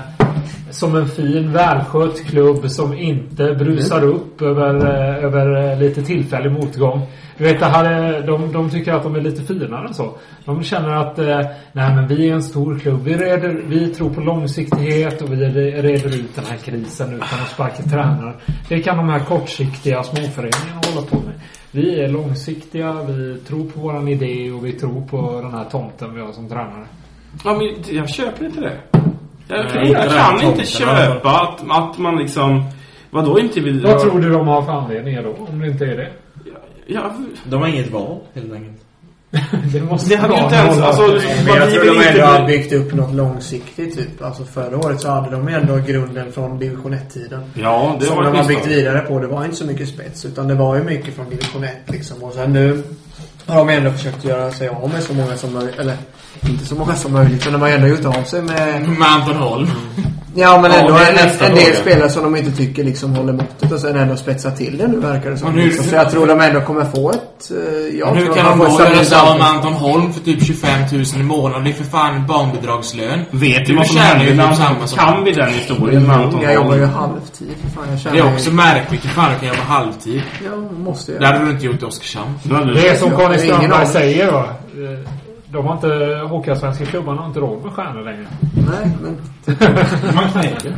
[SPEAKER 7] som en fin, välskött klubb som inte brusar upp över, eh, över eh, lite tillfällig motgång. Du vet, det här, är- de, de tycker att de är lite finare och så. De känner att eh, nej, men vi är en stor klubb. Vi, reder, vi tror på långsiktighet och vi re- reder ut den här krisen utan att sparka tränare. Det kan de här kortsiktiga småföreningarna hålla på med. Vi är långsiktiga, vi tror på våran idé och vi tror på den här tomten vi har som tränare.
[SPEAKER 4] Ja, men jag köper inte det. Jag,
[SPEAKER 7] Nej,
[SPEAKER 4] tror-
[SPEAKER 7] inte
[SPEAKER 4] jag
[SPEAKER 7] den
[SPEAKER 4] kan
[SPEAKER 7] tomten,
[SPEAKER 4] inte köpa att, att man liksom... Vadå inte vill...
[SPEAKER 7] Vad tror du de har för anledningar då, om det inte är det?
[SPEAKER 4] Ja,
[SPEAKER 5] De har inget val, helt enkelt.
[SPEAKER 7] det måste
[SPEAKER 4] Det hade ju
[SPEAKER 7] vara
[SPEAKER 4] inte ens-
[SPEAKER 7] någon-
[SPEAKER 4] alltså,
[SPEAKER 6] Men jag
[SPEAKER 4] vi
[SPEAKER 6] tror
[SPEAKER 4] vill
[SPEAKER 6] de
[SPEAKER 4] inte
[SPEAKER 6] ändå
[SPEAKER 4] bli-
[SPEAKER 6] har byggt upp något långsiktigt typ. Alltså förra året så hade de ändå grunden från division 1-tiden.
[SPEAKER 4] Ja, det
[SPEAKER 6] Som
[SPEAKER 4] var
[SPEAKER 6] de
[SPEAKER 4] ett
[SPEAKER 6] har
[SPEAKER 4] misstag.
[SPEAKER 6] byggt vidare på. Det var inte så mycket spets. Utan det var ju mycket från division 1 liksom. Och sen nu har de ändå försökt göra sig av med så många som möjligt. Eller inte så många som möjligt. Men de har ändå gjort av sig med...
[SPEAKER 5] Med Anton Holm.
[SPEAKER 6] Ja men
[SPEAKER 5] Ja,
[SPEAKER 6] ändå
[SPEAKER 5] det är
[SPEAKER 6] en,
[SPEAKER 5] nästa
[SPEAKER 6] en del
[SPEAKER 5] fråga.
[SPEAKER 6] spelare som de inte tycker liksom håller måttet och sen ändå spetsar till det nu verkar det som.
[SPEAKER 5] Men hur-
[SPEAKER 6] liksom. Så jag tror de ändå kommer få ett... eh, Jag
[SPEAKER 5] Men hur
[SPEAKER 6] tror
[SPEAKER 5] kan
[SPEAKER 6] de
[SPEAKER 5] de
[SPEAKER 6] får
[SPEAKER 5] då göra
[SPEAKER 6] stabilt
[SPEAKER 5] sig av med
[SPEAKER 6] allsvenskt.
[SPEAKER 5] Anton Holm för typ 25 000 i månaden? Det är för fan barnbidragslön.
[SPEAKER 4] Vet
[SPEAKER 5] du vad som hände
[SPEAKER 4] när-
[SPEAKER 5] samma som
[SPEAKER 4] Kan vi den historien med Anton
[SPEAKER 6] Mm, Jag jobbar
[SPEAKER 4] Holm?
[SPEAKER 6] ju halvtid för fan. Jag
[SPEAKER 5] Det
[SPEAKER 6] tjänar
[SPEAKER 5] är
[SPEAKER 6] ju-
[SPEAKER 5] också märkligt. Hur fan du kan jobba halvtid?
[SPEAKER 6] Ja, måste jag.
[SPEAKER 5] Det hade du inte gjort i Oskarshamn.
[SPEAKER 7] Det är som Conny
[SPEAKER 6] Ingen
[SPEAKER 7] Strömberg
[SPEAKER 6] aning.
[SPEAKER 7] säger va. Eh, De har inte, Hockeyallsvenska klubbarna har inte råd med stjärnor längre.
[SPEAKER 6] Nej, men...
[SPEAKER 7] Man knäcker.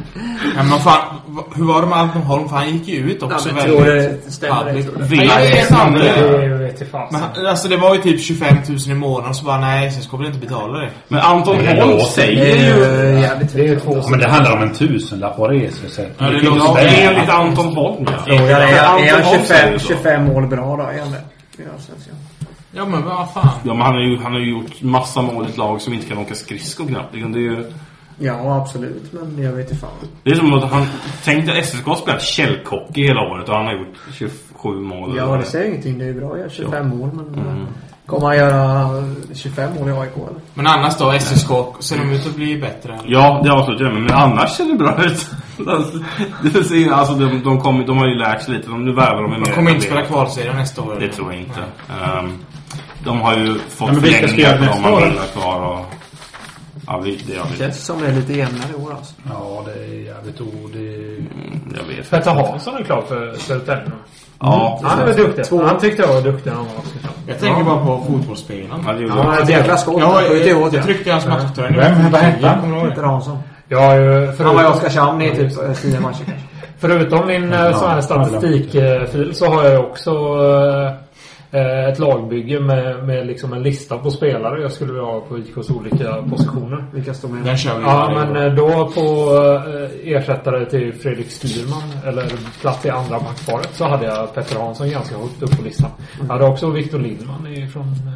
[SPEAKER 5] Ja, men fan, va- hur var det med Anton Holm? För han gick ju ut också
[SPEAKER 6] Ja, men tror
[SPEAKER 5] Alltså, väldigt
[SPEAKER 6] det stämmer,
[SPEAKER 5] public.
[SPEAKER 6] tror det.
[SPEAKER 5] Vet-
[SPEAKER 7] Ja, det är sant.
[SPEAKER 5] men-
[SPEAKER 7] Det vet jag fan.
[SPEAKER 5] Men han- alltså det var ju typ 25 000 i månaden så bara nej, sen ska vi inte betala det.
[SPEAKER 4] Men Anton
[SPEAKER 3] Det är
[SPEAKER 4] Holm
[SPEAKER 3] lågt.
[SPEAKER 4] säger ju...
[SPEAKER 7] Det är två
[SPEAKER 3] Men det handlar om en tusenlapp och resesätt.
[SPEAKER 4] Ja, det låter
[SPEAKER 3] finns
[SPEAKER 4] ja,
[SPEAKER 3] där.
[SPEAKER 4] enligt Anton Holm. ja.
[SPEAKER 6] Frågan är,
[SPEAKER 4] För
[SPEAKER 6] är
[SPEAKER 4] Anton
[SPEAKER 6] han
[SPEAKER 4] Holm säger
[SPEAKER 6] 25,
[SPEAKER 4] så.
[SPEAKER 6] 25 mål bra då? Är han det? I Allsvenskan?
[SPEAKER 5] Ja men vad fan.
[SPEAKER 4] Ja, men han har ju, han har ju gjort massa mål i ett lag som inte kan åka skridskor knappt. Det är ju...
[SPEAKER 6] Ja, absolut. Men jag vet inte fan.
[SPEAKER 4] Det är som att han tänkte att SSK har spelat källkock i hela året och han har gjort 27 mål. eller
[SPEAKER 6] Ja, Mm.
[SPEAKER 4] vad
[SPEAKER 6] det
[SPEAKER 4] är.
[SPEAKER 6] säger ingenting. Det är ju bra att göra 25 mål, men... eh, Kommer han göra 25 mål i AIK eller?
[SPEAKER 5] Men annars då, SSK, ser de ut att bli bättre? eller?
[SPEAKER 4] Ja, det avslutar jag med. Men annars ser det bra ut. Alltså, det ser, alltså, de, de, kom, de har ju lärt sig lite. De, nu värvar de ju mer.
[SPEAKER 5] De kommer inte
[SPEAKER 4] etablerade.
[SPEAKER 5] spela kvalserie nästa år.
[SPEAKER 4] Det tror jag inte. Ehm, de har ju fått
[SPEAKER 3] Ja, men vilka ska göra
[SPEAKER 4] förlängningar på de man
[SPEAKER 3] nästa år?
[SPEAKER 4] vill ha kvar. Och, ja, vi, det gör
[SPEAKER 6] Det
[SPEAKER 4] vi.
[SPEAKER 6] känns som det är lite jämnare i år alltså.
[SPEAKER 3] Ja, det är jävligt o... Det är...
[SPEAKER 4] Mm, jag vet.
[SPEAKER 7] Petter Hansson är klar för Södertälje nu.
[SPEAKER 4] Ja,
[SPEAKER 3] Mm.
[SPEAKER 7] Han var duktig. Han tyckte jag var duktig när han var Oskarshamn.
[SPEAKER 5] Jag tänker bara på fotbollsspelarna.
[SPEAKER 4] ja, det gjorde
[SPEAKER 6] Ja,
[SPEAKER 4] jag.
[SPEAKER 6] ett jävla skål.
[SPEAKER 5] Jag,
[SPEAKER 6] Sjukt i år,
[SPEAKER 5] jag,
[SPEAKER 6] ja.
[SPEAKER 5] jag tryckte hans matchtröja.
[SPEAKER 3] Vem? Vad hette
[SPEAKER 5] Jag
[SPEAKER 3] han?
[SPEAKER 5] kommer ihåg det.
[SPEAKER 6] Peter Hansson.
[SPEAKER 7] Jag har ju...
[SPEAKER 6] Han var i
[SPEAKER 7] Förutom,
[SPEAKER 6] Oskarshamn i typ eh, 10 matcher kanske.
[SPEAKER 7] förutom min eh, sån här statistikfil så har jag ju också eh, eh, ett lagbygge med, med liksom en lista på spelare jag skulle vilja ha på IKs olika positioner.
[SPEAKER 6] Vilka står med?
[SPEAKER 5] Den kör vi.
[SPEAKER 7] Ja,
[SPEAKER 5] varje
[SPEAKER 7] men
[SPEAKER 5] år.
[SPEAKER 7] eh, då på eh, ersättare till Fredrik Styrman, eller plats i andra backparet, så hade jag Petter Hansson ganska högt upp på listan. Jag hade också Viktor Lindman i- från, eh,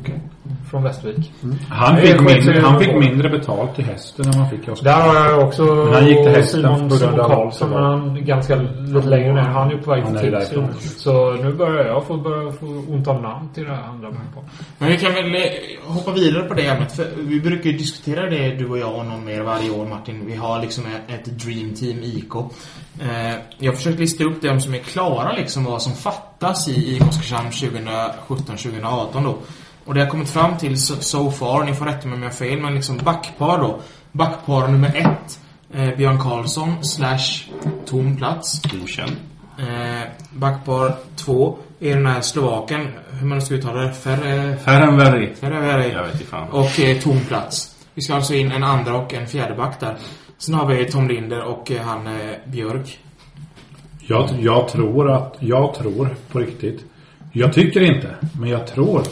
[SPEAKER 6] Okej.
[SPEAKER 7] från Västervik.
[SPEAKER 3] Han,
[SPEAKER 7] Det
[SPEAKER 3] fick
[SPEAKER 7] skiter
[SPEAKER 3] mindre,
[SPEAKER 7] ju
[SPEAKER 3] han
[SPEAKER 7] på.
[SPEAKER 3] fick mindre betalt i hästen än man fick i
[SPEAKER 7] Där har jag också
[SPEAKER 3] Men han gick till hästen
[SPEAKER 7] Simon
[SPEAKER 3] på grund av-
[SPEAKER 7] Karlsson, men han är ganska lite längre ner. Han är ju på väg
[SPEAKER 3] Han är
[SPEAKER 7] till
[SPEAKER 3] därifrån.
[SPEAKER 7] Tipsy. Så nu börjar jag få, börja få ont om namn till det här andra backparet.
[SPEAKER 5] Men vi kan väl eh, hoppa vidare på det ämnet. För vi brukar ju diskutera det, du och jag och någon mer varje år Martin. Vi har liksom ett Dream Team IK. Eh, Jag har försökt lista upp dem som är klara liksom, vad som fattas i IK Oskarshamn 2017-2018 då. Och det jag kommit fram till so, so far, ni får rätta mig om jag har fel, men liksom backpar då. Backpar nummer ett, eh, Björn Karlsson slash tom plats.
[SPEAKER 4] Okänd.
[SPEAKER 5] Eh, backpar två är den här slovaken, hur man ska uttala det, Ferre...
[SPEAKER 4] Ferrenberg.
[SPEAKER 5] Ja, det är det.
[SPEAKER 4] Jag vet inte fan.
[SPEAKER 5] Och eh, tom plats. Vi ska alltså in en andra och en fjärde back där. Sen har vi Tom Linder och eh, han eh, Björk.
[SPEAKER 3] Jag, jag tror att, jag tror på riktigt. Jag tycker inte, men jag tror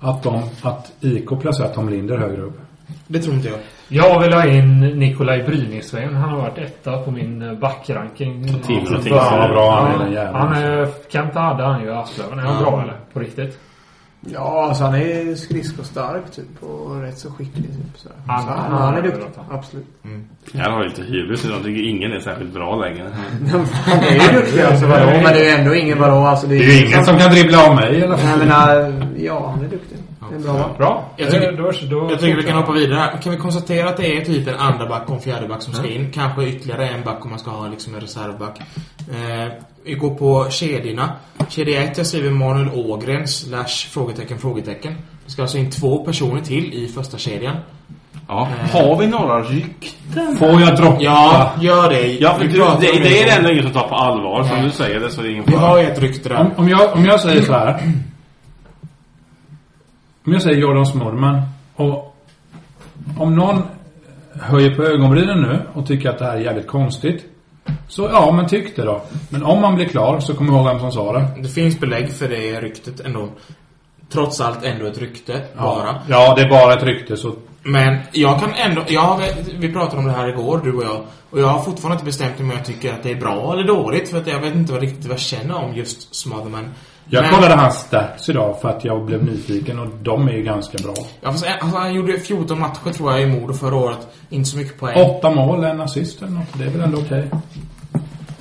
[SPEAKER 3] att de, att IK placerar Tom Linder högre upp.
[SPEAKER 5] Det tror inte jag.
[SPEAKER 7] Jag vill ha in Nikolaj Brynäsveien. Han har varit etta på min eh, backranking.
[SPEAKER 4] Tim
[SPEAKER 7] Från
[SPEAKER 4] och Tim.
[SPEAKER 7] början.
[SPEAKER 4] Fan, vad
[SPEAKER 3] bra han är,
[SPEAKER 7] Ja,
[SPEAKER 3] den jäveln.
[SPEAKER 7] Han är... Kent hade han ju i Asplöven. Är han
[SPEAKER 5] Ja.
[SPEAKER 7] bra eller? På riktigt?
[SPEAKER 6] Ja, alltså han är skridskostark typ och rätt så skicklig typ. Så.
[SPEAKER 7] Han-
[SPEAKER 6] så
[SPEAKER 7] han-
[SPEAKER 6] han, han är duktig.
[SPEAKER 7] han-
[SPEAKER 6] Absolut.
[SPEAKER 4] Jag har ju lite hybris idag. Jag tycker ingen är särskilt bra längre.
[SPEAKER 6] Han är ju duktig alltså vadå? Men det är ju ändå ingen vadå alltså. Det
[SPEAKER 3] Det är ju ingen som kan dribbla av mig i alla
[SPEAKER 6] Jag
[SPEAKER 3] fall.
[SPEAKER 6] menar, äh, ja han är duktig.
[SPEAKER 5] Ja.
[SPEAKER 6] Det är bra.
[SPEAKER 7] Bra.
[SPEAKER 5] Jag tycker,
[SPEAKER 7] Eh, då- då-
[SPEAKER 5] jag tycker vi kan hoppa vidare. Kan vi konstatera att det är typ en andra back och en fjärde back som ska in? Kanske ytterligare en back om man ska ha liksom en reservback. Eh, vi går på kedjorna. Kedja 1, jag skriver Manuel Ågren slash frågetecken frågetecken. Det ska alltså in två personer till i första kedjan.
[SPEAKER 4] Ja. Har vi några rykten?
[SPEAKER 5] Får jag droppa? Ja, gör det.
[SPEAKER 4] Ja, för
[SPEAKER 5] Vi
[SPEAKER 4] du,
[SPEAKER 5] pratar
[SPEAKER 4] det,
[SPEAKER 5] om
[SPEAKER 4] det är
[SPEAKER 5] det.
[SPEAKER 4] det enda ingen som tar på allvar. Som
[SPEAKER 5] Nej.
[SPEAKER 4] du säger det så är det ingen
[SPEAKER 5] Vi
[SPEAKER 4] fara.
[SPEAKER 5] har ju ett rykte där.
[SPEAKER 3] Om, om, jag, om jag säger så här. Om jag säger Jordan Smorman och om någon höjer på ögonbrynen nu och tycker att det här är jävligt konstigt. Så ja, men tyck det då. Men om man blir klar så kommer jag ihåg vem som sa det.
[SPEAKER 5] Det finns belägg för det ryktet ändå. Trots allt ändå ett rykte,
[SPEAKER 3] Ja.
[SPEAKER 5] bara.
[SPEAKER 3] Ja, det är bara ett rykte så...
[SPEAKER 5] Men jag kan ändå... Ja, vi pratade om det här igår, du och jag. Och jag har fortfarande inte bestämt mig om jag tycker att det är bra eller dåligt. För att jag vet inte vad riktigt vad jag känner om just Smotherman.
[SPEAKER 3] Jag
[SPEAKER 5] Men-
[SPEAKER 3] kollade hans stats idag för att jag blev nyfiken och de är ju ganska bra.
[SPEAKER 5] Ja, fast, alltså, han gjorde 14 matcher tror jag i Modo förra året. Inte så mycket poäng.
[SPEAKER 3] Åtta mål, en assist eller något. Det är väl ändå okej.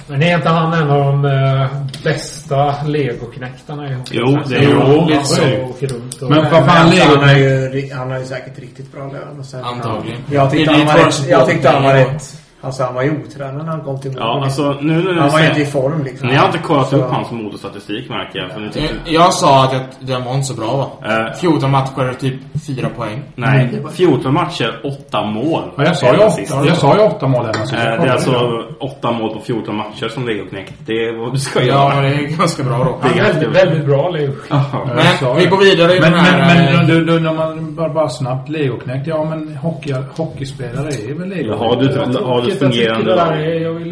[SPEAKER 7] Men är inte han en av de eh, bästa legoknäktarna i hockey?
[SPEAKER 3] Jo, det är
[SPEAKER 7] Jo,
[SPEAKER 3] han.
[SPEAKER 7] lite
[SPEAKER 3] Ja,
[SPEAKER 7] så.
[SPEAKER 3] det är-
[SPEAKER 7] åker runt och-
[SPEAKER 3] Men vad fan, Lego-
[SPEAKER 6] han, har ju, han har ju säkert riktigt bra lön. Och sen,
[SPEAKER 4] Antagligen.
[SPEAKER 6] Jag tyckte
[SPEAKER 4] Det är
[SPEAKER 6] han var
[SPEAKER 4] lite
[SPEAKER 6] rätt. Jag tyckte han var
[SPEAKER 4] förutsättning.
[SPEAKER 6] rätt. Alltså han var ju otränad när han kom till
[SPEAKER 4] Ja, alltså nu när du
[SPEAKER 6] Han var ju
[SPEAKER 4] säger-
[SPEAKER 6] inte i form liksom.
[SPEAKER 4] Ni har inte kollat
[SPEAKER 6] Så-
[SPEAKER 5] Alltså-
[SPEAKER 4] upp hans modostatistik märker jag. För ni tycker...
[SPEAKER 5] Eh, Jag, jag sa att jag, den var inte så bra va?
[SPEAKER 3] Eh.
[SPEAKER 5] 14 matcher är typ 4 poäng.
[SPEAKER 4] Nej, 14 matcher, 8 mål.
[SPEAKER 5] Ja, jag sa ju
[SPEAKER 4] Assist.
[SPEAKER 5] åtta. Jag sa ju åtta
[SPEAKER 3] mål
[SPEAKER 5] assist.
[SPEAKER 4] Eh, Det är alltså 8 mål på 14 matcher som legoknekt. Det är vad du ska
[SPEAKER 5] Ja,
[SPEAKER 4] göra.
[SPEAKER 5] men det är ganska bra då.
[SPEAKER 4] Det är ganska
[SPEAKER 7] bra Leo.
[SPEAKER 4] Ja.
[SPEAKER 3] Jag sa det. men,
[SPEAKER 4] den här,
[SPEAKER 3] Men,
[SPEAKER 4] eh,
[SPEAKER 3] men du, du, när man bara, bara snabbt legoknäckt. Ja, men hockey, hockeyspelare är väl legoknäckt.
[SPEAKER 4] har du- har du ett fungerande lag?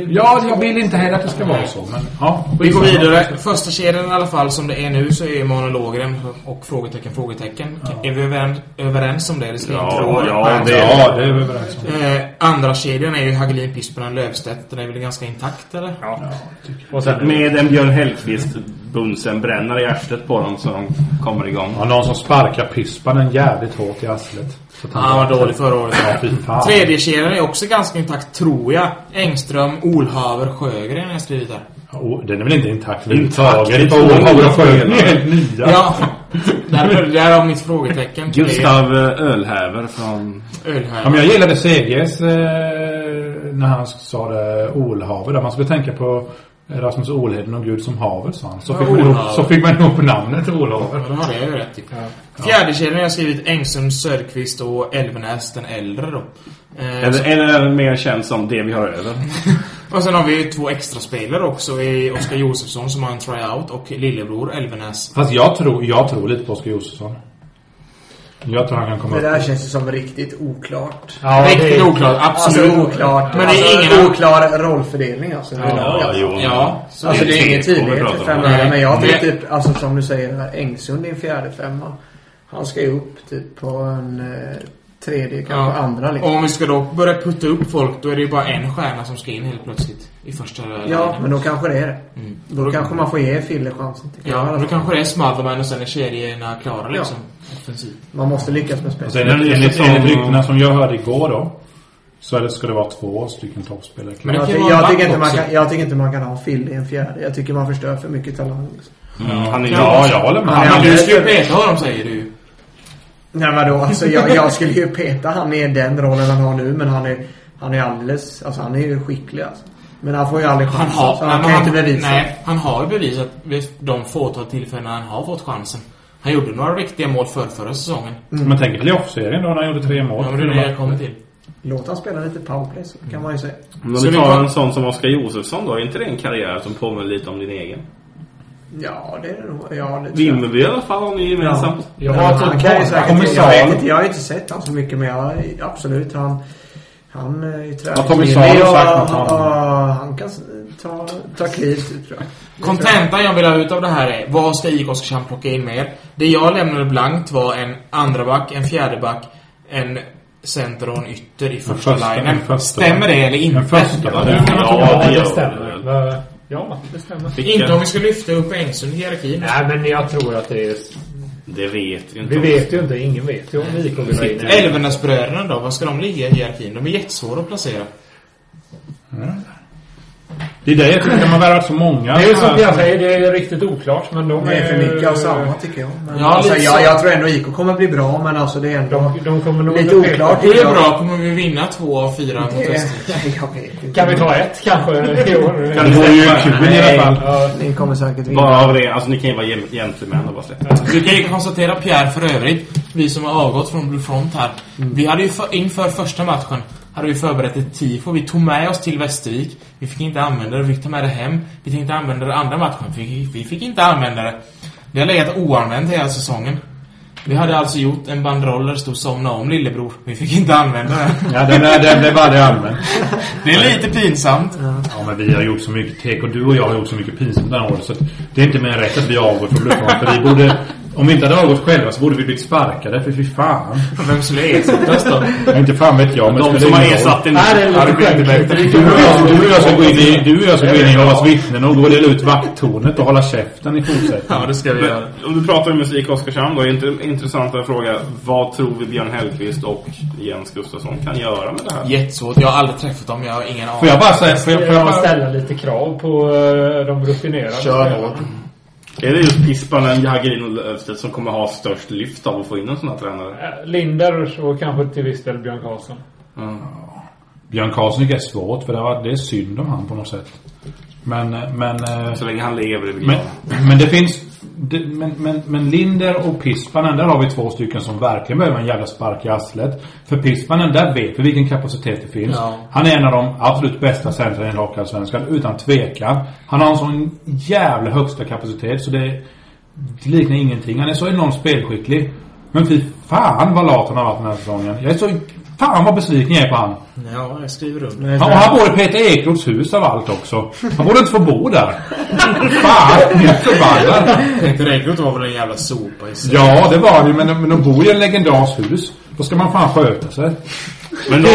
[SPEAKER 3] Ja, jag vill inte heller att det ska vara så. Men, ja,
[SPEAKER 5] Vi går vidare. Första kedjan i alla fall som det är nu så är monologen och frågetecken, frågetecken. Är vi överens, överens om det? det ska
[SPEAKER 4] Ja,
[SPEAKER 5] inte vara-
[SPEAKER 4] ja, det- ja, det är vi överens
[SPEAKER 5] Eh, andra kedjan är ju Hagelin, Pispanen, Löfstedt. Den är väl ganska intakt eller?
[SPEAKER 4] Ja. Med en Björn Hellkvist bunsen bränner i arslet på dem så de kommer igång.
[SPEAKER 3] Ja, någon som sparkar pispanen jävligt hårt i arslet. Så att
[SPEAKER 5] Ja, Han var dålig förra året.
[SPEAKER 3] Ja, fy fan.
[SPEAKER 5] Tredje kedjan är också ganska intakt, tror jag. Engström, Olhaver, Sjögren har jag skrivit där.
[SPEAKER 3] Oh, den är väl inte intakt överhuvudtaget? För Åhavre och Sjögren är helt nya.
[SPEAKER 5] Ja. Där, där har mitt frågetecken.
[SPEAKER 4] Gustav eh, Ölhäver från...
[SPEAKER 5] Ölhäver.
[SPEAKER 3] Ja, men jag gillade CGs eh, när han sa det Olhaver där. Man skulle tänka på Rasmus Olheden och Gud som haver, sa han. Så
[SPEAKER 5] Ja,
[SPEAKER 3] fick, man ihop,
[SPEAKER 5] Olhaver.
[SPEAKER 3] så fick man ihop namnet Olhaver.
[SPEAKER 5] Ja, det hade jag ju rätt i. Fjärde kedjan har jag skrivit Engström, Söderqvist och Elvenäs, den äldre då. Eh,
[SPEAKER 4] Eller,
[SPEAKER 5] så-
[SPEAKER 4] eller mer känd som det vi har över.
[SPEAKER 5] Och sen har vi ju två extra spelare också i Oskar Josefsson som har en tryout och lillebror Elvenäs.
[SPEAKER 3] Fast jag tror, jag tror lite på Oskar Josefsson. Jag tror han kan komma
[SPEAKER 6] Det
[SPEAKER 3] upp.
[SPEAKER 6] där känns ju som riktigt oklart.
[SPEAKER 3] Ja, det är-
[SPEAKER 5] Riktigt oklart, absolut.
[SPEAKER 6] Alltså oklart.
[SPEAKER 5] Men det är
[SPEAKER 6] alltså,
[SPEAKER 5] ingen-
[SPEAKER 6] oklar rollfördelning alltså.
[SPEAKER 5] Ja,
[SPEAKER 6] överlag, alltså.
[SPEAKER 5] jo. Ja. Så
[SPEAKER 6] alltså
[SPEAKER 5] det
[SPEAKER 6] det
[SPEAKER 5] är
[SPEAKER 6] är ingen
[SPEAKER 5] inget vi
[SPEAKER 6] tydlighet
[SPEAKER 5] pratar
[SPEAKER 6] i
[SPEAKER 5] om.
[SPEAKER 6] femman.
[SPEAKER 5] Nej.
[SPEAKER 6] Men jag
[SPEAKER 5] Nej.
[SPEAKER 6] tycker typ, alltså som du säger, den här Engsund är en fjärde femma. Han ska ju upp typ på en eh, tredje, kanske andra liksom.
[SPEAKER 5] Och om vi ska då börja putta upp folk, då är det ju bara en stjärna som ska in helt plötsligt. I första
[SPEAKER 6] Ja,
[SPEAKER 5] linjen.
[SPEAKER 6] men då kanske det är det.
[SPEAKER 5] Mm.
[SPEAKER 6] Då kanske man får ge Fille chansen. tycker jag i alla
[SPEAKER 5] Ja, då
[SPEAKER 6] fall.
[SPEAKER 5] kanske det är Smotherman och sen är kedjorna klara
[SPEAKER 6] alltså. Ja.
[SPEAKER 5] liksom. Offensivt.
[SPEAKER 6] Man måste lyckas med
[SPEAKER 3] Och
[SPEAKER 6] spelet.
[SPEAKER 3] sen Alltså, enligt, enligt, enligt ryktena som jag hörde igår då. Så är det, ska det vara två stycken toppspelare
[SPEAKER 6] Men jag, ty- jag, tycker inte man kan, jag tycker inte man kan ha Fille i en fjärde. Jag tycker man förstör för mycket talang. Liksom.
[SPEAKER 3] Han är- ja, jag håller med.
[SPEAKER 6] Han är
[SPEAKER 3] Men du ska ju
[SPEAKER 6] alldeles-
[SPEAKER 3] peta honom, säger du ju.
[SPEAKER 6] Nej men då, alltså jag, jag skulle ju peta han i den rollen han har nu men han är, han är alldeles, alltså han är ju skicklig alltså. Men han får ju aldrig
[SPEAKER 5] Han
[SPEAKER 6] chansen.
[SPEAKER 5] har,
[SPEAKER 6] så han
[SPEAKER 5] nej,
[SPEAKER 6] kan
[SPEAKER 5] men
[SPEAKER 6] inte bevisa.
[SPEAKER 5] Nej, han har ju bevisat vid de fåtal tillfällen han har fått chansen. Han gjorde några riktiga mål för förra säsongen.
[SPEAKER 3] Mm. Men tänk playoff-serien då när han gjorde tre mål.
[SPEAKER 5] Ja, men det är det jag kommer till.
[SPEAKER 6] Låt han spela lite powerplay så kan man ju säga.
[SPEAKER 4] Om vi tar en sån som Oskar Josefsson då, är inte det en karriär som påminner lite om din egen?
[SPEAKER 6] Ja, det är det nog. Ja, det tror jag.
[SPEAKER 4] Vimmerby i alla fall har ni gemensamt.
[SPEAKER 6] Ja. Ja, han kan ju säkert, jag,
[SPEAKER 4] Kommissar.
[SPEAKER 6] vet inte, jag har inte sett han så mycket men jag, absolut han... Han eh, är ju
[SPEAKER 4] Ja, Tommy Salo
[SPEAKER 6] träningsvillig
[SPEAKER 4] har
[SPEAKER 6] och
[SPEAKER 4] sagt något
[SPEAKER 6] han,
[SPEAKER 4] om
[SPEAKER 6] och han kan s- ta, ta kliv typ, tror jag. Det tror jag.
[SPEAKER 5] Kontentan jag vill ha ut av det här är, vad ska IK Oskarshamn plocka in mer? Det jag lämnade blankt var en andraback, en fjärdeback, en center och en ytter i första,
[SPEAKER 3] första-
[SPEAKER 5] linen.
[SPEAKER 3] en första.
[SPEAKER 5] Stämmer det eller inte?
[SPEAKER 3] En första, va?
[SPEAKER 5] det
[SPEAKER 7] Ja, det stämmer. Va- Ja, det stämmer.
[SPEAKER 5] Inte om vi ska lyfta upp Engsund i hierarkin.
[SPEAKER 7] Nej, men jag tror att det är...
[SPEAKER 4] Det vet ju inte.
[SPEAKER 7] Vi vet ju inte. Ingen vet ju om vi Mm. kommer att gå in.
[SPEAKER 5] Älvenäsbröderna då? Var ska de ligga i hierarkin? De är jättesvåra att placera.
[SPEAKER 3] Det är därför de har värvat så många.
[SPEAKER 7] Det är ju som jag säger, det är riktigt oklart. Men de
[SPEAKER 6] Det är för mycket av samma tycker jag. Men
[SPEAKER 7] Ja,
[SPEAKER 6] alltså,
[SPEAKER 7] lite
[SPEAKER 6] jag,
[SPEAKER 7] så.
[SPEAKER 6] jag tror ändå IK kommer bli bra, men alltså det är ändå
[SPEAKER 7] nog
[SPEAKER 6] lite
[SPEAKER 7] bli
[SPEAKER 6] oklart.
[SPEAKER 5] Det
[SPEAKER 6] tycker
[SPEAKER 5] är
[SPEAKER 6] jag.
[SPEAKER 5] bra. Kommer vi vinna två av fyra mot
[SPEAKER 6] Det-
[SPEAKER 5] Västervik?
[SPEAKER 6] Jag vet inte.
[SPEAKER 7] Kan vi ta ett kanske i år?
[SPEAKER 4] Kan du-
[SPEAKER 6] Ni kommer säkert vinna.
[SPEAKER 4] Bara av det. Alltså ni kan ju vara gen- gentlemän och bara släppa.
[SPEAKER 5] Vi kan ju konstatera Pierre för övrigt, vi som har avgått från Blue Front här. Vi hade ju för, inför första matchen hade vi förberett ett tifo. Vi tog med oss till Västervik. Vi fick inte använda det. Vi fick ta med det hem. Vi tänkte använda det andra matchen. Vi, vi fick inte använda det. Det har legat oanvänt hela säsongen. Vi hade alltså gjort en banderoll där det stod 'Somna om lillebror'. Vi fick inte använda den.
[SPEAKER 3] Ja, den, är, den blev aldrig använd.
[SPEAKER 5] Det är lite pinsamt.
[SPEAKER 3] Ja, men vi har gjort så mycket tek och du och jag har gjort så mycket pinsamt det här året så att det är inte mer än rätt att vi har avgått från Bluffholm. För vi borde... Om vi inte hade avgått själva så borde vi blivit sparkade, för fy fan.
[SPEAKER 5] Vem skulle ersättas då?
[SPEAKER 3] Ja, inte fan vet jag, men...
[SPEAKER 4] De
[SPEAKER 3] det spelar
[SPEAKER 4] som har
[SPEAKER 3] ingen roll.
[SPEAKER 4] ersatt den-
[SPEAKER 3] Nej, det är lite
[SPEAKER 4] Ja, det blir inte
[SPEAKER 3] skämt.
[SPEAKER 4] bättre.
[SPEAKER 3] Du och jag- du och jag ska gå in i... Du och jag ska gå in i Jehovas vittnen och gå och dela ut vakttornet och hålla käften i fortsättningen.
[SPEAKER 5] Ja, det ska vi
[SPEAKER 4] Men
[SPEAKER 5] göra.
[SPEAKER 4] Om du pratar om musik i Oskarshamn då, är det inte intressant att fråga vad tror vi Björn Hellkvist och Jens Gustafsson kan göra med det här?
[SPEAKER 5] Jättesvårt. Jag har aldrig träffat dem. Jag har ingen aning.
[SPEAKER 4] Får jag bara säga- får jag- får jag bara-
[SPEAKER 7] ställa lite krav på eh, de rutinerade?
[SPEAKER 5] Kör hårt.
[SPEAKER 4] Är det just Pispanen, Jagrin och Löfstedt som kommer ha störst lyft av att få in en sån här tränare?
[SPEAKER 7] Eh, Lindar och kanske till viss del Björn Karlsson.
[SPEAKER 3] Björn Karlsson tycker jag är svårt, för det var- det är synd om han på något sätt. Men... men eh,
[SPEAKER 4] Så länge han lever i vill
[SPEAKER 3] Men,
[SPEAKER 4] jag.
[SPEAKER 3] men det finns... Det, men, men, men Linder och Pispanen, där har vi två stycken som verkligen behöver en jävla spark i arslet. För Pispanen, där vet vi vilken kapacitet det finns.
[SPEAKER 5] Ja.
[SPEAKER 3] Han är en av de absolut bästa centrarna i Hockeyallsvenskan, utan tvekan. Han har en sån jävla högsta kapacitet så det, det liknar ingenting. Han är så enormt spelskicklig. Men fy fan vad lat han har varit den här säsongen. Jag är så... Fan vad besviken jag är på han.
[SPEAKER 5] Ja, jag skriver under.
[SPEAKER 3] Han, och han bor i Peter Ekroths hus av allt också. Han borde inte få bo där. Fan, jag är förbannad.
[SPEAKER 5] Peter Ekroth var väl en jävla sopa i sig.
[SPEAKER 3] Ja, det var det men, de- men de bor i en legendars hus. Då ska man fan sköta sig.
[SPEAKER 4] Men då,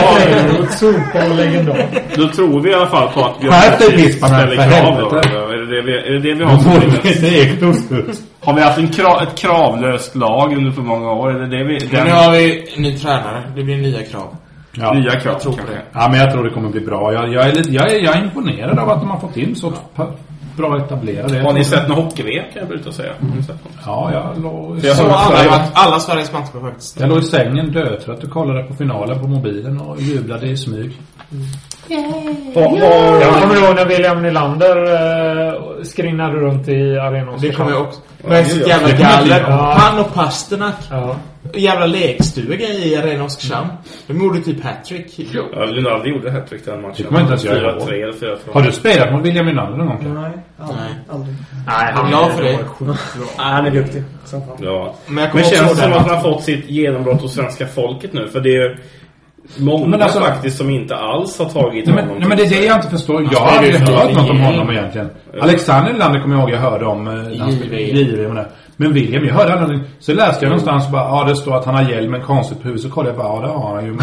[SPEAKER 7] Sopa och legendar.
[SPEAKER 4] då tror vi i alla fall på att Björn
[SPEAKER 3] Skärp dig,
[SPEAKER 4] Hellkvist
[SPEAKER 3] Pispanen, för
[SPEAKER 4] krav då.
[SPEAKER 3] helvete.
[SPEAKER 4] eller? Är det det vi, är det det vi har
[SPEAKER 3] De
[SPEAKER 4] som
[SPEAKER 3] bor i
[SPEAKER 4] vinner?
[SPEAKER 3] Peter Ekroths hus.
[SPEAKER 4] Har vi haft en krav, ett kravlöst lag under för många år? Är det det vi...
[SPEAKER 5] Men
[SPEAKER 4] Den
[SPEAKER 5] nu har vi en ny tränare. Det blir nya krav.
[SPEAKER 3] Ja.
[SPEAKER 4] nya krav
[SPEAKER 5] tror på
[SPEAKER 4] kanske?
[SPEAKER 5] det.
[SPEAKER 3] ja, men jag tror det kommer bli bra. Jag, jag, är, lite, jag, är, jag är imponerad av att de har fått in så pa- bra etablerade.
[SPEAKER 4] Har ni sett någon hockey-VM kan jag bryta och säga? Har ni sett någon?
[SPEAKER 3] Ja, jag låg,
[SPEAKER 4] Jag
[SPEAKER 5] Så
[SPEAKER 4] har-
[SPEAKER 5] alla,
[SPEAKER 3] jag,
[SPEAKER 5] mat- alla Sveriges matcher faktiskt.
[SPEAKER 3] jag låg i sängen dötrött och kollade på finalen på mobilen och jublade i smyg.
[SPEAKER 7] Jag kommer ihåg när William Nylander eh, skrinade runt i arenan.
[SPEAKER 5] Det kommer jag också.
[SPEAKER 7] Men
[SPEAKER 5] Med sitt jävla
[SPEAKER 3] Det kommer jag
[SPEAKER 5] galler.
[SPEAKER 3] inte göra.
[SPEAKER 5] Han och Pasternak.
[SPEAKER 7] Ja.
[SPEAKER 5] Jävla lekstuga i Arena Oskarshamn. De gjorde typ hattrick.
[SPEAKER 4] Ja, Lunardi gjorde hattrick den matchen.
[SPEAKER 3] Det kommer inte ens jag ihåg.
[SPEAKER 4] 4-3 eller 4-2.
[SPEAKER 3] Har du spelat mot William Nylander någon gång?
[SPEAKER 6] Nej, aldrig.
[SPEAKER 5] Nej.
[SPEAKER 6] aldrig.
[SPEAKER 5] Nej, han är glad för det.
[SPEAKER 6] Han är duktig. Som fan.
[SPEAKER 4] Ja.
[SPEAKER 5] Men jag kommer
[SPEAKER 4] Men
[SPEAKER 5] också
[SPEAKER 4] känns det
[SPEAKER 5] ihåg
[SPEAKER 4] som
[SPEAKER 5] den
[SPEAKER 4] att han har fått sitt genombrott hos svenska folket nu? För det är många
[SPEAKER 3] Men alltså-
[SPEAKER 4] faktiskt som inte alls har tagit
[SPEAKER 3] Nej men,
[SPEAKER 4] honom.
[SPEAKER 3] nej men det är det jag inte förstår. Jag har
[SPEAKER 5] spelar
[SPEAKER 3] aldrig
[SPEAKER 5] ju för
[SPEAKER 3] hört något om
[SPEAKER 5] JVM.
[SPEAKER 3] honom egentligen. Alexander Nylander kommer jag ihåg jag hörde om. eh, när han spelade
[SPEAKER 5] JVM.
[SPEAKER 3] JVM och det. Men William, jag hörde aldrig. Så läste jag någonstans och bara, ja det står att han har hjälm men konstigt på huvudet. Så kollade jag bara, ja det har han ju. Men,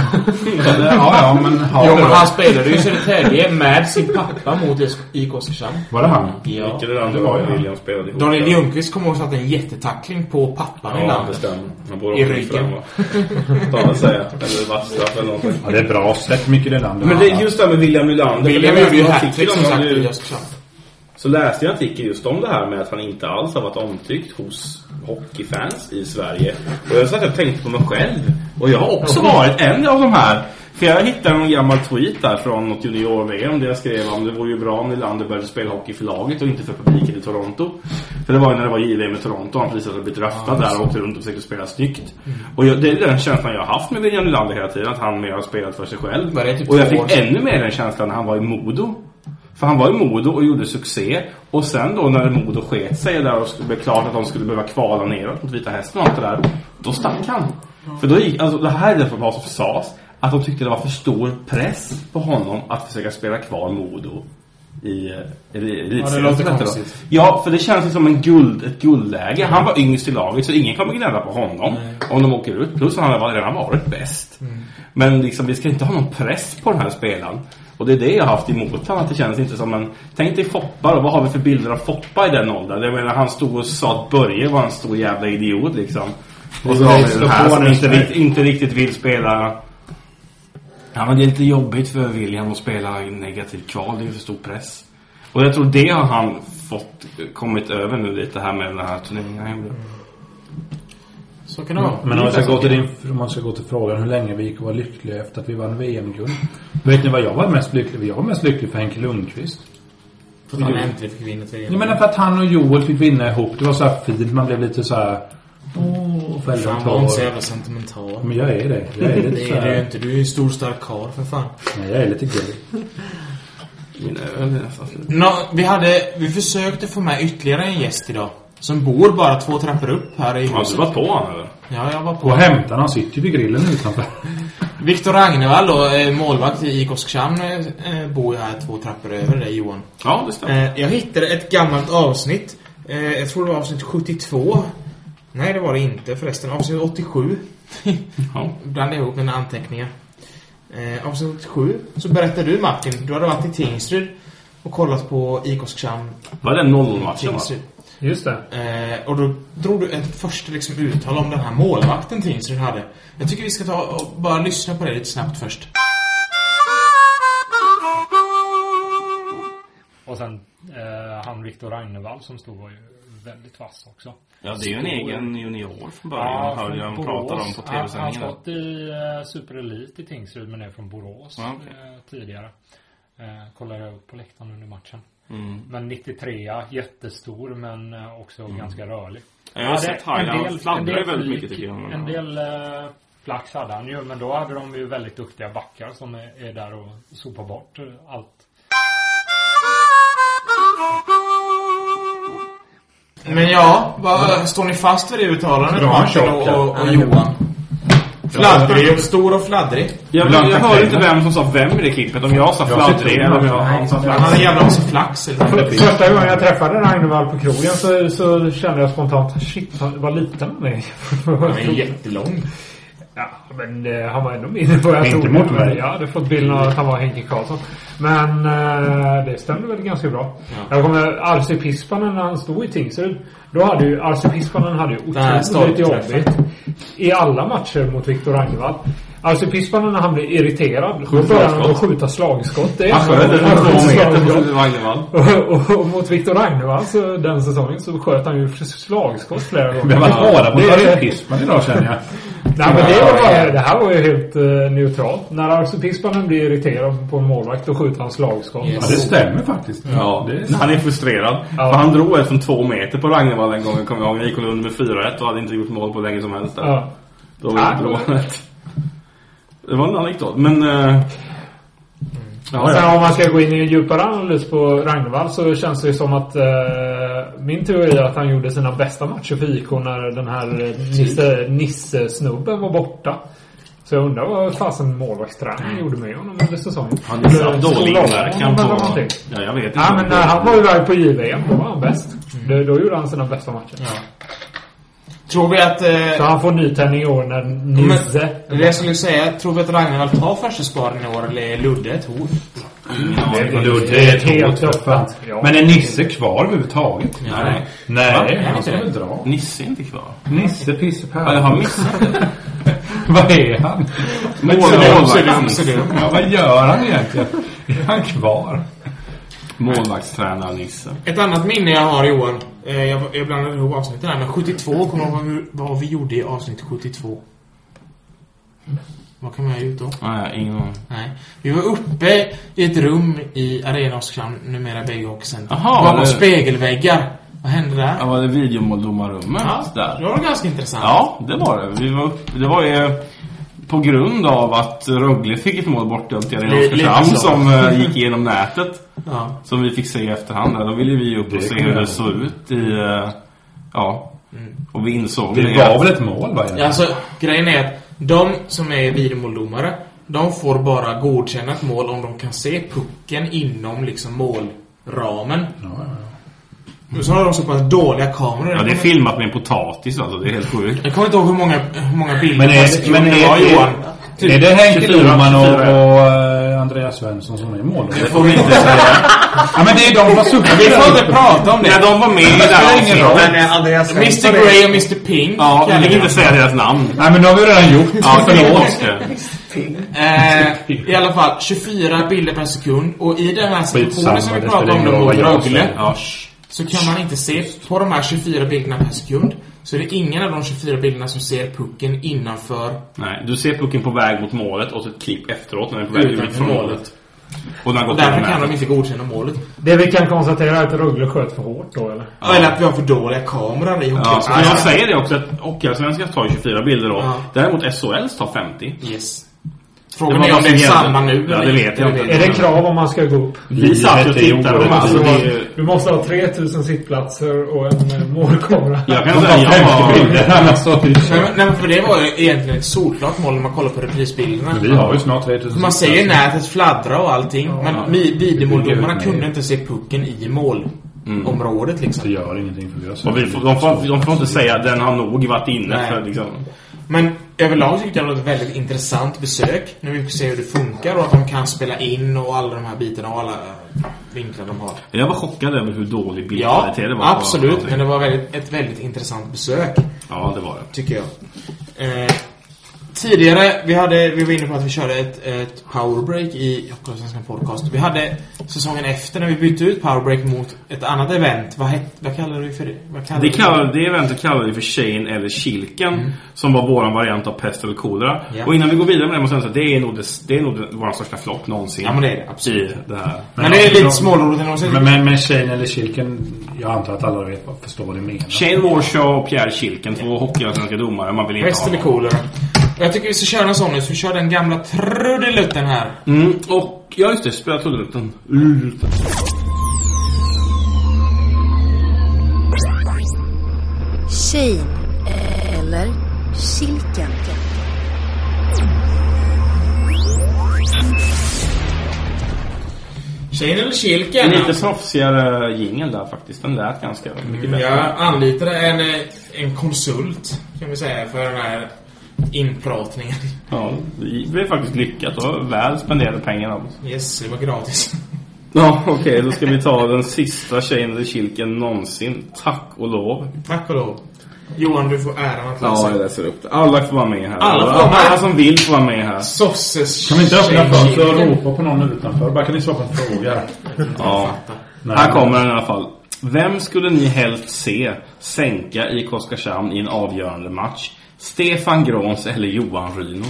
[SPEAKER 3] men, eh, ja, ja men har
[SPEAKER 5] Jo,
[SPEAKER 3] det
[SPEAKER 5] men
[SPEAKER 3] då.
[SPEAKER 5] han spelade ju i Södertälje med sin pappa mot IK Oskarshamn.
[SPEAKER 3] Var det han?
[SPEAKER 5] Ja.
[SPEAKER 4] Vilket är det andra
[SPEAKER 3] Det var ju
[SPEAKER 4] var
[SPEAKER 3] han.
[SPEAKER 4] William spelade ihop.
[SPEAKER 5] Daniel
[SPEAKER 4] med.
[SPEAKER 5] Ljungqvist kommer ihåg att en jättetackling på pappan i
[SPEAKER 4] Ja, det
[SPEAKER 5] landet.
[SPEAKER 4] stämmer. Han borde
[SPEAKER 5] I
[SPEAKER 4] åka
[SPEAKER 5] ryggen.
[SPEAKER 4] fram va? Kan säga. Eller vassstraff eller någonting.
[SPEAKER 3] Ja det är bra släpp mycket Nylander.
[SPEAKER 4] Men det är just det här med William Nylander. för
[SPEAKER 5] William
[SPEAKER 4] det
[SPEAKER 5] gjorde ju
[SPEAKER 4] läste jag en artikel
[SPEAKER 5] hattrick som
[SPEAKER 4] om
[SPEAKER 5] sagt
[SPEAKER 4] nu.
[SPEAKER 5] i Oskarshamn.
[SPEAKER 4] Så läste jag en artikel just om det här med att han inte alls har varit omtyckt hos hockeyfans i Sverige. Och jag satt och tänkte på mig själv. Och jag har också varit en av de här. För jag hittade någon gammal tweet där från något junior-VM där jag skrev om det vore ju bra om Nylander började spela hockey för laget och inte för publiken i Toronto. För det var ju när det var JVM i Toronto. Han precis hade blivit draftad där och åkte runt och försökte spela snyggt. Och jag, det är den känslan jag har haft med William Nylander hela tiden. Att han mer har spelat för sig själv.
[SPEAKER 5] Men det är typ
[SPEAKER 4] och jag
[SPEAKER 5] två år
[SPEAKER 4] fick
[SPEAKER 5] sedan.
[SPEAKER 4] ännu mer den känslan när han var i Modo. För han var i Modo och gjorde succé. Och sen då när Modo sket sig där och det blev klart att de skulle behöva kvala neråt mot Vita Hästen och allt det där. Då stack han. För då gick, alltså det här är det som var som sades. Att de tyckte det var för stor press på honom att försöka spela kvar Modo i, eh, i, i elitserien.
[SPEAKER 5] låter
[SPEAKER 4] Heter det då?
[SPEAKER 5] konstigt.
[SPEAKER 4] Ja, för det känns ju som en guld, ett guldläge. Han var yngst i laget så ingen kommer gnälla på honom om de åker ut. Plus han har redan varit bäst. Men liksom, vi ska inte ha någon press på den här spelaren. Och det är det jag har haft emot honom. Att det känns inte som en... Tänk dig Foppa då. Vad har vi för bilder av Foppa i den åldern? Jag menar, han stod och sa att Börje var en stor jävla idiot liksom. Och så har vi den här som inte, rikt- inte riktigt vill spela... Ja, men det är lite jobbigt för William att spela i negativ kval. Det är ju för stor press. Och jag tror det har han fått, kommit över nu lite här med den här turneringen han gjorde.
[SPEAKER 5] Så kan det vara.
[SPEAKER 3] Men om man, ska gå till din, om man ska gå till frågan hur länge vi gick och var lyckliga efter att vi vann VM-guld. Vet ni vad jag var mest lycklig för? Jag var mest lycklig för Henke Lundqvist.
[SPEAKER 5] För att han äntligen fick vinna tre.
[SPEAKER 3] Jag menar för att han och Joel fick vinna ihop. Det var så här fint. Man blev lite så här... Åh, föräldrar
[SPEAKER 5] Fan, var inte så jävla sentimental.
[SPEAKER 3] Men jag är det. Jag är lite
[SPEAKER 5] det
[SPEAKER 3] så
[SPEAKER 5] är du ju
[SPEAKER 3] här...
[SPEAKER 5] inte. Du är ju en stor stark karl för fan.
[SPEAKER 3] Nej, jag är lite gay.
[SPEAKER 4] Min öl är nästan slut.
[SPEAKER 5] Nå, vi, hade, vi försökte få med ytterligare en gäst idag. Som bor bara två trappor upp här i
[SPEAKER 4] Har du varit på honom eller?
[SPEAKER 5] Ja, jag var på.
[SPEAKER 3] Och hämtar han sitter ju vid grillen utanför.
[SPEAKER 5] Viktor Ragnevall då, eh, målvakt i IK Oskarshamn, eh, eh, bor ju här två trappor över dig Johan.
[SPEAKER 4] Ja, det stämmer.
[SPEAKER 5] Eh, Jag hittade ett gammalt avsnitt. Eh, Jag tror det var avsnitt 72. Nej, det var det inte förresten. Avsnitt 87. Blandade ihop mina anteckningar. Eh, Avsnitt 87 så berättade du Martin, du hade varit i Tingsryd och kollat på IK Oskarshamn.
[SPEAKER 4] Var det 0-0-matchen, va?
[SPEAKER 5] Tingsryd.
[SPEAKER 7] Just det.
[SPEAKER 5] Eh, och då drog du ett första liksom, uttal om den här målvakten Tingsryd hade. Jag tycker vi ska ta och bara lyssna på det lite snabbt först.
[SPEAKER 7] Och sen eh, han Viktor Ragnevall som stod var ju väldigt vass också.
[SPEAKER 4] Ja, det är ju en
[SPEAKER 7] Stor-
[SPEAKER 4] egen junior från början, hörde jag han
[SPEAKER 7] från
[SPEAKER 4] pratade
[SPEAKER 7] Borås.
[SPEAKER 4] om på
[SPEAKER 7] Han- Han
[SPEAKER 4] TV-sändningen.
[SPEAKER 7] har stått i eh, Super Elite i Tingsryd men är från Borås
[SPEAKER 4] Ja, okej.
[SPEAKER 7] eh, tidigare. Eh, kollade jag upp på läktaren under matchen.
[SPEAKER 4] Mm.
[SPEAKER 7] Men 93 jättestor men eh, också ganska rörlig.
[SPEAKER 4] Ja, jag har
[SPEAKER 7] Hade
[SPEAKER 4] sett
[SPEAKER 7] en
[SPEAKER 4] Highland.
[SPEAKER 7] del-
[SPEAKER 4] Han fladdrar
[SPEAKER 7] en del
[SPEAKER 4] ju väldigt
[SPEAKER 7] flik,
[SPEAKER 4] mycket, tycker jag.
[SPEAKER 7] En del eh, flax hade han ju men då hade de ju väldigt duktiga backar som är, är där och sopar bort eh, allt.
[SPEAKER 5] Men ja, vad, står ni fast vid det uttalandet
[SPEAKER 7] Bra,
[SPEAKER 5] Martin
[SPEAKER 7] tjock,
[SPEAKER 5] och,
[SPEAKER 7] ja.
[SPEAKER 5] och, och Johan? Fladdrig, stor och fladdrig.
[SPEAKER 4] Jag, jag hörde inte vem som sa vem i det klippet. Om jag sa fladdrig eller om jag, han sa
[SPEAKER 5] Han hade en
[SPEAKER 4] fladdrig.
[SPEAKER 5] jävla massa flax eller
[SPEAKER 7] För,
[SPEAKER 5] någonting.
[SPEAKER 7] första gången jag träffade Ragnevall på krogen så, så kände jag spontant shit, han- vad liten han är.
[SPEAKER 5] Han är jättelång.
[SPEAKER 7] Ja, men eh, han var ändå mindre än vad jag
[SPEAKER 3] Inte
[SPEAKER 7] trodde.
[SPEAKER 3] mot mig.
[SPEAKER 7] Jag hade fått bilden av att han var Henke Karlsson. Men eh, det stämde väl ganska bra. Jag kommer Arsi Pispanen när han stod i Tingsryd. Då hade ju Arsi Pispanen hade ju
[SPEAKER 5] här
[SPEAKER 7] otroligt
[SPEAKER 5] stolpträffen.
[SPEAKER 7] jobbigt. I alla matcher mot Viktor Ragnevall. Arsi Pispanen när han blir irriterad. Då börjar han att skjuta slagskott. Det är
[SPEAKER 4] Han sköt den
[SPEAKER 7] skjuter
[SPEAKER 4] två meter
[SPEAKER 7] slagskott.
[SPEAKER 4] på Ragnevall.
[SPEAKER 7] Och, och, och mot Viktor Ragnevall så alltså, den säsongen så sköt han ju slagskott flera gånger.
[SPEAKER 3] Vi har varit hårda mot
[SPEAKER 7] Det är-
[SPEAKER 3] Harry Kissman idag känner jag.
[SPEAKER 7] Nej, men det, var bara, det här var ju helt eh, neutralt. När Arsu Pispanen blir irriterad på en målvakt då skjuter han slagskott.
[SPEAKER 3] Ja, det stämmer faktiskt.
[SPEAKER 4] Ja,
[SPEAKER 3] det är
[SPEAKER 4] när han är frustrerad. För han drog ett från två meter på Ragnevall en gång, kommer jag ihåg. Jag gick under med 4-1 och hade inte gjort mål på länge som helst. Där.
[SPEAKER 7] Ja.
[SPEAKER 4] Då var det lånet. Det var en anekdot, men... eh,
[SPEAKER 7] Och
[SPEAKER 4] Ja,
[SPEAKER 7] sen
[SPEAKER 4] ja.
[SPEAKER 7] om man ska gå in i en djupare analys på Ragnvall så känns det ju som att eh, min teori är att han gjorde sina bästa matcher för IK när den här eh, Nisse- Nisse-snubben var borta. Så jag undrar vad fasen målvaktstränaren gjorde med honom under säsongen.
[SPEAKER 4] Han hade
[SPEAKER 7] Eller
[SPEAKER 4] haft dålig
[SPEAKER 7] skolade honom
[SPEAKER 4] inverkan
[SPEAKER 7] eller
[SPEAKER 4] på...
[SPEAKER 7] någonting.
[SPEAKER 4] Ja, jag vet inte.
[SPEAKER 7] Ja, men när han var iväg på JVM då var han bäst. Då, då gjorde han sina bästa matcher.
[SPEAKER 5] Tror vi att...
[SPEAKER 7] Så
[SPEAKER 5] Eh,
[SPEAKER 7] han får nytändning i år när
[SPEAKER 5] men,
[SPEAKER 7] Nisse...
[SPEAKER 5] det jag skulle säga, tror vi att Ragnvall tar första sparen i år eller är Ludde ett hot?
[SPEAKER 3] Ludde är ett hot för fan.
[SPEAKER 7] Ja.
[SPEAKER 3] Men är Nisse kvar överhuvudtaget?
[SPEAKER 4] Nej.
[SPEAKER 3] Nej,
[SPEAKER 5] är
[SPEAKER 3] han
[SPEAKER 5] inte
[SPEAKER 3] ska
[SPEAKER 5] det.
[SPEAKER 3] väl dra.
[SPEAKER 4] Nisse är inte kvar. Ja,
[SPEAKER 3] Nisse
[SPEAKER 4] jag
[SPEAKER 3] Pissepär.
[SPEAKER 4] har missat det.
[SPEAKER 3] Vad är han?
[SPEAKER 4] Målvakts-
[SPEAKER 3] Ja, vad gör han egentligen? Är han kvar?
[SPEAKER 4] Målvaktstränare Nisse.
[SPEAKER 5] Ett annat minne jag har Johan, eh, jag, jag blandade ihop avsnitten här, men 72, kommer du ihåg vad vi- vad vi gjorde i avsnitt 72? Vad kan man ha gjort då?
[SPEAKER 4] Nej, ingen aning.
[SPEAKER 5] Nej. Vi var uppe i ett rum i Arena Oskarshamn, numera bägge hockeycentrum.
[SPEAKER 4] Jaha,
[SPEAKER 5] Bakom
[SPEAKER 4] det-
[SPEAKER 5] spegelväggar. Vad hände där?
[SPEAKER 4] Ja, var det videomåldomarrummet
[SPEAKER 5] det
[SPEAKER 4] där?
[SPEAKER 5] var ganska intressant.
[SPEAKER 4] Ja, det var det. Vi var upp, det var ju eh, på grund av att Rögle fick ett mål bortdömt i Arena
[SPEAKER 5] Li- lite
[SPEAKER 4] Oskarshamn
[SPEAKER 5] så.
[SPEAKER 4] som eh, gick igenom nätet.
[SPEAKER 5] Ja.
[SPEAKER 4] Som vi fick se i efterhand. Där. Då ville vi upp och
[SPEAKER 3] Det
[SPEAKER 4] se
[SPEAKER 3] kommer
[SPEAKER 4] hur det
[SPEAKER 3] jag
[SPEAKER 4] såg ut i... eh, Ja. Och vi insåg
[SPEAKER 3] Det var väl ett mål, va?
[SPEAKER 5] Ja, Alltså, grejen är att de som är videomåldomare, de får bara godkänna ett mål om de kan se pucken inom liksom målramen. Och så har de så pass dåliga kameror.
[SPEAKER 4] Ja, det är filmat med en potatis alltså. Det är helt sjukt.
[SPEAKER 5] Jag kommer inte ihåg hur många, hur många bilder
[SPEAKER 3] Men
[SPEAKER 5] på
[SPEAKER 3] är,
[SPEAKER 5] sekund
[SPEAKER 3] men
[SPEAKER 5] det var
[SPEAKER 3] är,
[SPEAKER 5] Johan.
[SPEAKER 3] är, är det Henke
[SPEAKER 4] 24,
[SPEAKER 3] Lundman och,
[SPEAKER 4] 24?
[SPEAKER 3] och eh, Andreas Svensson som är mål?
[SPEAKER 4] Det får vi inte säga.
[SPEAKER 3] Ja, men det är de som har suttit
[SPEAKER 5] Vi får inte prata om
[SPEAKER 4] När
[SPEAKER 5] det.
[SPEAKER 4] de var med i det
[SPEAKER 3] spelar
[SPEAKER 4] här
[SPEAKER 3] ingen roll.
[SPEAKER 4] avsnittet.
[SPEAKER 6] Andreas
[SPEAKER 5] Mr Grey och Mr Pink.
[SPEAKER 4] Ja,
[SPEAKER 5] kallar
[SPEAKER 4] vi
[SPEAKER 5] vi
[SPEAKER 4] kan inte
[SPEAKER 5] dem.
[SPEAKER 4] säga deras namn.
[SPEAKER 3] Nej, men det har vi redan gjort.
[SPEAKER 4] Ja, förlåt.
[SPEAKER 6] film.
[SPEAKER 5] Eh, I alla fall, 24 bilder per sekund. Och i den här situationen
[SPEAKER 6] Skitsamma,
[SPEAKER 5] som vi
[SPEAKER 6] det
[SPEAKER 5] pratade
[SPEAKER 6] spelar
[SPEAKER 5] om
[SPEAKER 6] ingen
[SPEAKER 5] då mot
[SPEAKER 6] roll vad jag
[SPEAKER 5] Rögle.
[SPEAKER 6] säger.
[SPEAKER 5] ja, shh, Så kan man inte se, på de här 24 bilderna per sekund, så är det ingen av de 24 bilderna som ser pucken innanför
[SPEAKER 4] Nej, du ser pucken på väg mot målet och så ett klipp efteråt när den är på väg
[SPEAKER 5] Utanför
[SPEAKER 4] ut från
[SPEAKER 5] målet.
[SPEAKER 4] målet. Och den har
[SPEAKER 5] Och
[SPEAKER 4] gått
[SPEAKER 5] därför
[SPEAKER 4] över
[SPEAKER 5] kan de
[SPEAKER 4] nätet.
[SPEAKER 5] inte godkänna målet.
[SPEAKER 7] Det vi kan konstatera är att Rögle sköt för hårt då, eller?
[SPEAKER 5] Ja. Eller att vi har för dåliga kameror i
[SPEAKER 4] Ja,
[SPEAKER 5] hockeyallsvenskan.
[SPEAKER 4] men jag säger det också att Hockeyallsvenskan tar ju 24 bilder då.
[SPEAKER 5] Ja.
[SPEAKER 4] Däremot SHLs tar 50.
[SPEAKER 5] Yes. Frågan är om det är samma nu
[SPEAKER 4] Ja, det
[SPEAKER 5] eller
[SPEAKER 4] vet jag
[SPEAKER 5] inte.
[SPEAKER 4] inte.
[SPEAKER 7] Är det krav om man ska gå upp?
[SPEAKER 4] Vi satt ju och tittade på
[SPEAKER 7] Alltså,
[SPEAKER 4] matchen. Det är ju-
[SPEAKER 7] Du måste ha 3000 sittplatser och en eh, målkamera.
[SPEAKER 4] Jag kan säga jag Alltså, var...
[SPEAKER 5] Nej, men- nej, men för det var ju egentligen ett solklart mål när man kollar på reprisbilderna.
[SPEAKER 3] Men vi har ju snart 3000
[SPEAKER 5] Man ser ju nätet fladdra och allting. Men vi- videomåldomarna
[SPEAKER 3] Nej.
[SPEAKER 5] kunde inte se pucken i målområdet liksom.
[SPEAKER 3] Det gör ingenting för vi har sett
[SPEAKER 4] Och vi får, de, får, de får inte säga att den har nog varit inne för liksom...
[SPEAKER 5] Men överlag tyckte jag det var ett väldigt intressant besök. Nu vill vi se hur det funkar och att de kan spela in och alla de här bitarna och alla eh, vinklar de har.
[SPEAKER 4] Jag var chockad över hur dålig
[SPEAKER 5] Ja,
[SPEAKER 4] bildkvalitet det var. på-
[SPEAKER 5] absolut. Men det var väldigt, ett väldigt intressant besök.
[SPEAKER 4] Ja, det var det.
[SPEAKER 5] Tycker jag. Eh, tidigare, vi, hade, vi var inne på att vi körde ett, ett powerbreak i Hockeyallsvenskan podcast. Vi hade säsongen efter när vi bytte ut powerbreak mot ett annat event. Vad, het, vad kallar vi för det? Vad kallar
[SPEAKER 4] Det,
[SPEAKER 5] vi för
[SPEAKER 4] kallar, det eventet kallar vi för Shane eller Kilken Som var våran variant av Pest eller Kolera.
[SPEAKER 5] Mm. Ja.
[SPEAKER 4] Och innan vi går vidare med det måste jag säga att det är nog, det, det är nog den- vår största flopp någonsin.
[SPEAKER 5] Ja, men det är det,
[SPEAKER 4] absolut. Det här.
[SPEAKER 5] Men det är lite småroligt ändå.
[SPEAKER 3] Men, men, men Shane eller Kilken, jag antar att alla vet, vad- förstår vad det menar.
[SPEAKER 4] Shane Warshaw och Pierre Kilken två hockeyallsvenska domare. Man vill inte
[SPEAKER 5] Pest
[SPEAKER 4] ha
[SPEAKER 5] eller
[SPEAKER 4] någon.
[SPEAKER 5] kolera? Jag tycker vi ska köra en sån nu, så vi kör den gamla trudelutten här.
[SPEAKER 4] Mm, och ja, just det. Spela trudelutten.
[SPEAKER 13] Shane eh, eller Kilken.
[SPEAKER 5] Shane eller
[SPEAKER 4] Det
[SPEAKER 5] Kilken?
[SPEAKER 4] är lite proffsigare jingel där faktiskt. Den lät ganska mycket
[SPEAKER 5] Mm,
[SPEAKER 4] bättre.
[SPEAKER 5] Jag anlitade en, eh, en konsult, kan vi säga, för den här inpratningen.
[SPEAKER 4] Ja, vi vi har faktiskt lyckat och väl spenderade pengarna.
[SPEAKER 5] Yes, det var gratis.
[SPEAKER 4] Ja, okej. då ska vi ta den sista Shane eller Kilken någonsin. Tack och lov.
[SPEAKER 5] Tack och lov. Johan, du får äran att
[SPEAKER 4] Ja, jag läser upp det. Alla får vara med här.
[SPEAKER 5] Alla får vara med.
[SPEAKER 4] Alla som vill får vara med här.
[SPEAKER 5] Sosses
[SPEAKER 3] Kan vi inte öppna fönstret och ropa på någon utanför? Bara kan ni svara på en fråga?
[SPEAKER 4] Ja. Här kommer den i alla fall. Vem skulle ni helst se sänka IK Oskarshamn i en avgörande match? Stefan Grons eller Johan Ryno?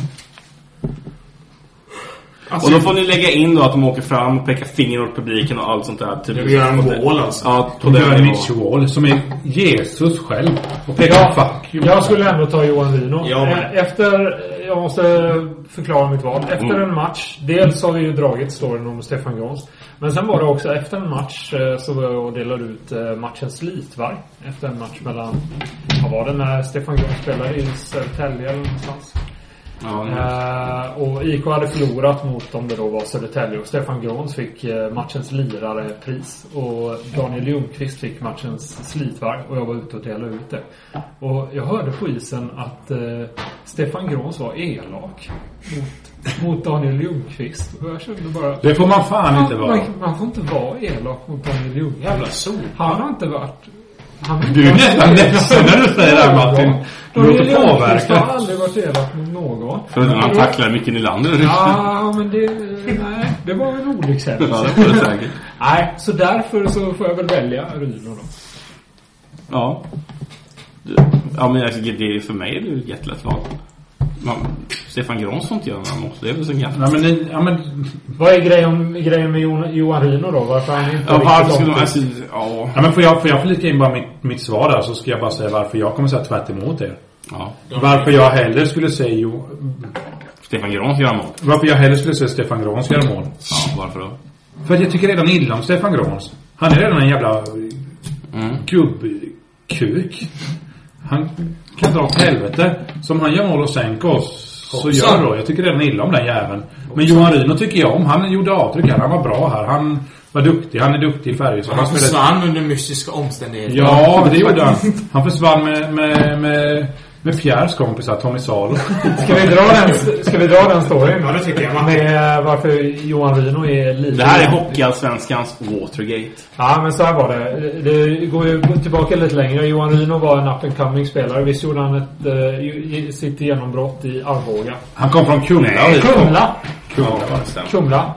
[SPEAKER 5] Alltså-
[SPEAKER 4] och då får ni lägga in då att de åker fram och pekar finger åt publiken och allt sånt där. Typ.
[SPEAKER 5] Det gör en
[SPEAKER 4] På det-
[SPEAKER 5] Wall, alltså.
[SPEAKER 4] Ja, på
[SPEAKER 3] De gör
[SPEAKER 4] den
[SPEAKER 3] en
[SPEAKER 4] nivån.
[SPEAKER 3] Mitch Wall som är Jesus själv. Och pekar
[SPEAKER 7] Ja,
[SPEAKER 3] fuck you.
[SPEAKER 7] jag skulle ändå ta Johan Rino.
[SPEAKER 3] Ja, men-
[SPEAKER 7] Eh, Efter, jag måste förklara mitt val. Efter
[SPEAKER 3] Mm.
[SPEAKER 7] en match, dels har vi ju dragit storyn om Stefan Grans. Men sen var det också efter en match eh, så var jag och delade ut eh, matchens slitvarg. Efter en match mellan, vad var det när Stefan Grans spelade i Södertälje eller någonstans?
[SPEAKER 4] Ja,
[SPEAKER 7] Eh, och IK hade förlorat mot om det då var Södertälje och Stefan Grans fick eh, matchens lirarepris och Daniel Ljungqvist fick matchens slitvarg och jag var ute och delade ut det. Och jag hörde på isen att eh, Stefan Grans var elak mot, mot Daniel Ljungqvist. Och jag kände bara...
[SPEAKER 3] Det får man fan inte vara.
[SPEAKER 7] Man, man får inte vara elak mot Daniel Ljungqvist.
[SPEAKER 5] Jävla sopa.
[SPEAKER 7] Han har inte varit... Han har
[SPEAKER 3] Du är
[SPEAKER 7] inte
[SPEAKER 3] nästan
[SPEAKER 7] varit-
[SPEAKER 3] ledsen när du säger det här Martin. Du
[SPEAKER 7] Daniel
[SPEAKER 3] låter
[SPEAKER 7] Ljungqvist har
[SPEAKER 3] påverkad.
[SPEAKER 7] aldrig varit elak mot någon.
[SPEAKER 4] Förutom när han tacklar Micke Nylander.
[SPEAKER 7] Ja, men det... Nej, det var väl en olyckshändelse.
[SPEAKER 4] Ja, det var det säkert.
[SPEAKER 7] Nej, så därför så får jag väl välja Ryno då.
[SPEAKER 4] Ja. Ja, men jag tycker det är, för mig är det ju ett jättelätt val. Man, Stefan Grans får inte göra några mål. Det är väl så gammalt.
[SPEAKER 3] Nej, men ni, ja, men...
[SPEAKER 7] Vad är grejen, grejen med Jon- Johan Ryno då? Varför han inte
[SPEAKER 3] Ja, varför
[SPEAKER 7] riktigt
[SPEAKER 3] skulle
[SPEAKER 7] långt
[SPEAKER 3] de-
[SPEAKER 7] ut?
[SPEAKER 4] alltså, ja.
[SPEAKER 3] Ja, men får jag, får jag flika in bara mitt, mitt svar där så ska jag bara säga varför jag kommer säga tvärt emot er.
[SPEAKER 4] Ja.
[SPEAKER 3] Varför jag hellre skulle säga jo,
[SPEAKER 4] Stefan Grans gör mål.
[SPEAKER 3] Varför jag hellre skulle säga Stefan Grans göra mål.
[SPEAKER 4] Ja, varför då?
[SPEAKER 3] För att jag tycker redan illa om Stefan Grans. Han är redan en jävla
[SPEAKER 4] Mm.
[SPEAKER 3] gubbkuk. Han kan dra åt helvete. Som han gör mål och sänker oss. Så
[SPEAKER 4] Hoppsan.
[SPEAKER 3] gör då. Jag tycker redan illa om den jäveln. Men Johan Ryno tycker jag om. Han gjorde avtryck här. Han var bra här. Han var duktig. Han är duktig i Färjestad.
[SPEAKER 5] Han
[SPEAKER 3] spelade-
[SPEAKER 5] försvann under mystiska omständigheter.
[SPEAKER 3] Ja, det gjorde han. Han försvann med, med, med Med Pierres kompisar Tommy Salo.
[SPEAKER 7] Ska vi dra den, ska vi dra den storyn?
[SPEAKER 3] Ja, det tycker jag.
[SPEAKER 7] Med varför Johan Rino är lite...
[SPEAKER 4] Det här är Hockeyallsvenskans Watergate.
[SPEAKER 7] Ja, men så här var det. Det går ju tillbaka lite längre. Johan Rino var en up and coming spelare. Visst gjorde han ett, eh, ju- sitt genombrott i Arboga?
[SPEAKER 3] Han kom från Kumla.
[SPEAKER 7] Nej, Kumla!
[SPEAKER 3] Kumla. var det sen.
[SPEAKER 7] Kumla.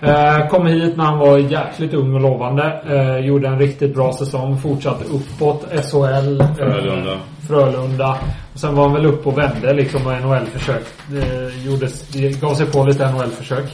[SPEAKER 7] Eh, Kom hit när han var jäkligt ung och lovande. Eh, Gjorde en riktigt bra säsong. Fortsatte uppåt. SHL. eh,
[SPEAKER 4] Frölunda.
[SPEAKER 7] Frölunda. Och sen var han väl upp och vände liksom och NHL-försök. eh, gjordes- Gav sig på lite NHL-försök.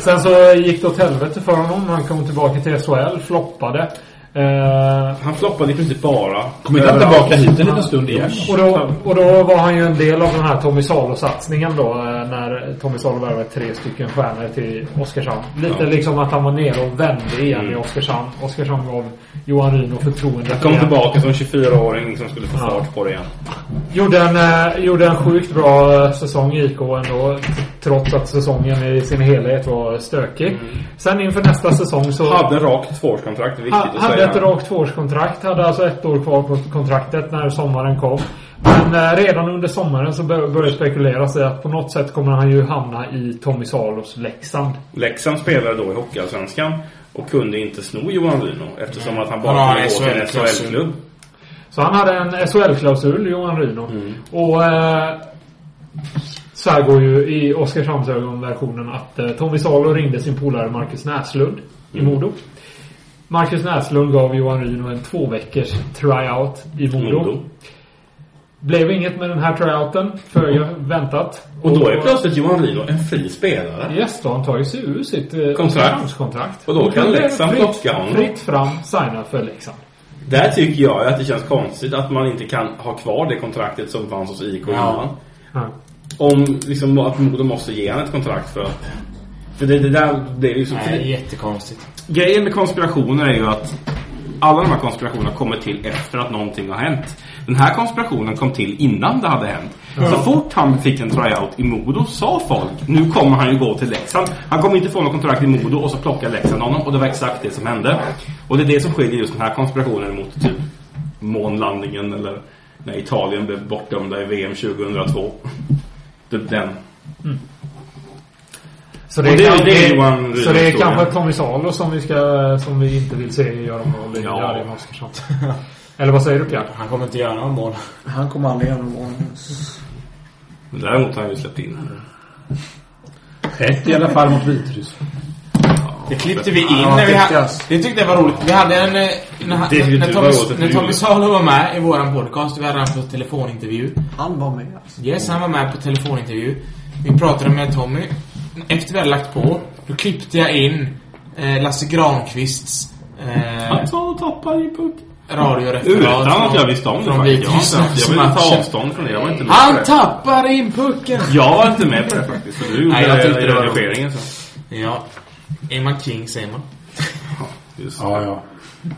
[SPEAKER 7] Sen så gick det åt helvete för honom. Han kom tillbaka till SHL. Floppade. Eh,
[SPEAKER 4] Han floppade i princip bara.
[SPEAKER 3] Kom inte han tillbaka hit en liten stund igen?
[SPEAKER 7] Och då, och då var han ju en del av den här Tommy Salo-satsningen då. eh, När Tommy Salo värvade tre stycken stjärnor till Oskarshamn. Lite
[SPEAKER 4] Ja. Mm.
[SPEAKER 7] liksom att han var nere och vände igen i Oskarshamn. Oskarshamn gav Johan Rino förtroende.
[SPEAKER 4] Han kom
[SPEAKER 7] igen.
[SPEAKER 4] tillbaka som 24-åring liksom skulle få
[SPEAKER 7] Ja.
[SPEAKER 4] fart på det igen.
[SPEAKER 7] Gjorde en, eh, gjorde en sjukt bra eh, säsong i IK ändå. Trots att säsongen i sin helhet var stökig.
[SPEAKER 4] Mm.
[SPEAKER 7] Sen inför nästa säsong så...
[SPEAKER 4] Hade rakt tvåårskontrakt, det är viktigt
[SPEAKER 7] Ha-
[SPEAKER 4] att
[SPEAKER 7] hade
[SPEAKER 4] säga.
[SPEAKER 7] ett rakt tvåårskontrakt. Hade alltså ett år kvar på kontraktet när sommaren kom. Men eh, redan under sommaren så bör- började spekuleras i att på något sätt kommer han ju hamna i Tommy Salos Leksand.
[SPEAKER 4] Leksand spelade då i Hockeyallsvenskan och kunde inte sno Johan Rino eftersom att han
[SPEAKER 7] Han
[SPEAKER 4] bara
[SPEAKER 7] har
[SPEAKER 4] kunde gå till en
[SPEAKER 7] SHL-klausul.
[SPEAKER 4] SHL-klubb.
[SPEAKER 7] Så han hade en SHL-klausul, Johan Rino.
[SPEAKER 4] Mm.
[SPEAKER 7] Och eh, så här går ju i Oskarshamnsögon-versionen att eh, Tommy Salo ringde sin polare Marcus Näslund i
[SPEAKER 4] Mm.
[SPEAKER 7] Modo. Marcus Näslund gav Johan Rino en två veckors tryout i Modo.
[SPEAKER 4] Modo.
[SPEAKER 7] Blev inget med den här tryouten, föga väntat.
[SPEAKER 4] Och då är plötsligt Johan Rino en fri spelare.
[SPEAKER 7] Yes, då har han tagit sig ur sitt eh,
[SPEAKER 4] Kontrakt.
[SPEAKER 7] kontrakt.
[SPEAKER 4] Och då kan
[SPEAKER 7] det är
[SPEAKER 4] Leksand
[SPEAKER 7] fritt-
[SPEAKER 4] plocka honom.
[SPEAKER 7] Fritt fram, signa för Leksand.
[SPEAKER 4] Där tycker jag att det känns konstigt att man inte kan ha kvar det kontraktet som fanns hos IK
[SPEAKER 7] Ja.
[SPEAKER 4] innan.
[SPEAKER 7] Ja.
[SPEAKER 4] Om liksom att Modo måste ge honom ett kontrakt för att... För det, det där blir ju så...
[SPEAKER 5] Nej,
[SPEAKER 4] för det-
[SPEAKER 5] jättekonstigt.
[SPEAKER 4] Grejen med konspirationer är ju att alla de här konspirationerna kommer till efter att någonting har hänt. Den här konspirationen kom till innan det hade hänt.
[SPEAKER 7] Ja.
[SPEAKER 4] Så fort han fick en tryout i Modo sa folk nu kommer han ju gå till Leksand. Han kommer inte få något kontrakt i Modo och så plockar Leksand honom. Och det var exakt det som hände. Och det är det som skiljer just den här konspirationen mot typ månlandningen eller när Italien blev bortdömda i VM 2002. Typ den.
[SPEAKER 7] Så det,
[SPEAKER 4] Och
[SPEAKER 7] är,
[SPEAKER 4] det är-
[SPEAKER 7] kanske,
[SPEAKER 4] det är Johan Rydh
[SPEAKER 7] så det är
[SPEAKER 4] historia.
[SPEAKER 7] kanske Tommy Salo som vi, ska, som vi inte vill se göra mål i
[SPEAKER 5] Ja.
[SPEAKER 7] Darin Oskarsson. Eller vad säger du Pierre?
[SPEAKER 5] Han kommer inte göra några mål.
[SPEAKER 6] Han kommer aldrig göra någon mål.
[SPEAKER 4] Men däremot har han ju släppt in.
[SPEAKER 3] Ett i alla fall mot Vitryssland.
[SPEAKER 5] Det klippte vi in
[SPEAKER 3] Ja,
[SPEAKER 5] när vi
[SPEAKER 3] det
[SPEAKER 5] hade...
[SPEAKER 3] klass.
[SPEAKER 5] Det tyckte jag var roligt. Vi hade en... eh, När,
[SPEAKER 4] Det
[SPEAKER 5] när,
[SPEAKER 4] tyckte
[SPEAKER 5] när,
[SPEAKER 4] jag
[SPEAKER 5] Tommy,
[SPEAKER 4] var roligt att
[SPEAKER 5] när
[SPEAKER 4] du
[SPEAKER 5] Tommy
[SPEAKER 4] gjorde.
[SPEAKER 5] Salo var med i våran podcast, vi hade han på telefonintervju.
[SPEAKER 6] Han var med alltså.
[SPEAKER 5] Yes, han var med på telefonintervju. Vi pratade med Tommy. Efter vi hade lagt på, då klippte jag in eh, Lasse Granqvists... Eh,
[SPEAKER 4] Han tar och tappar i puck.
[SPEAKER 5] radioreferat.
[SPEAKER 4] Utan att jag visste om det
[SPEAKER 5] från
[SPEAKER 4] faktiskt. Jag har inte haft- jag vill inte ta
[SPEAKER 5] Vitrysslandsmatchen.
[SPEAKER 4] avstånd från det. Jag var inte med på
[SPEAKER 5] Han
[SPEAKER 4] det.
[SPEAKER 5] tappar in pucken!
[SPEAKER 4] Jag var inte med på det faktiskt. för Du gjorde
[SPEAKER 5] Nej, jag tyckte det var
[SPEAKER 4] redigeringen.
[SPEAKER 5] roligt.
[SPEAKER 4] Så.
[SPEAKER 5] Ja. Är man king säger man.
[SPEAKER 4] Just.
[SPEAKER 3] Ja, ja.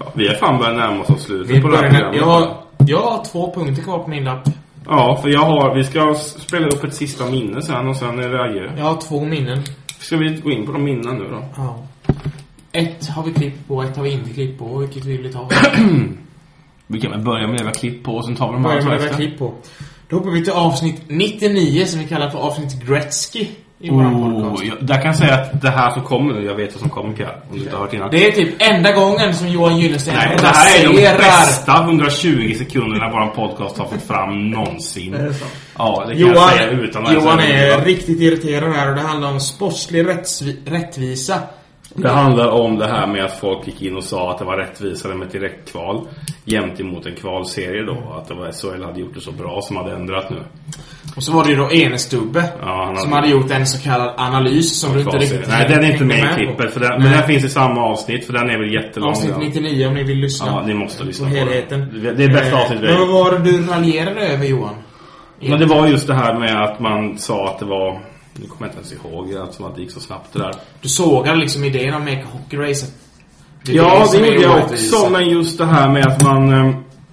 [SPEAKER 4] Ja, vi har fan börjat närma oss slutet
[SPEAKER 5] Vi
[SPEAKER 4] på det här
[SPEAKER 5] börjar,
[SPEAKER 4] programmet.
[SPEAKER 5] jag, har- jag har två punkter kvar på min lapp.
[SPEAKER 4] Ja, för jag har, vi ska s- spela upp ett sista minne sen och sen är det adjö.
[SPEAKER 5] Jag har två minnen.
[SPEAKER 4] Ska vi gå in på de minnen nu då?
[SPEAKER 5] Ja. Ett har vi klipp på, ett har vi inte klipp på. Vilket vill vi ta?
[SPEAKER 4] Vi kan väl börja med det vi har klipp på och sen tar vi de
[SPEAKER 5] Börjar
[SPEAKER 4] andra
[SPEAKER 5] med det vi har
[SPEAKER 4] efter.
[SPEAKER 5] klipp på. Då hoppar vi till avsnitt 99 som vi kallar för avsnitt Gretzky i våran podcast.
[SPEAKER 4] Oh, jag, där kan jag säga att det här som kommer nu, jag vet vad som kommer Pierre. Om du inte har hört innan.
[SPEAKER 5] Det är typ enda gången som Johan Gyllensten
[SPEAKER 4] Nej, det här är de bästa 120 sekunderna vår podcast har fått fram någonsin.
[SPEAKER 5] Är det så?
[SPEAKER 4] Ja, det kan
[SPEAKER 5] Johan,
[SPEAKER 4] jag säga utan att
[SPEAKER 5] Johan
[SPEAKER 4] ens
[SPEAKER 5] är
[SPEAKER 4] överdriva.
[SPEAKER 5] riktigt irriterad här och det handlar om sportslig rättsvi- rättvisa.
[SPEAKER 4] Det handlar om det här med att folk gick in och sa att det var rättvisare med ett direktkval jämt emot en kvalserie då. Att det var SHL hade gjort det så bra som hade ändrat nu.
[SPEAKER 5] Och så var det ju då Enestubbe
[SPEAKER 4] Ja, han
[SPEAKER 5] som hade gjort en så kallad analys som du inte
[SPEAKER 4] kvalserie.
[SPEAKER 5] riktigt
[SPEAKER 4] Nej, den är inte
[SPEAKER 5] hängde
[SPEAKER 4] med i
[SPEAKER 5] på.
[SPEAKER 4] klippet. För den, men
[SPEAKER 5] Nej.
[SPEAKER 4] den finns i samma avsnitt för den är väl jättelång.
[SPEAKER 5] Avsnitt
[SPEAKER 4] ja.
[SPEAKER 5] 99 om ni vill lyssna.
[SPEAKER 4] Ja, ni måste lyssna
[SPEAKER 5] på
[SPEAKER 4] på den.
[SPEAKER 5] helheten.
[SPEAKER 4] Det är bästa
[SPEAKER 5] Eh,
[SPEAKER 4] avsnittet vi har
[SPEAKER 5] Men vad
[SPEAKER 4] gjort.
[SPEAKER 5] var det du raljerade över Johan?
[SPEAKER 4] Men det var just det här med att man sa att det var... Nu kommer jag inte ens ihåg eftersom att det gick så snabbt det där.
[SPEAKER 5] Du sågade liksom idén om Make Hockey Racet.
[SPEAKER 4] Ja, det
[SPEAKER 5] som är
[SPEAKER 4] gjorde jag
[SPEAKER 5] orättvisa.
[SPEAKER 4] också. Men just det här med att man...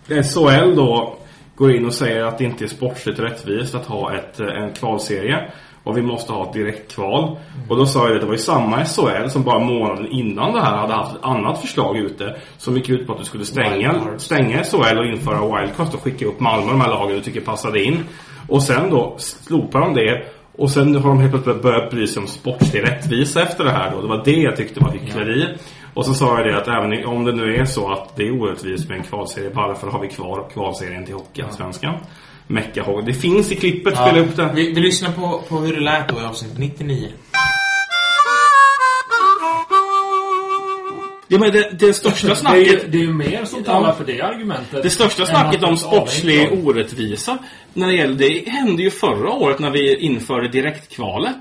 [SPEAKER 4] eh, SHL då går in och säger att det inte är sportsligt rättvist att ha ett, eh, en kvalserie. och vi måste ha ett direktkval.
[SPEAKER 5] Mm.
[SPEAKER 4] Och då sa jag att det var ju samma SHL som bara månaden innan det här hade haft ett annat förslag ute som gick ut på att du skulle stänga, stänga SHL och införa wildcard och skicka upp Malmö de här lagen du tycker passade in. Och sen då slopar de det och sen har de helt plötsligt börjat bry sig om sportslig rättvisa efter det här då. Det var det jag tyckte var hyckleri. Och så sa jag det att även om det nu är så att det är orättvist med en kvalserie, varför har vi kvar kvalserien till Hockeyallsvenskan? Mecka Det finns i klippet,
[SPEAKER 5] Ja.
[SPEAKER 4] spela upp det.
[SPEAKER 5] Vi, vi lyssnar på, på hur det lät då i avsnitt 99.
[SPEAKER 4] Ja, men det, det största
[SPEAKER 14] Det är ju-
[SPEAKER 4] snacket...
[SPEAKER 14] det är ju mer som talar för det argumentet
[SPEAKER 4] Det största
[SPEAKER 14] än
[SPEAKER 4] snacket
[SPEAKER 14] att
[SPEAKER 4] om
[SPEAKER 14] det talar
[SPEAKER 4] sportslig
[SPEAKER 14] inte om-
[SPEAKER 4] orättvisa när det gäller det hände ju förra året när vi införde direktkvalet.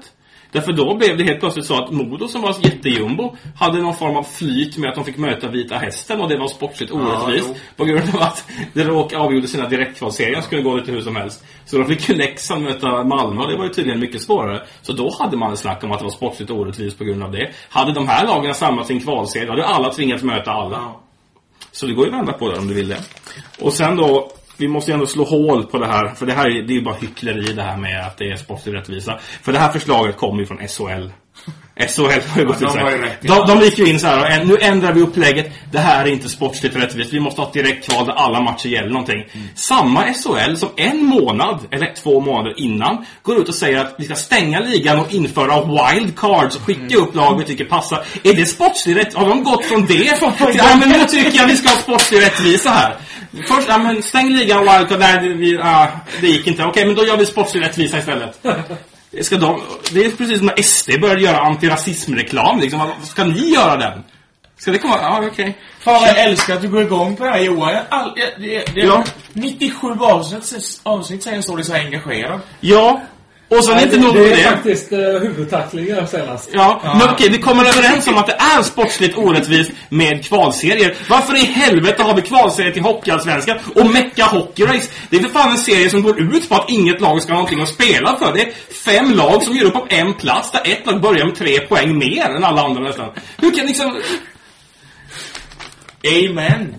[SPEAKER 4] Därför då blev det helt plötsligt så att Modo som var jättejumbo hade någon form av flyt med att de fick möta Vita Hästen och det var sportsligt
[SPEAKER 14] Ja,
[SPEAKER 4] orättvist.
[SPEAKER 14] jo.
[SPEAKER 4] på grund av att det råkade avgjorde sina direktkvalserier skulle gå lite hur som helst. Så då fick ju Leksand möta Malmö och det var ju tydligen mycket svårare. Så då hade man ett snack om att det var sportsligt orättvist på grund av det. Hade de här lagarna samlat sin kvalserie då hade alla tvingats möta alla. Så det går ju att vända på det om du vill det. Och sen då, vi måste ju ändå slå hål på det här. För det här är det är ju bara hyckleri det här med att det är sportslig rättvisa. För det här förslaget kommer ju från SHL. SHL har ju gått
[SPEAKER 14] Ja, de
[SPEAKER 4] ut så här.
[SPEAKER 14] var ju rätt, ja.
[SPEAKER 4] de, de gick ju in så här och en- nu ändrar vi upplägget. Det här är inte sportsligt rättvist. Vi måste ha ett direktkval där alla matcher gäller någonting.
[SPEAKER 14] Mm.
[SPEAKER 4] Samma SHL som en månad, eller två månader innan, går ut och säger att vi ska stänga ligan och införa wildcards och skicka
[SPEAKER 14] Mm.
[SPEAKER 4] upp lag vi tycker passar. Är det sportslig rättvisa? Har de gått från det till, ja, men nu tycker jag vi ska ha sportslig rättvisa här. Först, ja men stäng ligan wildcard. Nej, det- vi, ah, det gick inte. Okej, men då gör vi sportslig rättvisa istället. Ska de, det är precis som när SD började göra antirasismreklam. Liksom. Vad- Ska ni göra den? Ska det komma? Ja, okej.
[SPEAKER 14] Fan vad jag älskar att du går igång på det här Johan. Jag, all, jag, det, det,
[SPEAKER 4] Ja.
[SPEAKER 14] 97 avsnitt, avsnitt sen står du så här engagerad.
[SPEAKER 4] Ja. Och sen
[SPEAKER 14] Nej,
[SPEAKER 4] inte nog
[SPEAKER 14] det
[SPEAKER 4] med
[SPEAKER 14] är
[SPEAKER 4] det.
[SPEAKER 14] faktiskt eh, huvudtacklingar senast.
[SPEAKER 4] Ja, men okej, vi kommer överens om att det är sportsligt orättvist med kvalserier. Varför i helvete har vi kvalserier till Hockeyallsvenskan och Mecka Hockey Race? Det är för fan en serie som går ut på att inget lag ska ha någonting att spela för. Det är fem lag som gör upp om en plats, där ett lag börjar med tre poäng mer än alla andra nästan. Hur kan liksom... Amen!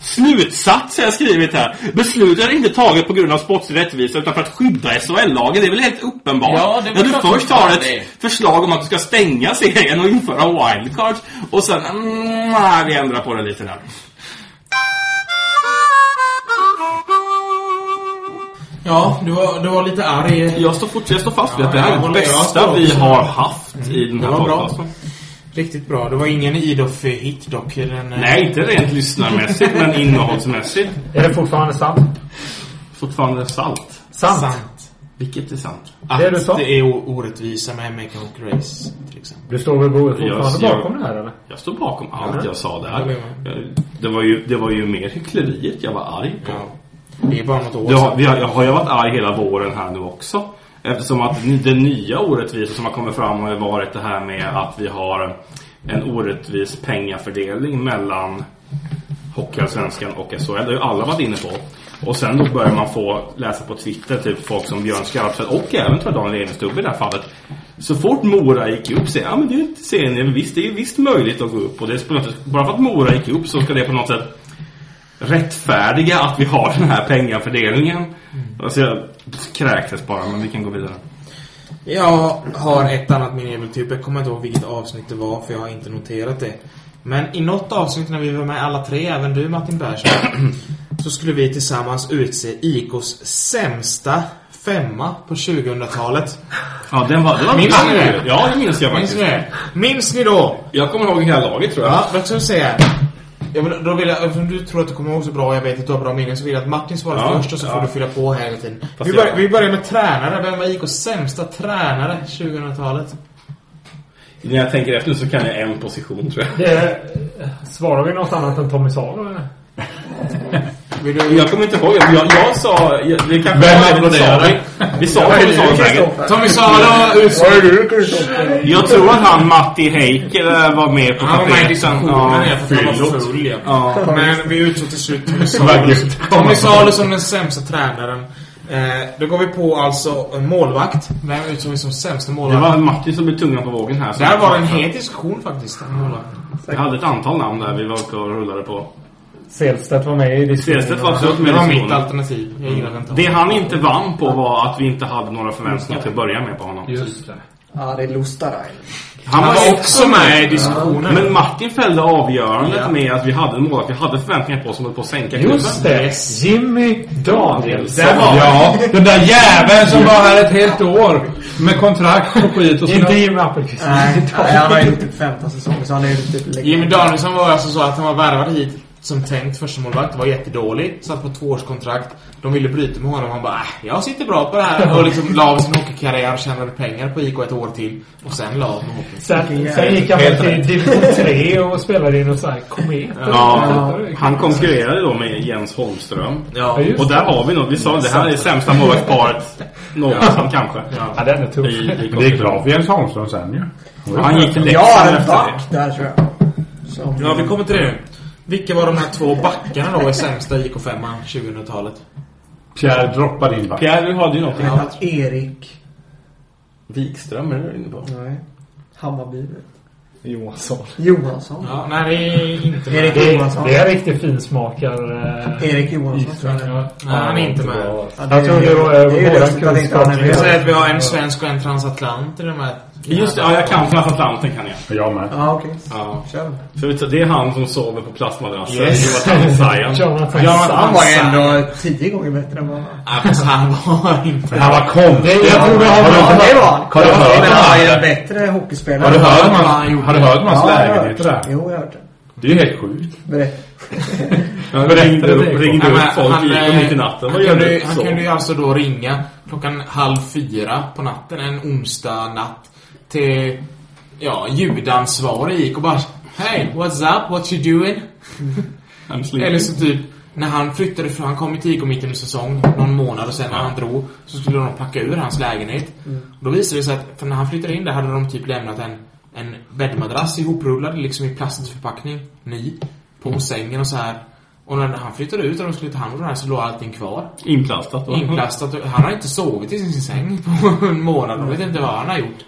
[SPEAKER 4] Slutsats har jag skrivit här. Beslutet är inte taget på grund av sportslig rättvisa utan för att skydda SHL-lagen. Det är väl helt uppenbart?
[SPEAKER 14] Ja, det är väl
[SPEAKER 4] När du
[SPEAKER 14] klart
[SPEAKER 4] först
[SPEAKER 14] som
[SPEAKER 4] har
[SPEAKER 14] fan
[SPEAKER 4] ett
[SPEAKER 14] det är.
[SPEAKER 4] förslag om att du ska stänga serien och införa wildcards och sen... Mm, nej, vi ändrar på det lite där.
[SPEAKER 5] Ja, du var, du var lite arg.
[SPEAKER 4] Jag står, fort, jag står fast vid att det
[SPEAKER 5] Ja,
[SPEAKER 4] här
[SPEAKER 5] jag
[SPEAKER 4] är det
[SPEAKER 5] håller- jag
[SPEAKER 4] bästa
[SPEAKER 5] står
[SPEAKER 4] vi
[SPEAKER 5] också.
[SPEAKER 4] har haft i den
[SPEAKER 5] Det
[SPEAKER 4] här
[SPEAKER 5] var bra.
[SPEAKER 4] podcasten.
[SPEAKER 5] Riktigt bra. Det var ingen Idoff-hit dock. Den, eh,
[SPEAKER 4] Nej, inte rent lyssnarmässigt, men innehållsmässigt.
[SPEAKER 7] Är det fortfarande sant?
[SPEAKER 4] Fortfarande salt.
[SPEAKER 7] Sant.
[SPEAKER 4] Vilket är sant?
[SPEAKER 5] Att
[SPEAKER 7] Det du sa.
[SPEAKER 5] det är o- orättvisa med Make Hook Race, till exempel.
[SPEAKER 7] Du står väl fortfarande
[SPEAKER 4] Jag- jag-
[SPEAKER 7] bakom det här eller?
[SPEAKER 4] Jag står bakom allt
[SPEAKER 7] Ja.
[SPEAKER 4] jag sa
[SPEAKER 7] Ja, det
[SPEAKER 4] där.
[SPEAKER 7] är
[SPEAKER 4] Det var ju, det var ju mer hyckleriet jag var arg på.
[SPEAKER 5] Det är bara något år
[SPEAKER 4] Det har,
[SPEAKER 5] sedan.
[SPEAKER 4] vi har, jag har jag varit arg hela våren här nu också. Eftersom att ny- det nya orättvisa som har kommit fram har ju varit det här med att vi har en orättvis pengafördelning mellan Hockeyallsvenskan och SHL. Det har ju alla varit inne på. Och sen då börjar man få läsa på Twitter, typ folk som Björn Skarpstedt och även tror jag Daniel Edenstubbe i det här fallet. Så fort Mora gick upp så ja men det är ju inte serien, visst det är ju visst möjligt att gå upp. Och det är på något sätt, bara för att Mora gick upp så ska det på något sätt rättfärdiga att vi har den här pengafördelningen. Alltså jag kräktes bara, men vi kan gå vidare.
[SPEAKER 5] Jag har ett annat minjäveltyp. Jag kommer inte ihåg vilket avsnitt det var, för jag har inte noterat det. Men i något avsnitt när vi var med alla tre, även du Martin Persson, så skulle vi tillsammans utse IKs sämsta femma på 2000-talet.
[SPEAKER 4] Ja, den var- det var
[SPEAKER 5] minns
[SPEAKER 4] bra.
[SPEAKER 5] ni det?
[SPEAKER 4] Ja, det minns jag faktiskt.
[SPEAKER 5] Minns ni, det? minns ni då?
[SPEAKER 4] Jag kommer ihåg hela laget tror jag.
[SPEAKER 5] Ja, vad ska jag säga? Jag vill, då vill jag, eftersom du tror att du kommer ihåg så bra och jag vet att du har bra minnen så vill jag att Martin svarar
[SPEAKER 4] Ja,
[SPEAKER 5] först och så
[SPEAKER 4] ja.
[SPEAKER 5] får du fylla på här hela tiden.
[SPEAKER 4] Fast
[SPEAKER 5] Vi,
[SPEAKER 4] jag-
[SPEAKER 5] börjar, vi börjar med tränare. Vem var IKs sämsta tränare 2000-talet?
[SPEAKER 4] När jag tänker efter så kan jag en position tror jag.
[SPEAKER 7] Det är, svarar vi något annat än Tommy Salo eller?
[SPEAKER 4] Jag kommer inte ihåg. Jag, jag sa... Jag, det kanske
[SPEAKER 7] Vem
[SPEAKER 4] var-
[SPEAKER 7] applåderade?
[SPEAKER 4] Vi sa
[SPEAKER 7] Ja,
[SPEAKER 4] Tommy
[SPEAKER 7] det är
[SPEAKER 4] Salo
[SPEAKER 7] du,
[SPEAKER 4] säkert.
[SPEAKER 7] Kristoffer. Tommy Salo, ursäkta. Vad är du, Kristoffer?
[SPEAKER 4] Jag tror att han Matti Heikkilä var med på
[SPEAKER 5] Han var med i diskussionen,
[SPEAKER 4] Ja,
[SPEAKER 5] ja, för att han var
[SPEAKER 4] fyllot.
[SPEAKER 5] full, ja.
[SPEAKER 4] Ja.
[SPEAKER 5] Men vi utsåg till slut Tommy
[SPEAKER 4] Vad
[SPEAKER 5] Salo.
[SPEAKER 4] gud.
[SPEAKER 5] Tommy Salo som den sämsta tränaren. Eh, då går vi på alltså en målvakt. Vem utsåg vi som sämsta
[SPEAKER 4] Det
[SPEAKER 5] målvakt?
[SPEAKER 4] var Martin som blev tungan på vågen här.
[SPEAKER 5] Där var det en het diskussion faktiskt. om målvakten.
[SPEAKER 4] Jag hade ett antal namn där vi var uppe och rullade på.
[SPEAKER 15] Selstedt var med i diskussionen.
[SPEAKER 4] Selstedt var absolut med i
[SPEAKER 15] Det var
[SPEAKER 4] diskussionen.
[SPEAKER 15] mitt alternativ. Jag gillade inte
[SPEAKER 4] Det han inte vann på var att vi inte hade några förväntningar till att börja med på honom.
[SPEAKER 6] Just det. Ja, det är Lustaraj.
[SPEAKER 4] Han var också med i diskussionen. Men Martin fällde avgörandet
[SPEAKER 6] Ja.
[SPEAKER 4] med att vi hade en målvakt vi hade förväntningar på som höll på att sänka
[SPEAKER 15] Just det! Jimmy Danielsson.
[SPEAKER 4] Där var-
[SPEAKER 3] Ja, den där jäveln som var här ett helt år med kontrakt och skit och
[SPEAKER 15] Inte Jimmy Appelqvist.
[SPEAKER 6] Nej, nej, han har ju gjort typ 15 säsonger, så han är ju typ längre.
[SPEAKER 5] Jimmy Danielsson var alltså så att han var värvad hit som tänkt förstemålvakt. Var jättedålig. Satt på tvåårskontrakt. De ville bryta med honom. Han bara äh, jag sitter bra på det här. Och liksom la av sin hockeykarriär och tjänade pengar på IK ett år till. Och sen la av med hockeyn.
[SPEAKER 15] Sen, sen gick han väl till division 3 och spelade i någon sån här komet.
[SPEAKER 4] Ja, han konkurrerade då med Jens Holmström.
[SPEAKER 5] Ja,
[SPEAKER 15] just
[SPEAKER 4] och där
[SPEAKER 15] det.
[SPEAKER 4] har vi nog, vi sa det här är sämsta målvaktsparet någonsin kanske.
[SPEAKER 15] Ja, den är tuff.
[SPEAKER 3] Men det gick bra för Jens Holmström sen ju.
[SPEAKER 4] Ja, han gick till
[SPEAKER 6] Ja,
[SPEAKER 4] Leksand
[SPEAKER 6] en
[SPEAKER 4] efter det.
[SPEAKER 6] back där tror jag. Som-
[SPEAKER 5] Ja, vi kommer till det nu. Vilka var de här två backarna då i sämsta IK 5 2000-talet?
[SPEAKER 3] Pierre droppade in back.
[SPEAKER 4] Pierre, du hade ju någonting.
[SPEAKER 6] Ja, Erik.
[SPEAKER 4] Wikström är du inne på.
[SPEAKER 6] Nej. Hammarby.
[SPEAKER 15] Johansson.
[SPEAKER 6] Johansson.
[SPEAKER 5] Ja, nej, det är inte med.
[SPEAKER 6] Erik
[SPEAKER 15] Det,
[SPEAKER 6] Johansson.
[SPEAKER 15] det är riktigt
[SPEAKER 7] eh,
[SPEAKER 15] finsmakar...
[SPEAKER 6] Erik Johansson tror jag det är.
[SPEAKER 5] Nej, han är inte med.
[SPEAKER 15] Ja, det är- Jag tror det var- det är ju våran lustigt att inte han är kunskap. med.
[SPEAKER 5] Jag säger att vi har en svensk och en transatlant i de här.
[SPEAKER 4] Just det, ja, jag kan Transatlanten kan jag.
[SPEAKER 3] Jag med.
[SPEAKER 6] Ja, okej.
[SPEAKER 4] Ja.
[SPEAKER 6] Kör.
[SPEAKER 4] Så vi tar- det är han som sover på plastmadrassen.
[SPEAKER 5] Yes.
[SPEAKER 4] Jonathan Zion.
[SPEAKER 6] Jonathan Jonathan var ju ändå tio gånger bättre än vad han var.
[SPEAKER 5] Ja, fast han var inte...
[SPEAKER 3] Han var konstig.
[SPEAKER 6] Jag tror vi har ja, det var han.
[SPEAKER 3] Har du hört
[SPEAKER 6] Men han är en
[SPEAKER 3] om
[SPEAKER 6] bättre hockeyspelare.
[SPEAKER 3] Har du hört om
[SPEAKER 6] Ja, han
[SPEAKER 3] hans-
[SPEAKER 6] gjorde
[SPEAKER 3] har du hört om hans
[SPEAKER 6] det. Ja, jag har
[SPEAKER 3] lägenheter
[SPEAKER 6] hört
[SPEAKER 3] där?
[SPEAKER 6] det. Jo, jag har hört det.
[SPEAKER 3] Det är ju helt sjukt.
[SPEAKER 6] Berätta.
[SPEAKER 3] Berätta det.
[SPEAKER 5] Nej, men
[SPEAKER 4] folk gick
[SPEAKER 5] eh,
[SPEAKER 4] mitt i natten. Vad
[SPEAKER 5] Han,
[SPEAKER 4] gör
[SPEAKER 5] kunde,
[SPEAKER 4] du?
[SPEAKER 5] ju- han
[SPEAKER 4] Så.
[SPEAKER 5] kunde ju alltså då ringa klockan halv fyra på natten en onsdag natt till ja, ljudansvarig gick och bara Hey, what's up? What you doing?
[SPEAKER 4] I'm sleeping.
[SPEAKER 3] Mm.
[SPEAKER 5] Eller så typ när han flyttade från, han kom till IK mitten i säsong, någon månad och sen när han drog så skulle de packa ur hans lägenhet.
[SPEAKER 6] Mm.
[SPEAKER 5] Och då visade det sig att för när han flyttade in där hade de typ lämnat en, en bäddmadrass ihoprullad liksom i plastförpackning, ny, på sängen och så här. Och när han flyttade ut och de skulle ta hand om den här så låg allting kvar.
[SPEAKER 4] Inplastat då.
[SPEAKER 5] Inplastat. och- Han har inte sovit i sin säng på en månad. Jag vet inte vad han har gjort.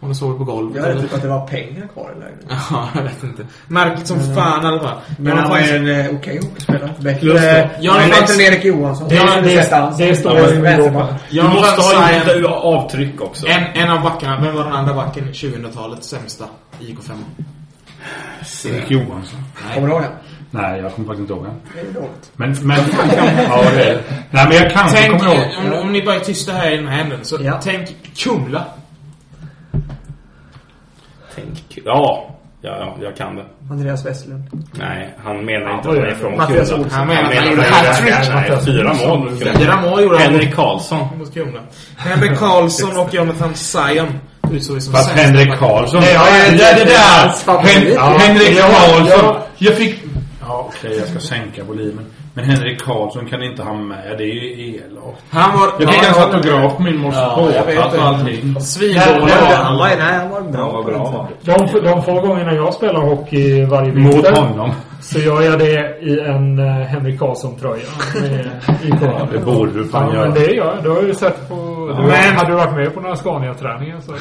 [SPEAKER 5] Hon har sovit på golvet.
[SPEAKER 6] Jag hörde
[SPEAKER 5] eller-
[SPEAKER 6] typ att det var pengar kvar i lägenheten.
[SPEAKER 5] Ja, jag vet inte. Märkligt som fan i alla fall.
[SPEAKER 6] Mm. Men han var ju en eh, okej hockeyspelare. Bättre...
[SPEAKER 5] Ja,
[SPEAKER 6] Han är
[SPEAKER 5] men-
[SPEAKER 6] bättre än Erik Johansson.
[SPEAKER 5] Det-
[SPEAKER 6] Han är
[SPEAKER 5] det-
[SPEAKER 6] distans.
[SPEAKER 5] det står
[SPEAKER 6] Han är
[SPEAKER 5] i min
[SPEAKER 6] vänsterback.
[SPEAKER 5] blå-
[SPEAKER 4] Du
[SPEAKER 5] Ja,
[SPEAKER 4] måste ha
[SPEAKER 5] Zion.
[SPEAKER 4] gjort det ur avtryck också.
[SPEAKER 5] En, en av backarna, vem var den andra backen? 2000-talets sämsta i IK 5?
[SPEAKER 3] Erik Johansson.
[SPEAKER 6] Kommer du ihåg den?
[SPEAKER 3] Nej, jag kommer faktiskt inte ihåg han.
[SPEAKER 6] Det är dåligt.
[SPEAKER 3] Men, men... ja, det är det. Nej, men jag kanske
[SPEAKER 5] Tänk, eh,
[SPEAKER 3] kommer ihåg.
[SPEAKER 5] om, om ni bara är tysta här i den här änden, så tänk Kumla.
[SPEAKER 4] Tänk. Ja. Ja, ja, jag kan det.
[SPEAKER 6] Andreas Westlund.
[SPEAKER 4] Nej, han menar inte att han
[SPEAKER 6] vad är
[SPEAKER 4] är
[SPEAKER 6] det?
[SPEAKER 4] från
[SPEAKER 6] Mattias
[SPEAKER 4] Kumla.
[SPEAKER 6] Olsson. Han menar att han
[SPEAKER 4] ju
[SPEAKER 6] gjorde
[SPEAKER 4] det
[SPEAKER 6] hattrick.
[SPEAKER 4] här. Nej, Fyra mål.
[SPEAKER 5] Fyra mål gjorde han.
[SPEAKER 4] Henrik Karlsson.
[SPEAKER 5] Mot Kumla. Henrik Karlsson och Jonathan Zion utsågs som
[SPEAKER 3] Fast
[SPEAKER 5] sämsta
[SPEAKER 3] Henrik
[SPEAKER 5] back.
[SPEAKER 3] Karlsson.
[SPEAKER 5] Nej,
[SPEAKER 3] Ja,
[SPEAKER 5] jag-
[SPEAKER 3] det där, det där!
[SPEAKER 5] hans favorit.
[SPEAKER 3] Hen,
[SPEAKER 5] Ja.
[SPEAKER 3] Henrik
[SPEAKER 5] Ja,
[SPEAKER 3] Karlsson.
[SPEAKER 5] ja.
[SPEAKER 3] Jag fick... Ja, okej, jag ska sänka volymen. Men Henrik Karlsson kan inte ha med. Det är ju elakt.
[SPEAKER 5] Han var...
[SPEAKER 3] Jag fick hans autograf på min mors båtplats och allting.
[SPEAKER 5] Svindålig var han.
[SPEAKER 6] Nej, nej, han var bra.
[SPEAKER 3] Han var bra, va?
[SPEAKER 15] De, de få gångerna jag spelar hockey varje
[SPEAKER 3] Mot
[SPEAKER 15] vinter
[SPEAKER 3] honom.
[SPEAKER 15] så gör jag det i en eh, Henrik Karlsson-tröja. med IK.
[SPEAKER 3] Ja, det borde du fan
[SPEAKER 15] ja,
[SPEAKER 3] göra.
[SPEAKER 15] Men det gör jag. Du har ju sett på...
[SPEAKER 3] Ja.
[SPEAKER 15] Du,
[SPEAKER 3] Men-
[SPEAKER 15] Hade du varit med på några Scania-träningar så...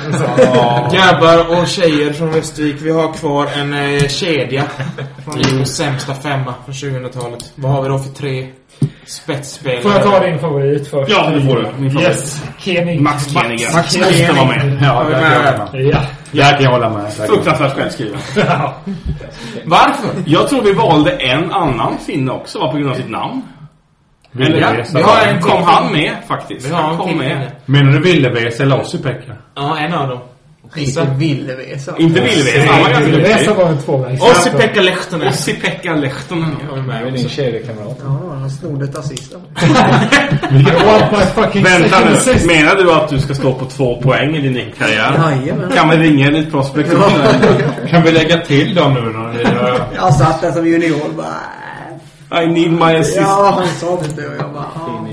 [SPEAKER 5] Grabbar och tjejer från Västervik, vi har kvar en eh, kedja från
[SPEAKER 4] Mm.
[SPEAKER 5] IKs sämsta femma från 2000-talet. Vad har vi då för tre spetsspelare?
[SPEAKER 15] Får jag ta din favorit först?
[SPEAKER 5] Ja, det får du. Min favorit.
[SPEAKER 15] Yes. Kenig.
[SPEAKER 5] Max Kenig.
[SPEAKER 15] Max
[SPEAKER 5] Max
[SPEAKER 15] Kenig.
[SPEAKER 5] måste vara med.
[SPEAKER 3] Ja,
[SPEAKER 15] Har vi
[SPEAKER 3] där kan jag hålla med.
[SPEAKER 15] Ja.
[SPEAKER 3] Där kan jag hålla med. Där kan jag-
[SPEAKER 4] Fruktansvärt självskriven.
[SPEAKER 15] Ja.
[SPEAKER 5] Varför?
[SPEAKER 4] Jag tror vi valde en annan finne också, va, på grund av sitt namn. Eller,
[SPEAKER 3] Ja, vi har en
[SPEAKER 4] kom
[SPEAKER 3] till.
[SPEAKER 4] han med faktiskt?
[SPEAKER 5] Vi har
[SPEAKER 4] han
[SPEAKER 5] en
[SPEAKER 4] kom
[SPEAKER 5] till
[SPEAKER 4] med.
[SPEAKER 5] finne.
[SPEAKER 3] Menar du Villeves eller Ossi-Pekka?
[SPEAKER 5] Ja, en av dem. Gissa.
[SPEAKER 6] Villevesa.
[SPEAKER 4] Inte Villeves, han var ganska
[SPEAKER 15] Villevesa var en tvåvägs.
[SPEAKER 5] Ossi-Pekka Lehtonen.
[SPEAKER 4] Ossi-Pekka Lehtonen.
[SPEAKER 5] Jag var med
[SPEAKER 6] Min
[SPEAKER 15] kedjekamrat.
[SPEAKER 6] Ja, han snodde ett assist av mig.
[SPEAKER 4] Vänta nu, menar du att du ska stå på två poäng i din nickkarriär?
[SPEAKER 6] Jajamän.
[SPEAKER 4] Kan vi ringa Elite Prospect?
[SPEAKER 3] kan vi lägga till dem nu när
[SPEAKER 6] Jag satt där som junior och bara...
[SPEAKER 4] I need my assist.
[SPEAKER 6] Ja, han sa det inte och jag bara...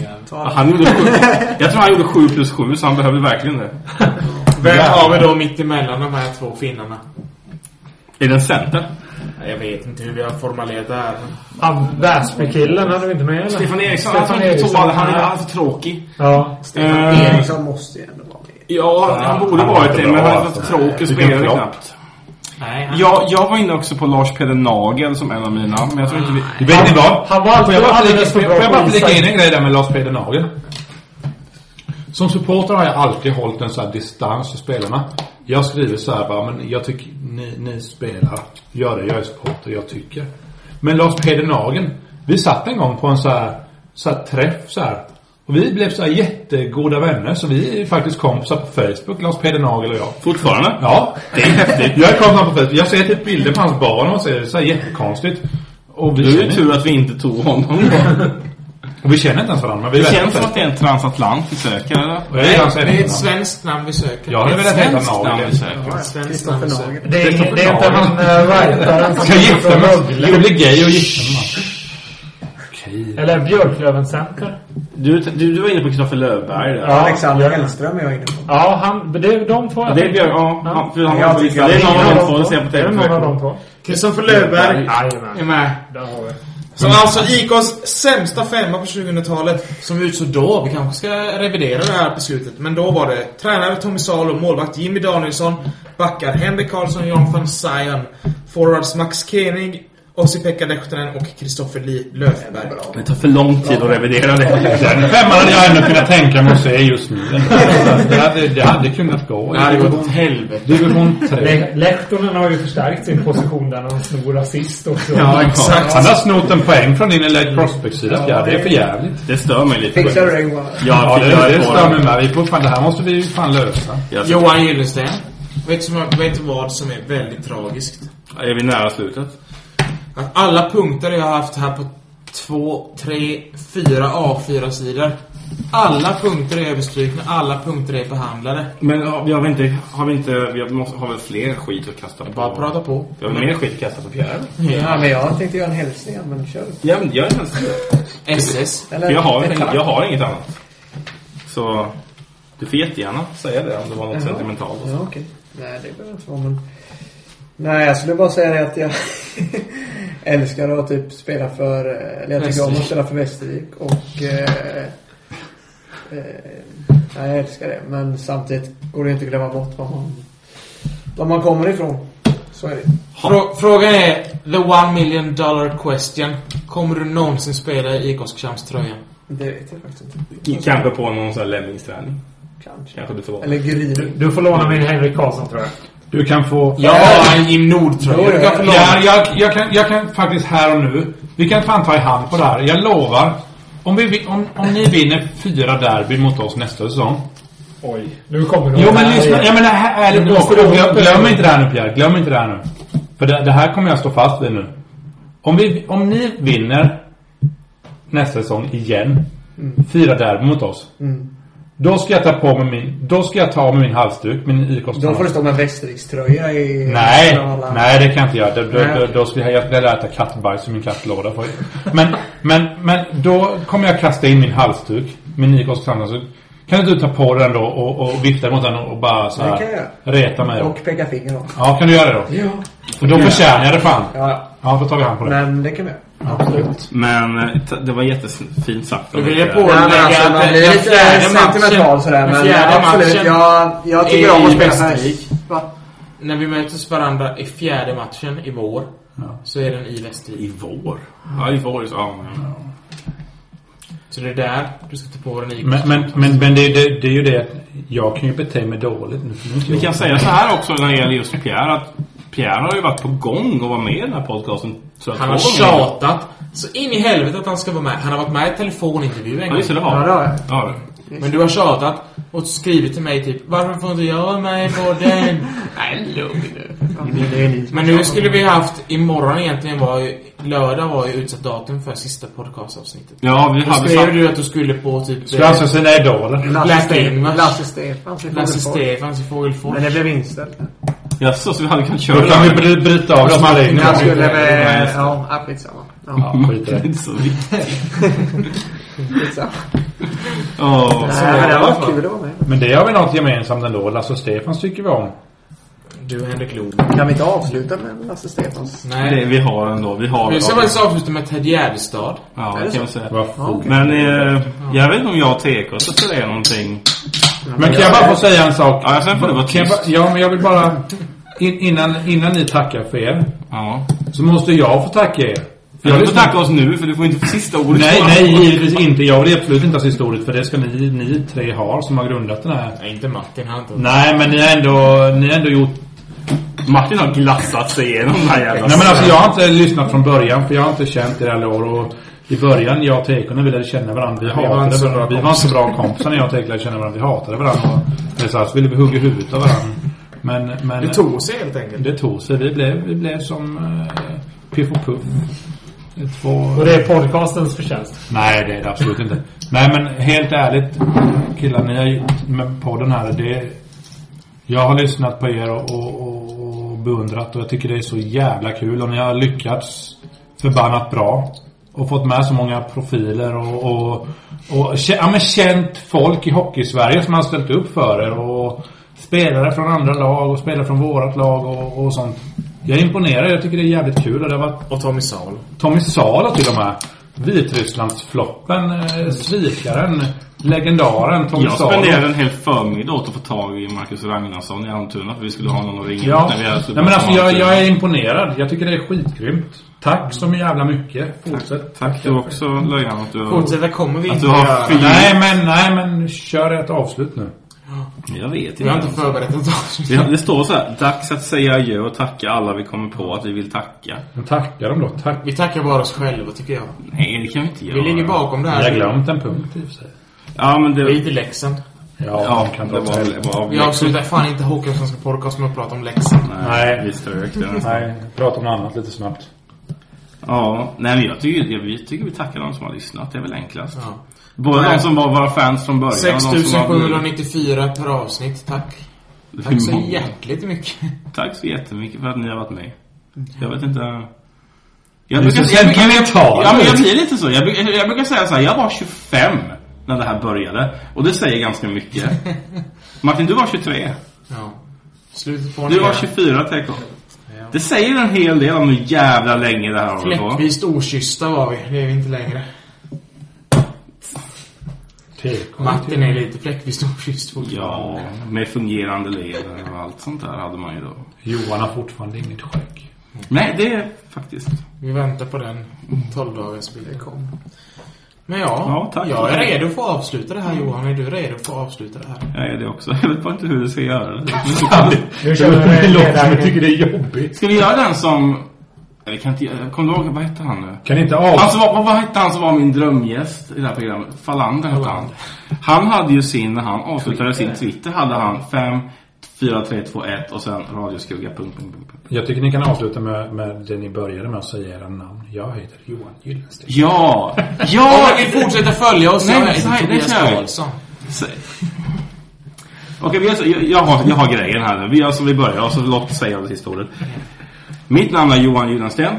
[SPEAKER 6] Ja, ta det.
[SPEAKER 4] Han gjorde sju, jag tror han gjorde 7 plus 7 så han behövde verkligen det.
[SPEAKER 5] Vem har vi då mitt emellan de här två finnarna?
[SPEAKER 4] Är det en center?
[SPEAKER 5] Ja, Jag vet inte hur vi har formulerat det här.
[SPEAKER 15] Han, Väsbykillen hade vi inte med eller?
[SPEAKER 4] Stefan Eriksson, han tror inte
[SPEAKER 15] Eriksson.
[SPEAKER 4] tog alla. Han är alltid tråkig.
[SPEAKER 15] Ja.
[SPEAKER 6] Stefan
[SPEAKER 4] Eh,
[SPEAKER 6] Eriksson måste ju ändå vara med.
[SPEAKER 4] Ja, han borde
[SPEAKER 3] Han
[SPEAKER 4] varit
[SPEAKER 3] var
[SPEAKER 4] det,
[SPEAKER 3] bra,
[SPEAKER 4] men han var
[SPEAKER 3] alltså.
[SPEAKER 4] för tråkig
[SPEAKER 3] Vilken
[SPEAKER 4] spelare
[SPEAKER 3] flopp.
[SPEAKER 4] knappt.
[SPEAKER 5] Nej, han-
[SPEAKER 4] jag, jag var inne också på Lars Peder Nagel som en av mina, men jag tror inte vi...
[SPEAKER 3] Vet ni vad?
[SPEAKER 4] Han
[SPEAKER 3] Får jag bara flika- Får jag bara flika in en grej där med Lars Peder Nagel? Som supporter har jag alltid hållit en sån här distans till spelarna. Jag skriver så här bara, men jag tycker ni, ni spelar. Gör det, jag är supporter, jag tycker. Men Lars Peder Nagel, vi satt en gång på en så här, så här träff så här. Och vi blev så här jättegoda vänner, så vi är faktiskt kompisar på Facebook, Lars Peder Nagel och jag.
[SPEAKER 4] Fortfarande?
[SPEAKER 3] Ja. Det är häftigt. Jag är kompisar på Facebook. Jag ser typ bilder på hans barn och så är det så här jättekonstigt. Och vi
[SPEAKER 4] Det är ju
[SPEAKER 3] känner-
[SPEAKER 4] tur att vi inte tog honom
[SPEAKER 3] och Mm. vi känner inte ens varandra. Men vi
[SPEAKER 4] Det
[SPEAKER 3] vet
[SPEAKER 4] känns
[SPEAKER 3] inte.
[SPEAKER 4] som att det är en transatlant vi söker, eller?
[SPEAKER 3] Och jag är hans
[SPEAKER 5] Det
[SPEAKER 3] efternamn.
[SPEAKER 5] är ett svenskt namn vi söker.
[SPEAKER 3] Jag hade
[SPEAKER 5] Ett
[SPEAKER 3] velat heta
[SPEAKER 5] svenskt
[SPEAKER 3] Nagel.
[SPEAKER 5] namn vi söker.
[SPEAKER 3] Ja,
[SPEAKER 5] Ett svenskt
[SPEAKER 3] Kristoffer
[SPEAKER 5] namn vi
[SPEAKER 3] Nagel.
[SPEAKER 5] söker.
[SPEAKER 3] Det är-
[SPEAKER 5] Kristoffer
[SPEAKER 3] det är inte
[SPEAKER 5] Nagel.
[SPEAKER 3] han, eh, writaren som Ska jag gifta mig? Jag blir gay och gifta
[SPEAKER 15] Eller Björklöven Center.
[SPEAKER 4] Du, du, du var inne på Kristoffer Löfberg där.
[SPEAKER 6] Alexander Hellström är jag inne på.
[SPEAKER 15] Ja, han, det, de två.
[SPEAKER 4] Ja, det är Björk, ja. Han, för han var på listan.
[SPEAKER 15] att
[SPEAKER 4] Det är
[SPEAKER 15] ingen
[SPEAKER 4] någon av de två du ser på
[SPEAKER 15] Det är någon av de två.
[SPEAKER 5] Kristoffer Löfberg är med.
[SPEAKER 15] har vi.
[SPEAKER 5] Som alltså IKs sämsta femma på 2000-talet som utsåg då. Vi kanske ska revidera det här beslutet. Men då var det tränare Tommy Salo, målvakt Jimmy Danielsson, backar Henrik Karlsson, Jonathan Sion, forwards Max Kening, Ossi-Pekka Lehtonen och Kristoffer Li- Löfberg.
[SPEAKER 4] Det tar för lång tid att revidera det.
[SPEAKER 3] Den femman hade jag ändå kunnat tänka mig att se just nu. Det hade, det hade kunnat gå.
[SPEAKER 15] Det hade gått åt
[SPEAKER 5] helvete.
[SPEAKER 3] Division 3.
[SPEAKER 15] Le- Lehtonen har ju förstärkt sin position där när han snor assist också.
[SPEAKER 3] Han har snott en poäng från din Elite Prospect-sida. Ja, det är för jävligt.
[SPEAKER 4] Det stör mig lite.
[SPEAKER 6] Fixar du det Johan?
[SPEAKER 3] Ja, det, det stör mig med. Vi får fan, det här måste vi ju fan lösa.
[SPEAKER 5] Johan Gyllensten. Vet du vet du vad som är väldigt tragiskt?
[SPEAKER 4] Är vi nära slutet?
[SPEAKER 5] Att alla punkter jag har haft här på två, tre, fyra A4-sidor. Alla punkter är överstrukna, alla punkter är behandlade.
[SPEAKER 4] Men har vi har väl inte... Har vi inte... Vi har, måste, har väl fler skit att kasta på?
[SPEAKER 5] Bara prata på.
[SPEAKER 4] Vi har väl mer skit att kasta på Pierre?
[SPEAKER 6] Ja, men jag tänkte göra en hälsning, men kör du.
[SPEAKER 4] Ja, men gör en hälsning.
[SPEAKER 5] SS.
[SPEAKER 6] Eller-
[SPEAKER 4] jag, har,
[SPEAKER 6] eller-
[SPEAKER 4] jag har inget annat. Så... Du får jättegärna säga det om det var något
[SPEAKER 6] Jaha.
[SPEAKER 4] sentimentalt.
[SPEAKER 6] Ja, okej. Nej, det behöver inte vara, men... Nej, jag skulle bara säga det att jag älskar att typ spela för... Eller jag tycker om att
[SPEAKER 5] Västervik.
[SPEAKER 6] spela för Västervik och... Eh, eh, nej, jag älskar det. Men samtidigt går det inte att glömma bort var man, var man kommer ifrån. Så är det.
[SPEAKER 5] Frå- frågan är, the one million dollar question. Kommer du någonsin spela i IK Oskarshamns tröja?
[SPEAKER 6] Det vet jag faktiskt
[SPEAKER 4] I-
[SPEAKER 6] inte.
[SPEAKER 4] Kanske på någon sån här lämningsträning.
[SPEAKER 6] Kanske.
[SPEAKER 4] Kanske du får vara.
[SPEAKER 6] Eller Gryning.
[SPEAKER 15] Du får låna min Henrik Karlsson tror jag.
[SPEAKER 3] Du kan få...
[SPEAKER 5] Jag har en Jim Nord-tröja. Du kan få låna.
[SPEAKER 3] Ja, jag, jag, kan, jag kan faktiskt här och nu. Vi kan fan ta i hand på det här. Jag lovar. Om, vi, vi- om, om ni vinner fyra derbyn mot oss nästa säsong.
[SPEAKER 15] Oj, nu kommer de
[SPEAKER 3] Jo men
[SPEAKER 15] här
[SPEAKER 3] lyssna,
[SPEAKER 15] igen.
[SPEAKER 3] ja men det här är
[SPEAKER 15] Nu
[SPEAKER 3] ärligt
[SPEAKER 15] måste
[SPEAKER 3] och
[SPEAKER 15] de-
[SPEAKER 3] glöm, glöm inte det här nu Pierre, glöm inte det här nu. För det, det här kommer jag stå fast vid nu. Om, vi, om ni vinner nästa säsong igen, fyra derbyn mot oss.
[SPEAKER 6] Mm.
[SPEAKER 3] Då ska jag ta på mig min, då ska jag ta av mig min halsduk, min IK
[SPEAKER 6] Då får du stå med Västervikströja i...
[SPEAKER 3] Nej,
[SPEAKER 6] alla-
[SPEAKER 3] nej det kan jag inte göra. Då, då,
[SPEAKER 6] Nej.
[SPEAKER 3] då, då skulle jag, jag lär äta kattbajs i min kattlåda. För. Men, men, men då kommer jag kasta in min halsduk. Min Nikos halsduk. Kan inte du ta på den då och, och vifta mot den och bara så
[SPEAKER 6] Det kan jag
[SPEAKER 3] här,
[SPEAKER 6] göra.
[SPEAKER 3] reta mig? då?
[SPEAKER 6] Och peka finger åt.
[SPEAKER 3] Ja, kan du göra det då?
[SPEAKER 6] Ja.
[SPEAKER 3] För då förtjänar jag det fan.
[SPEAKER 6] Ja.
[SPEAKER 3] Ja, då tar vi hand på det.
[SPEAKER 6] Men det kan vi göra. Absolut.
[SPEAKER 4] Men eh, t- det var jättefint sagt.
[SPEAKER 5] Du vill ju
[SPEAKER 6] Ja, men
[SPEAKER 5] pålägga
[SPEAKER 6] alltså, man
[SPEAKER 5] att
[SPEAKER 6] blir
[SPEAKER 5] den
[SPEAKER 6] lite
[SPEAKER 5] fjärde matchen-
[SPEAKER 6] sentimental sådär,
[SPEAKER 5] den
[SPEAKER 6] men
[SPEAKER 5] fjärde
[SPEAKER 6] absolut,
[SPEAKER 5] matchen
[SPEAKER 6] jag- jag tycker
[SPEAKER 5] är
[SPEAKER 6] om att
[SPEAKER 5] i
[SPEAKER 6] spela för
[SPEAKER 5] Västervik.
[SPEAKER 6] Va?
[SPEAKER 5] När vi möter varandra i fjärde matchen i vår, så är den i Västervik.
[SPEAKER 4] I vår? Ja, i vår. så- Ja, ja.
[SPEAKER 5] Så det är där du ska ta på den i
[SPEAKER 3] Men, men, men, men det, det, det är ju det att jag kan ju bete mig dåligt nu. för nu är inte
[SPEAKER 4] Vi
[SPEAKER 3] jag-
[SPEAKER 4] kan säga så här också när det gäller just Pierre att Pierre har ju varit på gång att vara med i den här podcasten. Så att
[SPEAKER 5] Han har
[SPEAKER 4] två gånger.
[SPEAKER 5] tjatat så in i helvete att han ska vara med. Han har varit med i telefonintervju en
[SPEAKER 4] Ja,
[SPEAKER 5] gång.
[SPEAKER 4] just det. Det har
[SPEAKER 6] Ja, det har jag.
[SPEAKER 4] Ja, det.
[SPEAKER 5] Men du har tjatat och skrivit till mig typ Varför får inte jag vara med i podden? Nej, lugn nu. Men nu skulle vi haft Imorgon egentligen var ju Lördag var ju utsatt datum för sista podcastavsnittet.
[SPEAKER 4] Ja, vi
[SPEAKER 5] Då
[SPEAKER 4] hade
[SPEAKER 5] skrev
[SPEAKER 4] sagt-
[SPEAKER 5] du att du skulle på typ...
[SPEAKER 3] Ska jag alltså säga nej då eller?
[SPEAKER 5] Black Ingvars.
[SPEAKER 6] Lasse Stefans i
[SPEAKER 5] eh, Lasse
[SPEAKER 6] Fågelfors.
[SPEAKER 5] Stefans i Fågelfors.
[SPEAKER 6] Men det blev inställt.
[SPEAKER 4] Jaså, så vi hade kunnat köra
[SPEAKER 3] Då kan vi bry- bryta av oss med
[SPEAKER 6] Jag skulle
[SPEAKER 4] Ja,
[SPEAKER 6] med...
[SPEAKER 4] just det.
[SPEAKER 6] Ja, ja, skitsamma.
[SPEAKER 3] Ja,
[SPEAKER 6] Ja,
[SPEAKER 3] skit i
[SPEAKER 4] Det är
[SPEAKER 3] det.
[SPEAKER 4] inte så viktigt.
[SPEAKER 6] skitsamma.
[SPEAKER 4] Åh, så
[SPEAKER 6] Nej, men det
[SPEAKER 4] var
[SPEAKER 6] var
[SPEAKER 4] det.
[SPEAKER 6] kul att vara med.
[SPEAKER 3] Men det har vi något gemensamt ändå. Lasse och Stefans tycker vi om.
[SPEAKER 5] Du och Henrik Loob.
[SPEAKER 6] Kan vi inte avsluta med Lasse Stefans?
[SPEAKER 5] Nej.
[SPEAKER 4] Det vi har ändå. Vi har
[SPEAKER 5] Vi ska
[SPEAKER 4] det.
[SPEAKER 5] faktiskt avsluta med Ted Gärdestad.
[SPEAKER 4] Ja,
[SPEAKER 6] Är
[SPEAKER 4] det
[SPEAKER 6] det
[SPEAKER 4] kan
[SPEAKER 6] så?
[SPEAKER 4] vi säga.
[SPEAKER 3] Vad
[SPEAKER 6] Ja, okej.
[SPEAKER 4] Men eh, jag vet inte om jag och TK ska säga någonting.
[SPEAKER 3] Men kan jag bara få säga en sak?
[SPEAKER 4] Ja, sen får det vara
[SPEAKER 3] Kan jag
[SPEAKER 4] tyst.
[SPEAKER 3] bara, ja, men jag vill bara... in, innan, innan ni tackar för er.
[SPEAKER 4] Ja.
[SPEAKER 3] Så måste jag få tacka er.
[SPEAKER 4] För jag får tacka oss nu, för du får inte sista ordet.
[SPEAKER 3] Nej, nej, givetvis inte. Jag vill absolut inte ha sista ordet, för det ska ni, ni tre ha som har grundat den här.
[SPEAKER 5] Nej, inte Martin. Han inte.
[SPEAKER 3] Nej, men ni har ändå, ni har ändå gjort...
[SPEAKER 4] Martin har glassat sig igenom den här jävla...
[SPEAKER 3] Nej, men alltså jag har inte lyssnat från början, för jag har inte känt er alla år. Och i början, jag och Tekonen, vi lärde känna varandra. Vi, hatade
[SPEAKER 7] var inte så
[SPEAKER 3] varandra.
[SPEAKER 7] bra
[SPEAKER 3] Vi var inte så bra kompisar när jag och Tekon lärde känna varandra. Vi hatade varandra. Och det är så här, så ville vi hugga huvudet av varandra. Men, men...
[SPEAKER 5] Det tog sig helt enkelt.
[SPEAKER 3] Det tog sig. Vi blev, vi blev som eh, Piff och Puff. Det är Två...
[SPEAKER 7] Och det är podcastens förtjänst.
[SPEAKER 3] Nej, det är det absolut inte. Nej, men helt ärligt killar, ni har gjort med podden här. Det, jag har lyssnat på er och, och, och beundrat och jag tycker det är så jävla kul. Och ni har lyckats förbannat bra. Och fått med så många profiler och, och, och kä- ja, men känt folk i Hockeysverige som har ställt upp för er. Och spelare från andra lag och spelare från vårat lag och, och sånt. Jag är imponerad. Jag tycker det är jävligt kul. Och, det har varit...
[SPEAKER 5] och Tommy Salo.
[SPEAKER 3] Tommy Salo till och med. Vitrysslandsfloppen, eh, svikaren, legendaren Tommy
[SPEAKER 4] jag
[SPEAKER 3] Salo.
[SPEAKER 4] spenderade en hel förmiddag åt att få tag i Marcus Ragnarsson i Almtuna för vi skulle ha någon att ringa upp
[SPEAKER 3] Ja.
[SPEAKER 4] när vi
[SPEAKER 3] Nej,
[SPEAKER 4] hade
[SPEAKER 3] men alltså, jag, jag är imponerad. Jag tycker det är skitgrymt. Tack så jävla mycket. Fortsätt.
[SPEAKER 4] Tack du också Löjan att du
[SPEAKER 5] Fortsätta kommer vi
[SPEAKER 4] att
[SPEAKER 5] inte
[SPEAKER 4] du har
[SPEAKER 5] göra.
[SPEAKER 4] fel.
[SPEAKER 3] Nej men, nej men kör ett avslut nu.
[SPEAKER 4] Jag vet inte.
[SPEAKER 5] Vi har inte förberett ett avsnitt.
[SPEAKER 4] det, det står så här. Dags att säga adjö och tacka alla vi kommer på att vi vill tacka.
[SPEAKER 3] Men tacka dem då. Tack.
[SPEAKER 5] Vi tackar bara oss själva, tycker jag.
[SPEAKER 4] Nej, det kan vi inte
[SPEAKER 5] Vi
[SPEAKER 4] göra.
[SPEAKER 5] ligger bakom det här.
[SPEAKER 3] Vi har glömt en punkt i och för sig.
[SPEAKER 4] Ja, men det...
[SPEAKER 5] Skit i läxan.
[SPEAKER 3] Ja,
[SPEAKER 4] Ja,
[SPEAKER 3] de kan
[SPEAKER 4] det
[SPEAKER 3] dra åt
[SPEAKER 4] var väl-
[SPEAKER 3] helvete.
[SPEAKER 4] var
[SPEAKER 5] Vi avslutar fan inte Håkansson podcast med att prata om läxan.
[SPEAKER 3] Nej.
[SPEAKER 4] Vi strök det nästan.
[SPEAKER 3] Nej, prata om något annat lite snabbt.
[SPEAKER 4] Ja, nej men jag tycker, jag, vi tycker vi tackar de som har lyssnat. Det är väl enklast.
[SPEAKER 5] Ja.
[SPEAKER 4] Både
[SPEAKER 5] Nej.
[SPEAKER 4] de som var våra fans från början och de som har blivit-
[SPEAKER 5] 6794 per avsnitt, tack.
[SPEAKER 4] Hur
[SPEAKER 5] Tack så
[SPEAKER 4] många?
[SPEAKER 5] hjärtligt mycket.
[SPEAKER 4] Tack så jättemycket för att ni har varit med.
[SPEAKER 5] Mm.
[SPEAKER 4] Jag vet inte...
[SPEAKER 3] Du är så sentimental.
[SPEAKER 4] ja, men jag blir lite så. Jag, brukar- jag brukar säga så här, jag var 25 när det här började. Och det säger ganska mycket. Martin, du var 23.
[SPEAKER 5] Ja. Slutet på en
[SPEAKER 4] Du var
[SPEAKER 5] era.
[SPEAKER 4] 24, TK. Det säger en hel del om hur jävla länge det här har hållit på.
[SPEAKER 5] Fläckvist okyssta var vi, det är vi inte längre. Martin är lite fläckvist okysst fortfarande.
[SPEAKER 4] Ja, med fungerande leder och allt sånt där hade man ju då.
[SPEAKER 3] Johan har fortfarande inget skägg.
[SPEAKER 4] Nej, det är faktiskt...
[SPEAKER 5] Vi väntar på den 12 dagars bilden kom. Men ja,
[SPEAKER 4] Ja, tack.
[SPEAKER 5] jag är redo för att avsluta det här Johan. Är du redo för att avsluta det här?
[SPEAKER 4] Jag är det också. Jag vet bara inte hur du ska göra det.
[SPEAKER 7] Nu kör vi med Det låter som jag tycker
[SPEAKER 3] det är jobbigt.
[SPEAKER 4] Ska vi göra den som... Nej, Vi kan inte göra... Kommer du ihåg? Vad hette han nu?
[SPEAKER 3] Kan inte av...
[SPEAKER 4] Alltså, vad, vad, vad hette han som var min drömgäst i det här programmet? Falander hette han. Han hade ju sin, när han avslutade sin Twitter, hade han 5, 4, 3, 2, 1 och sen radioskugga... Punkt, punkt, punkt. punkt.
[SPEAKER 3] Jag tycker ni kan avsluta med, med det ni började med att säga era namn. Jag heter Johan Gyllensten.
[SPEAKER 4] Ja!
[SPEAKER 5] Om
[SPEAKER 4] Ja!
[SPEAKER 5] ni vill fortsätta följa oss,
[SPEAKER 4] Nej,
[SPEAKER 5] jag
[SPEAKER 4] men
[SPEAKER 5] heter
[SPEAKER 4] så här, det
[SPEAKER 5] Tobias
[SPEAKER 4] kör vi.
[SPEAKER 5] Karlsson.
[SPEAKER 4] Så- Okej, vi gör så- jag, jag, har, jag har grejen här nu. Vi gör som vi börjar och så låt säga det sista ordet. Mitt namn är Johan Gyllensten.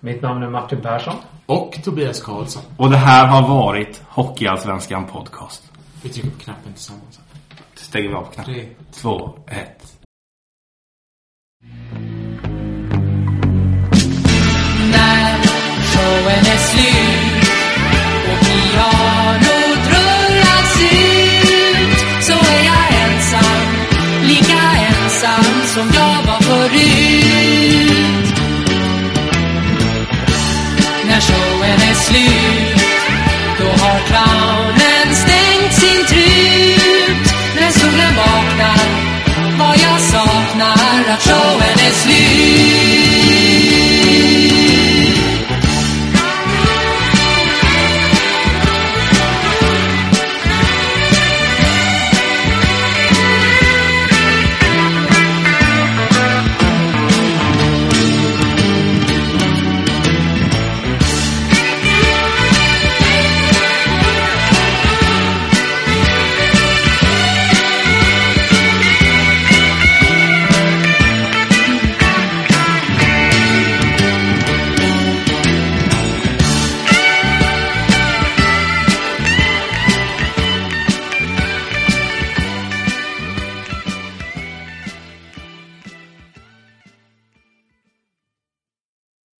[SPEAKER 7] Mitt namn är Martin Persson.
[SPEAKER 5] Och Tobias Karlsson.
[SPEAKER 4] Och det här har varit Hockeyallsvenskan Podcast.
[SPEAKER 5] Vi trycker på knappen tillsammans.
[SPEAKER 4] Stänger vi av knappen.
[SPEAKER 5] Tre.
[SPEAKER 4] Två, ett.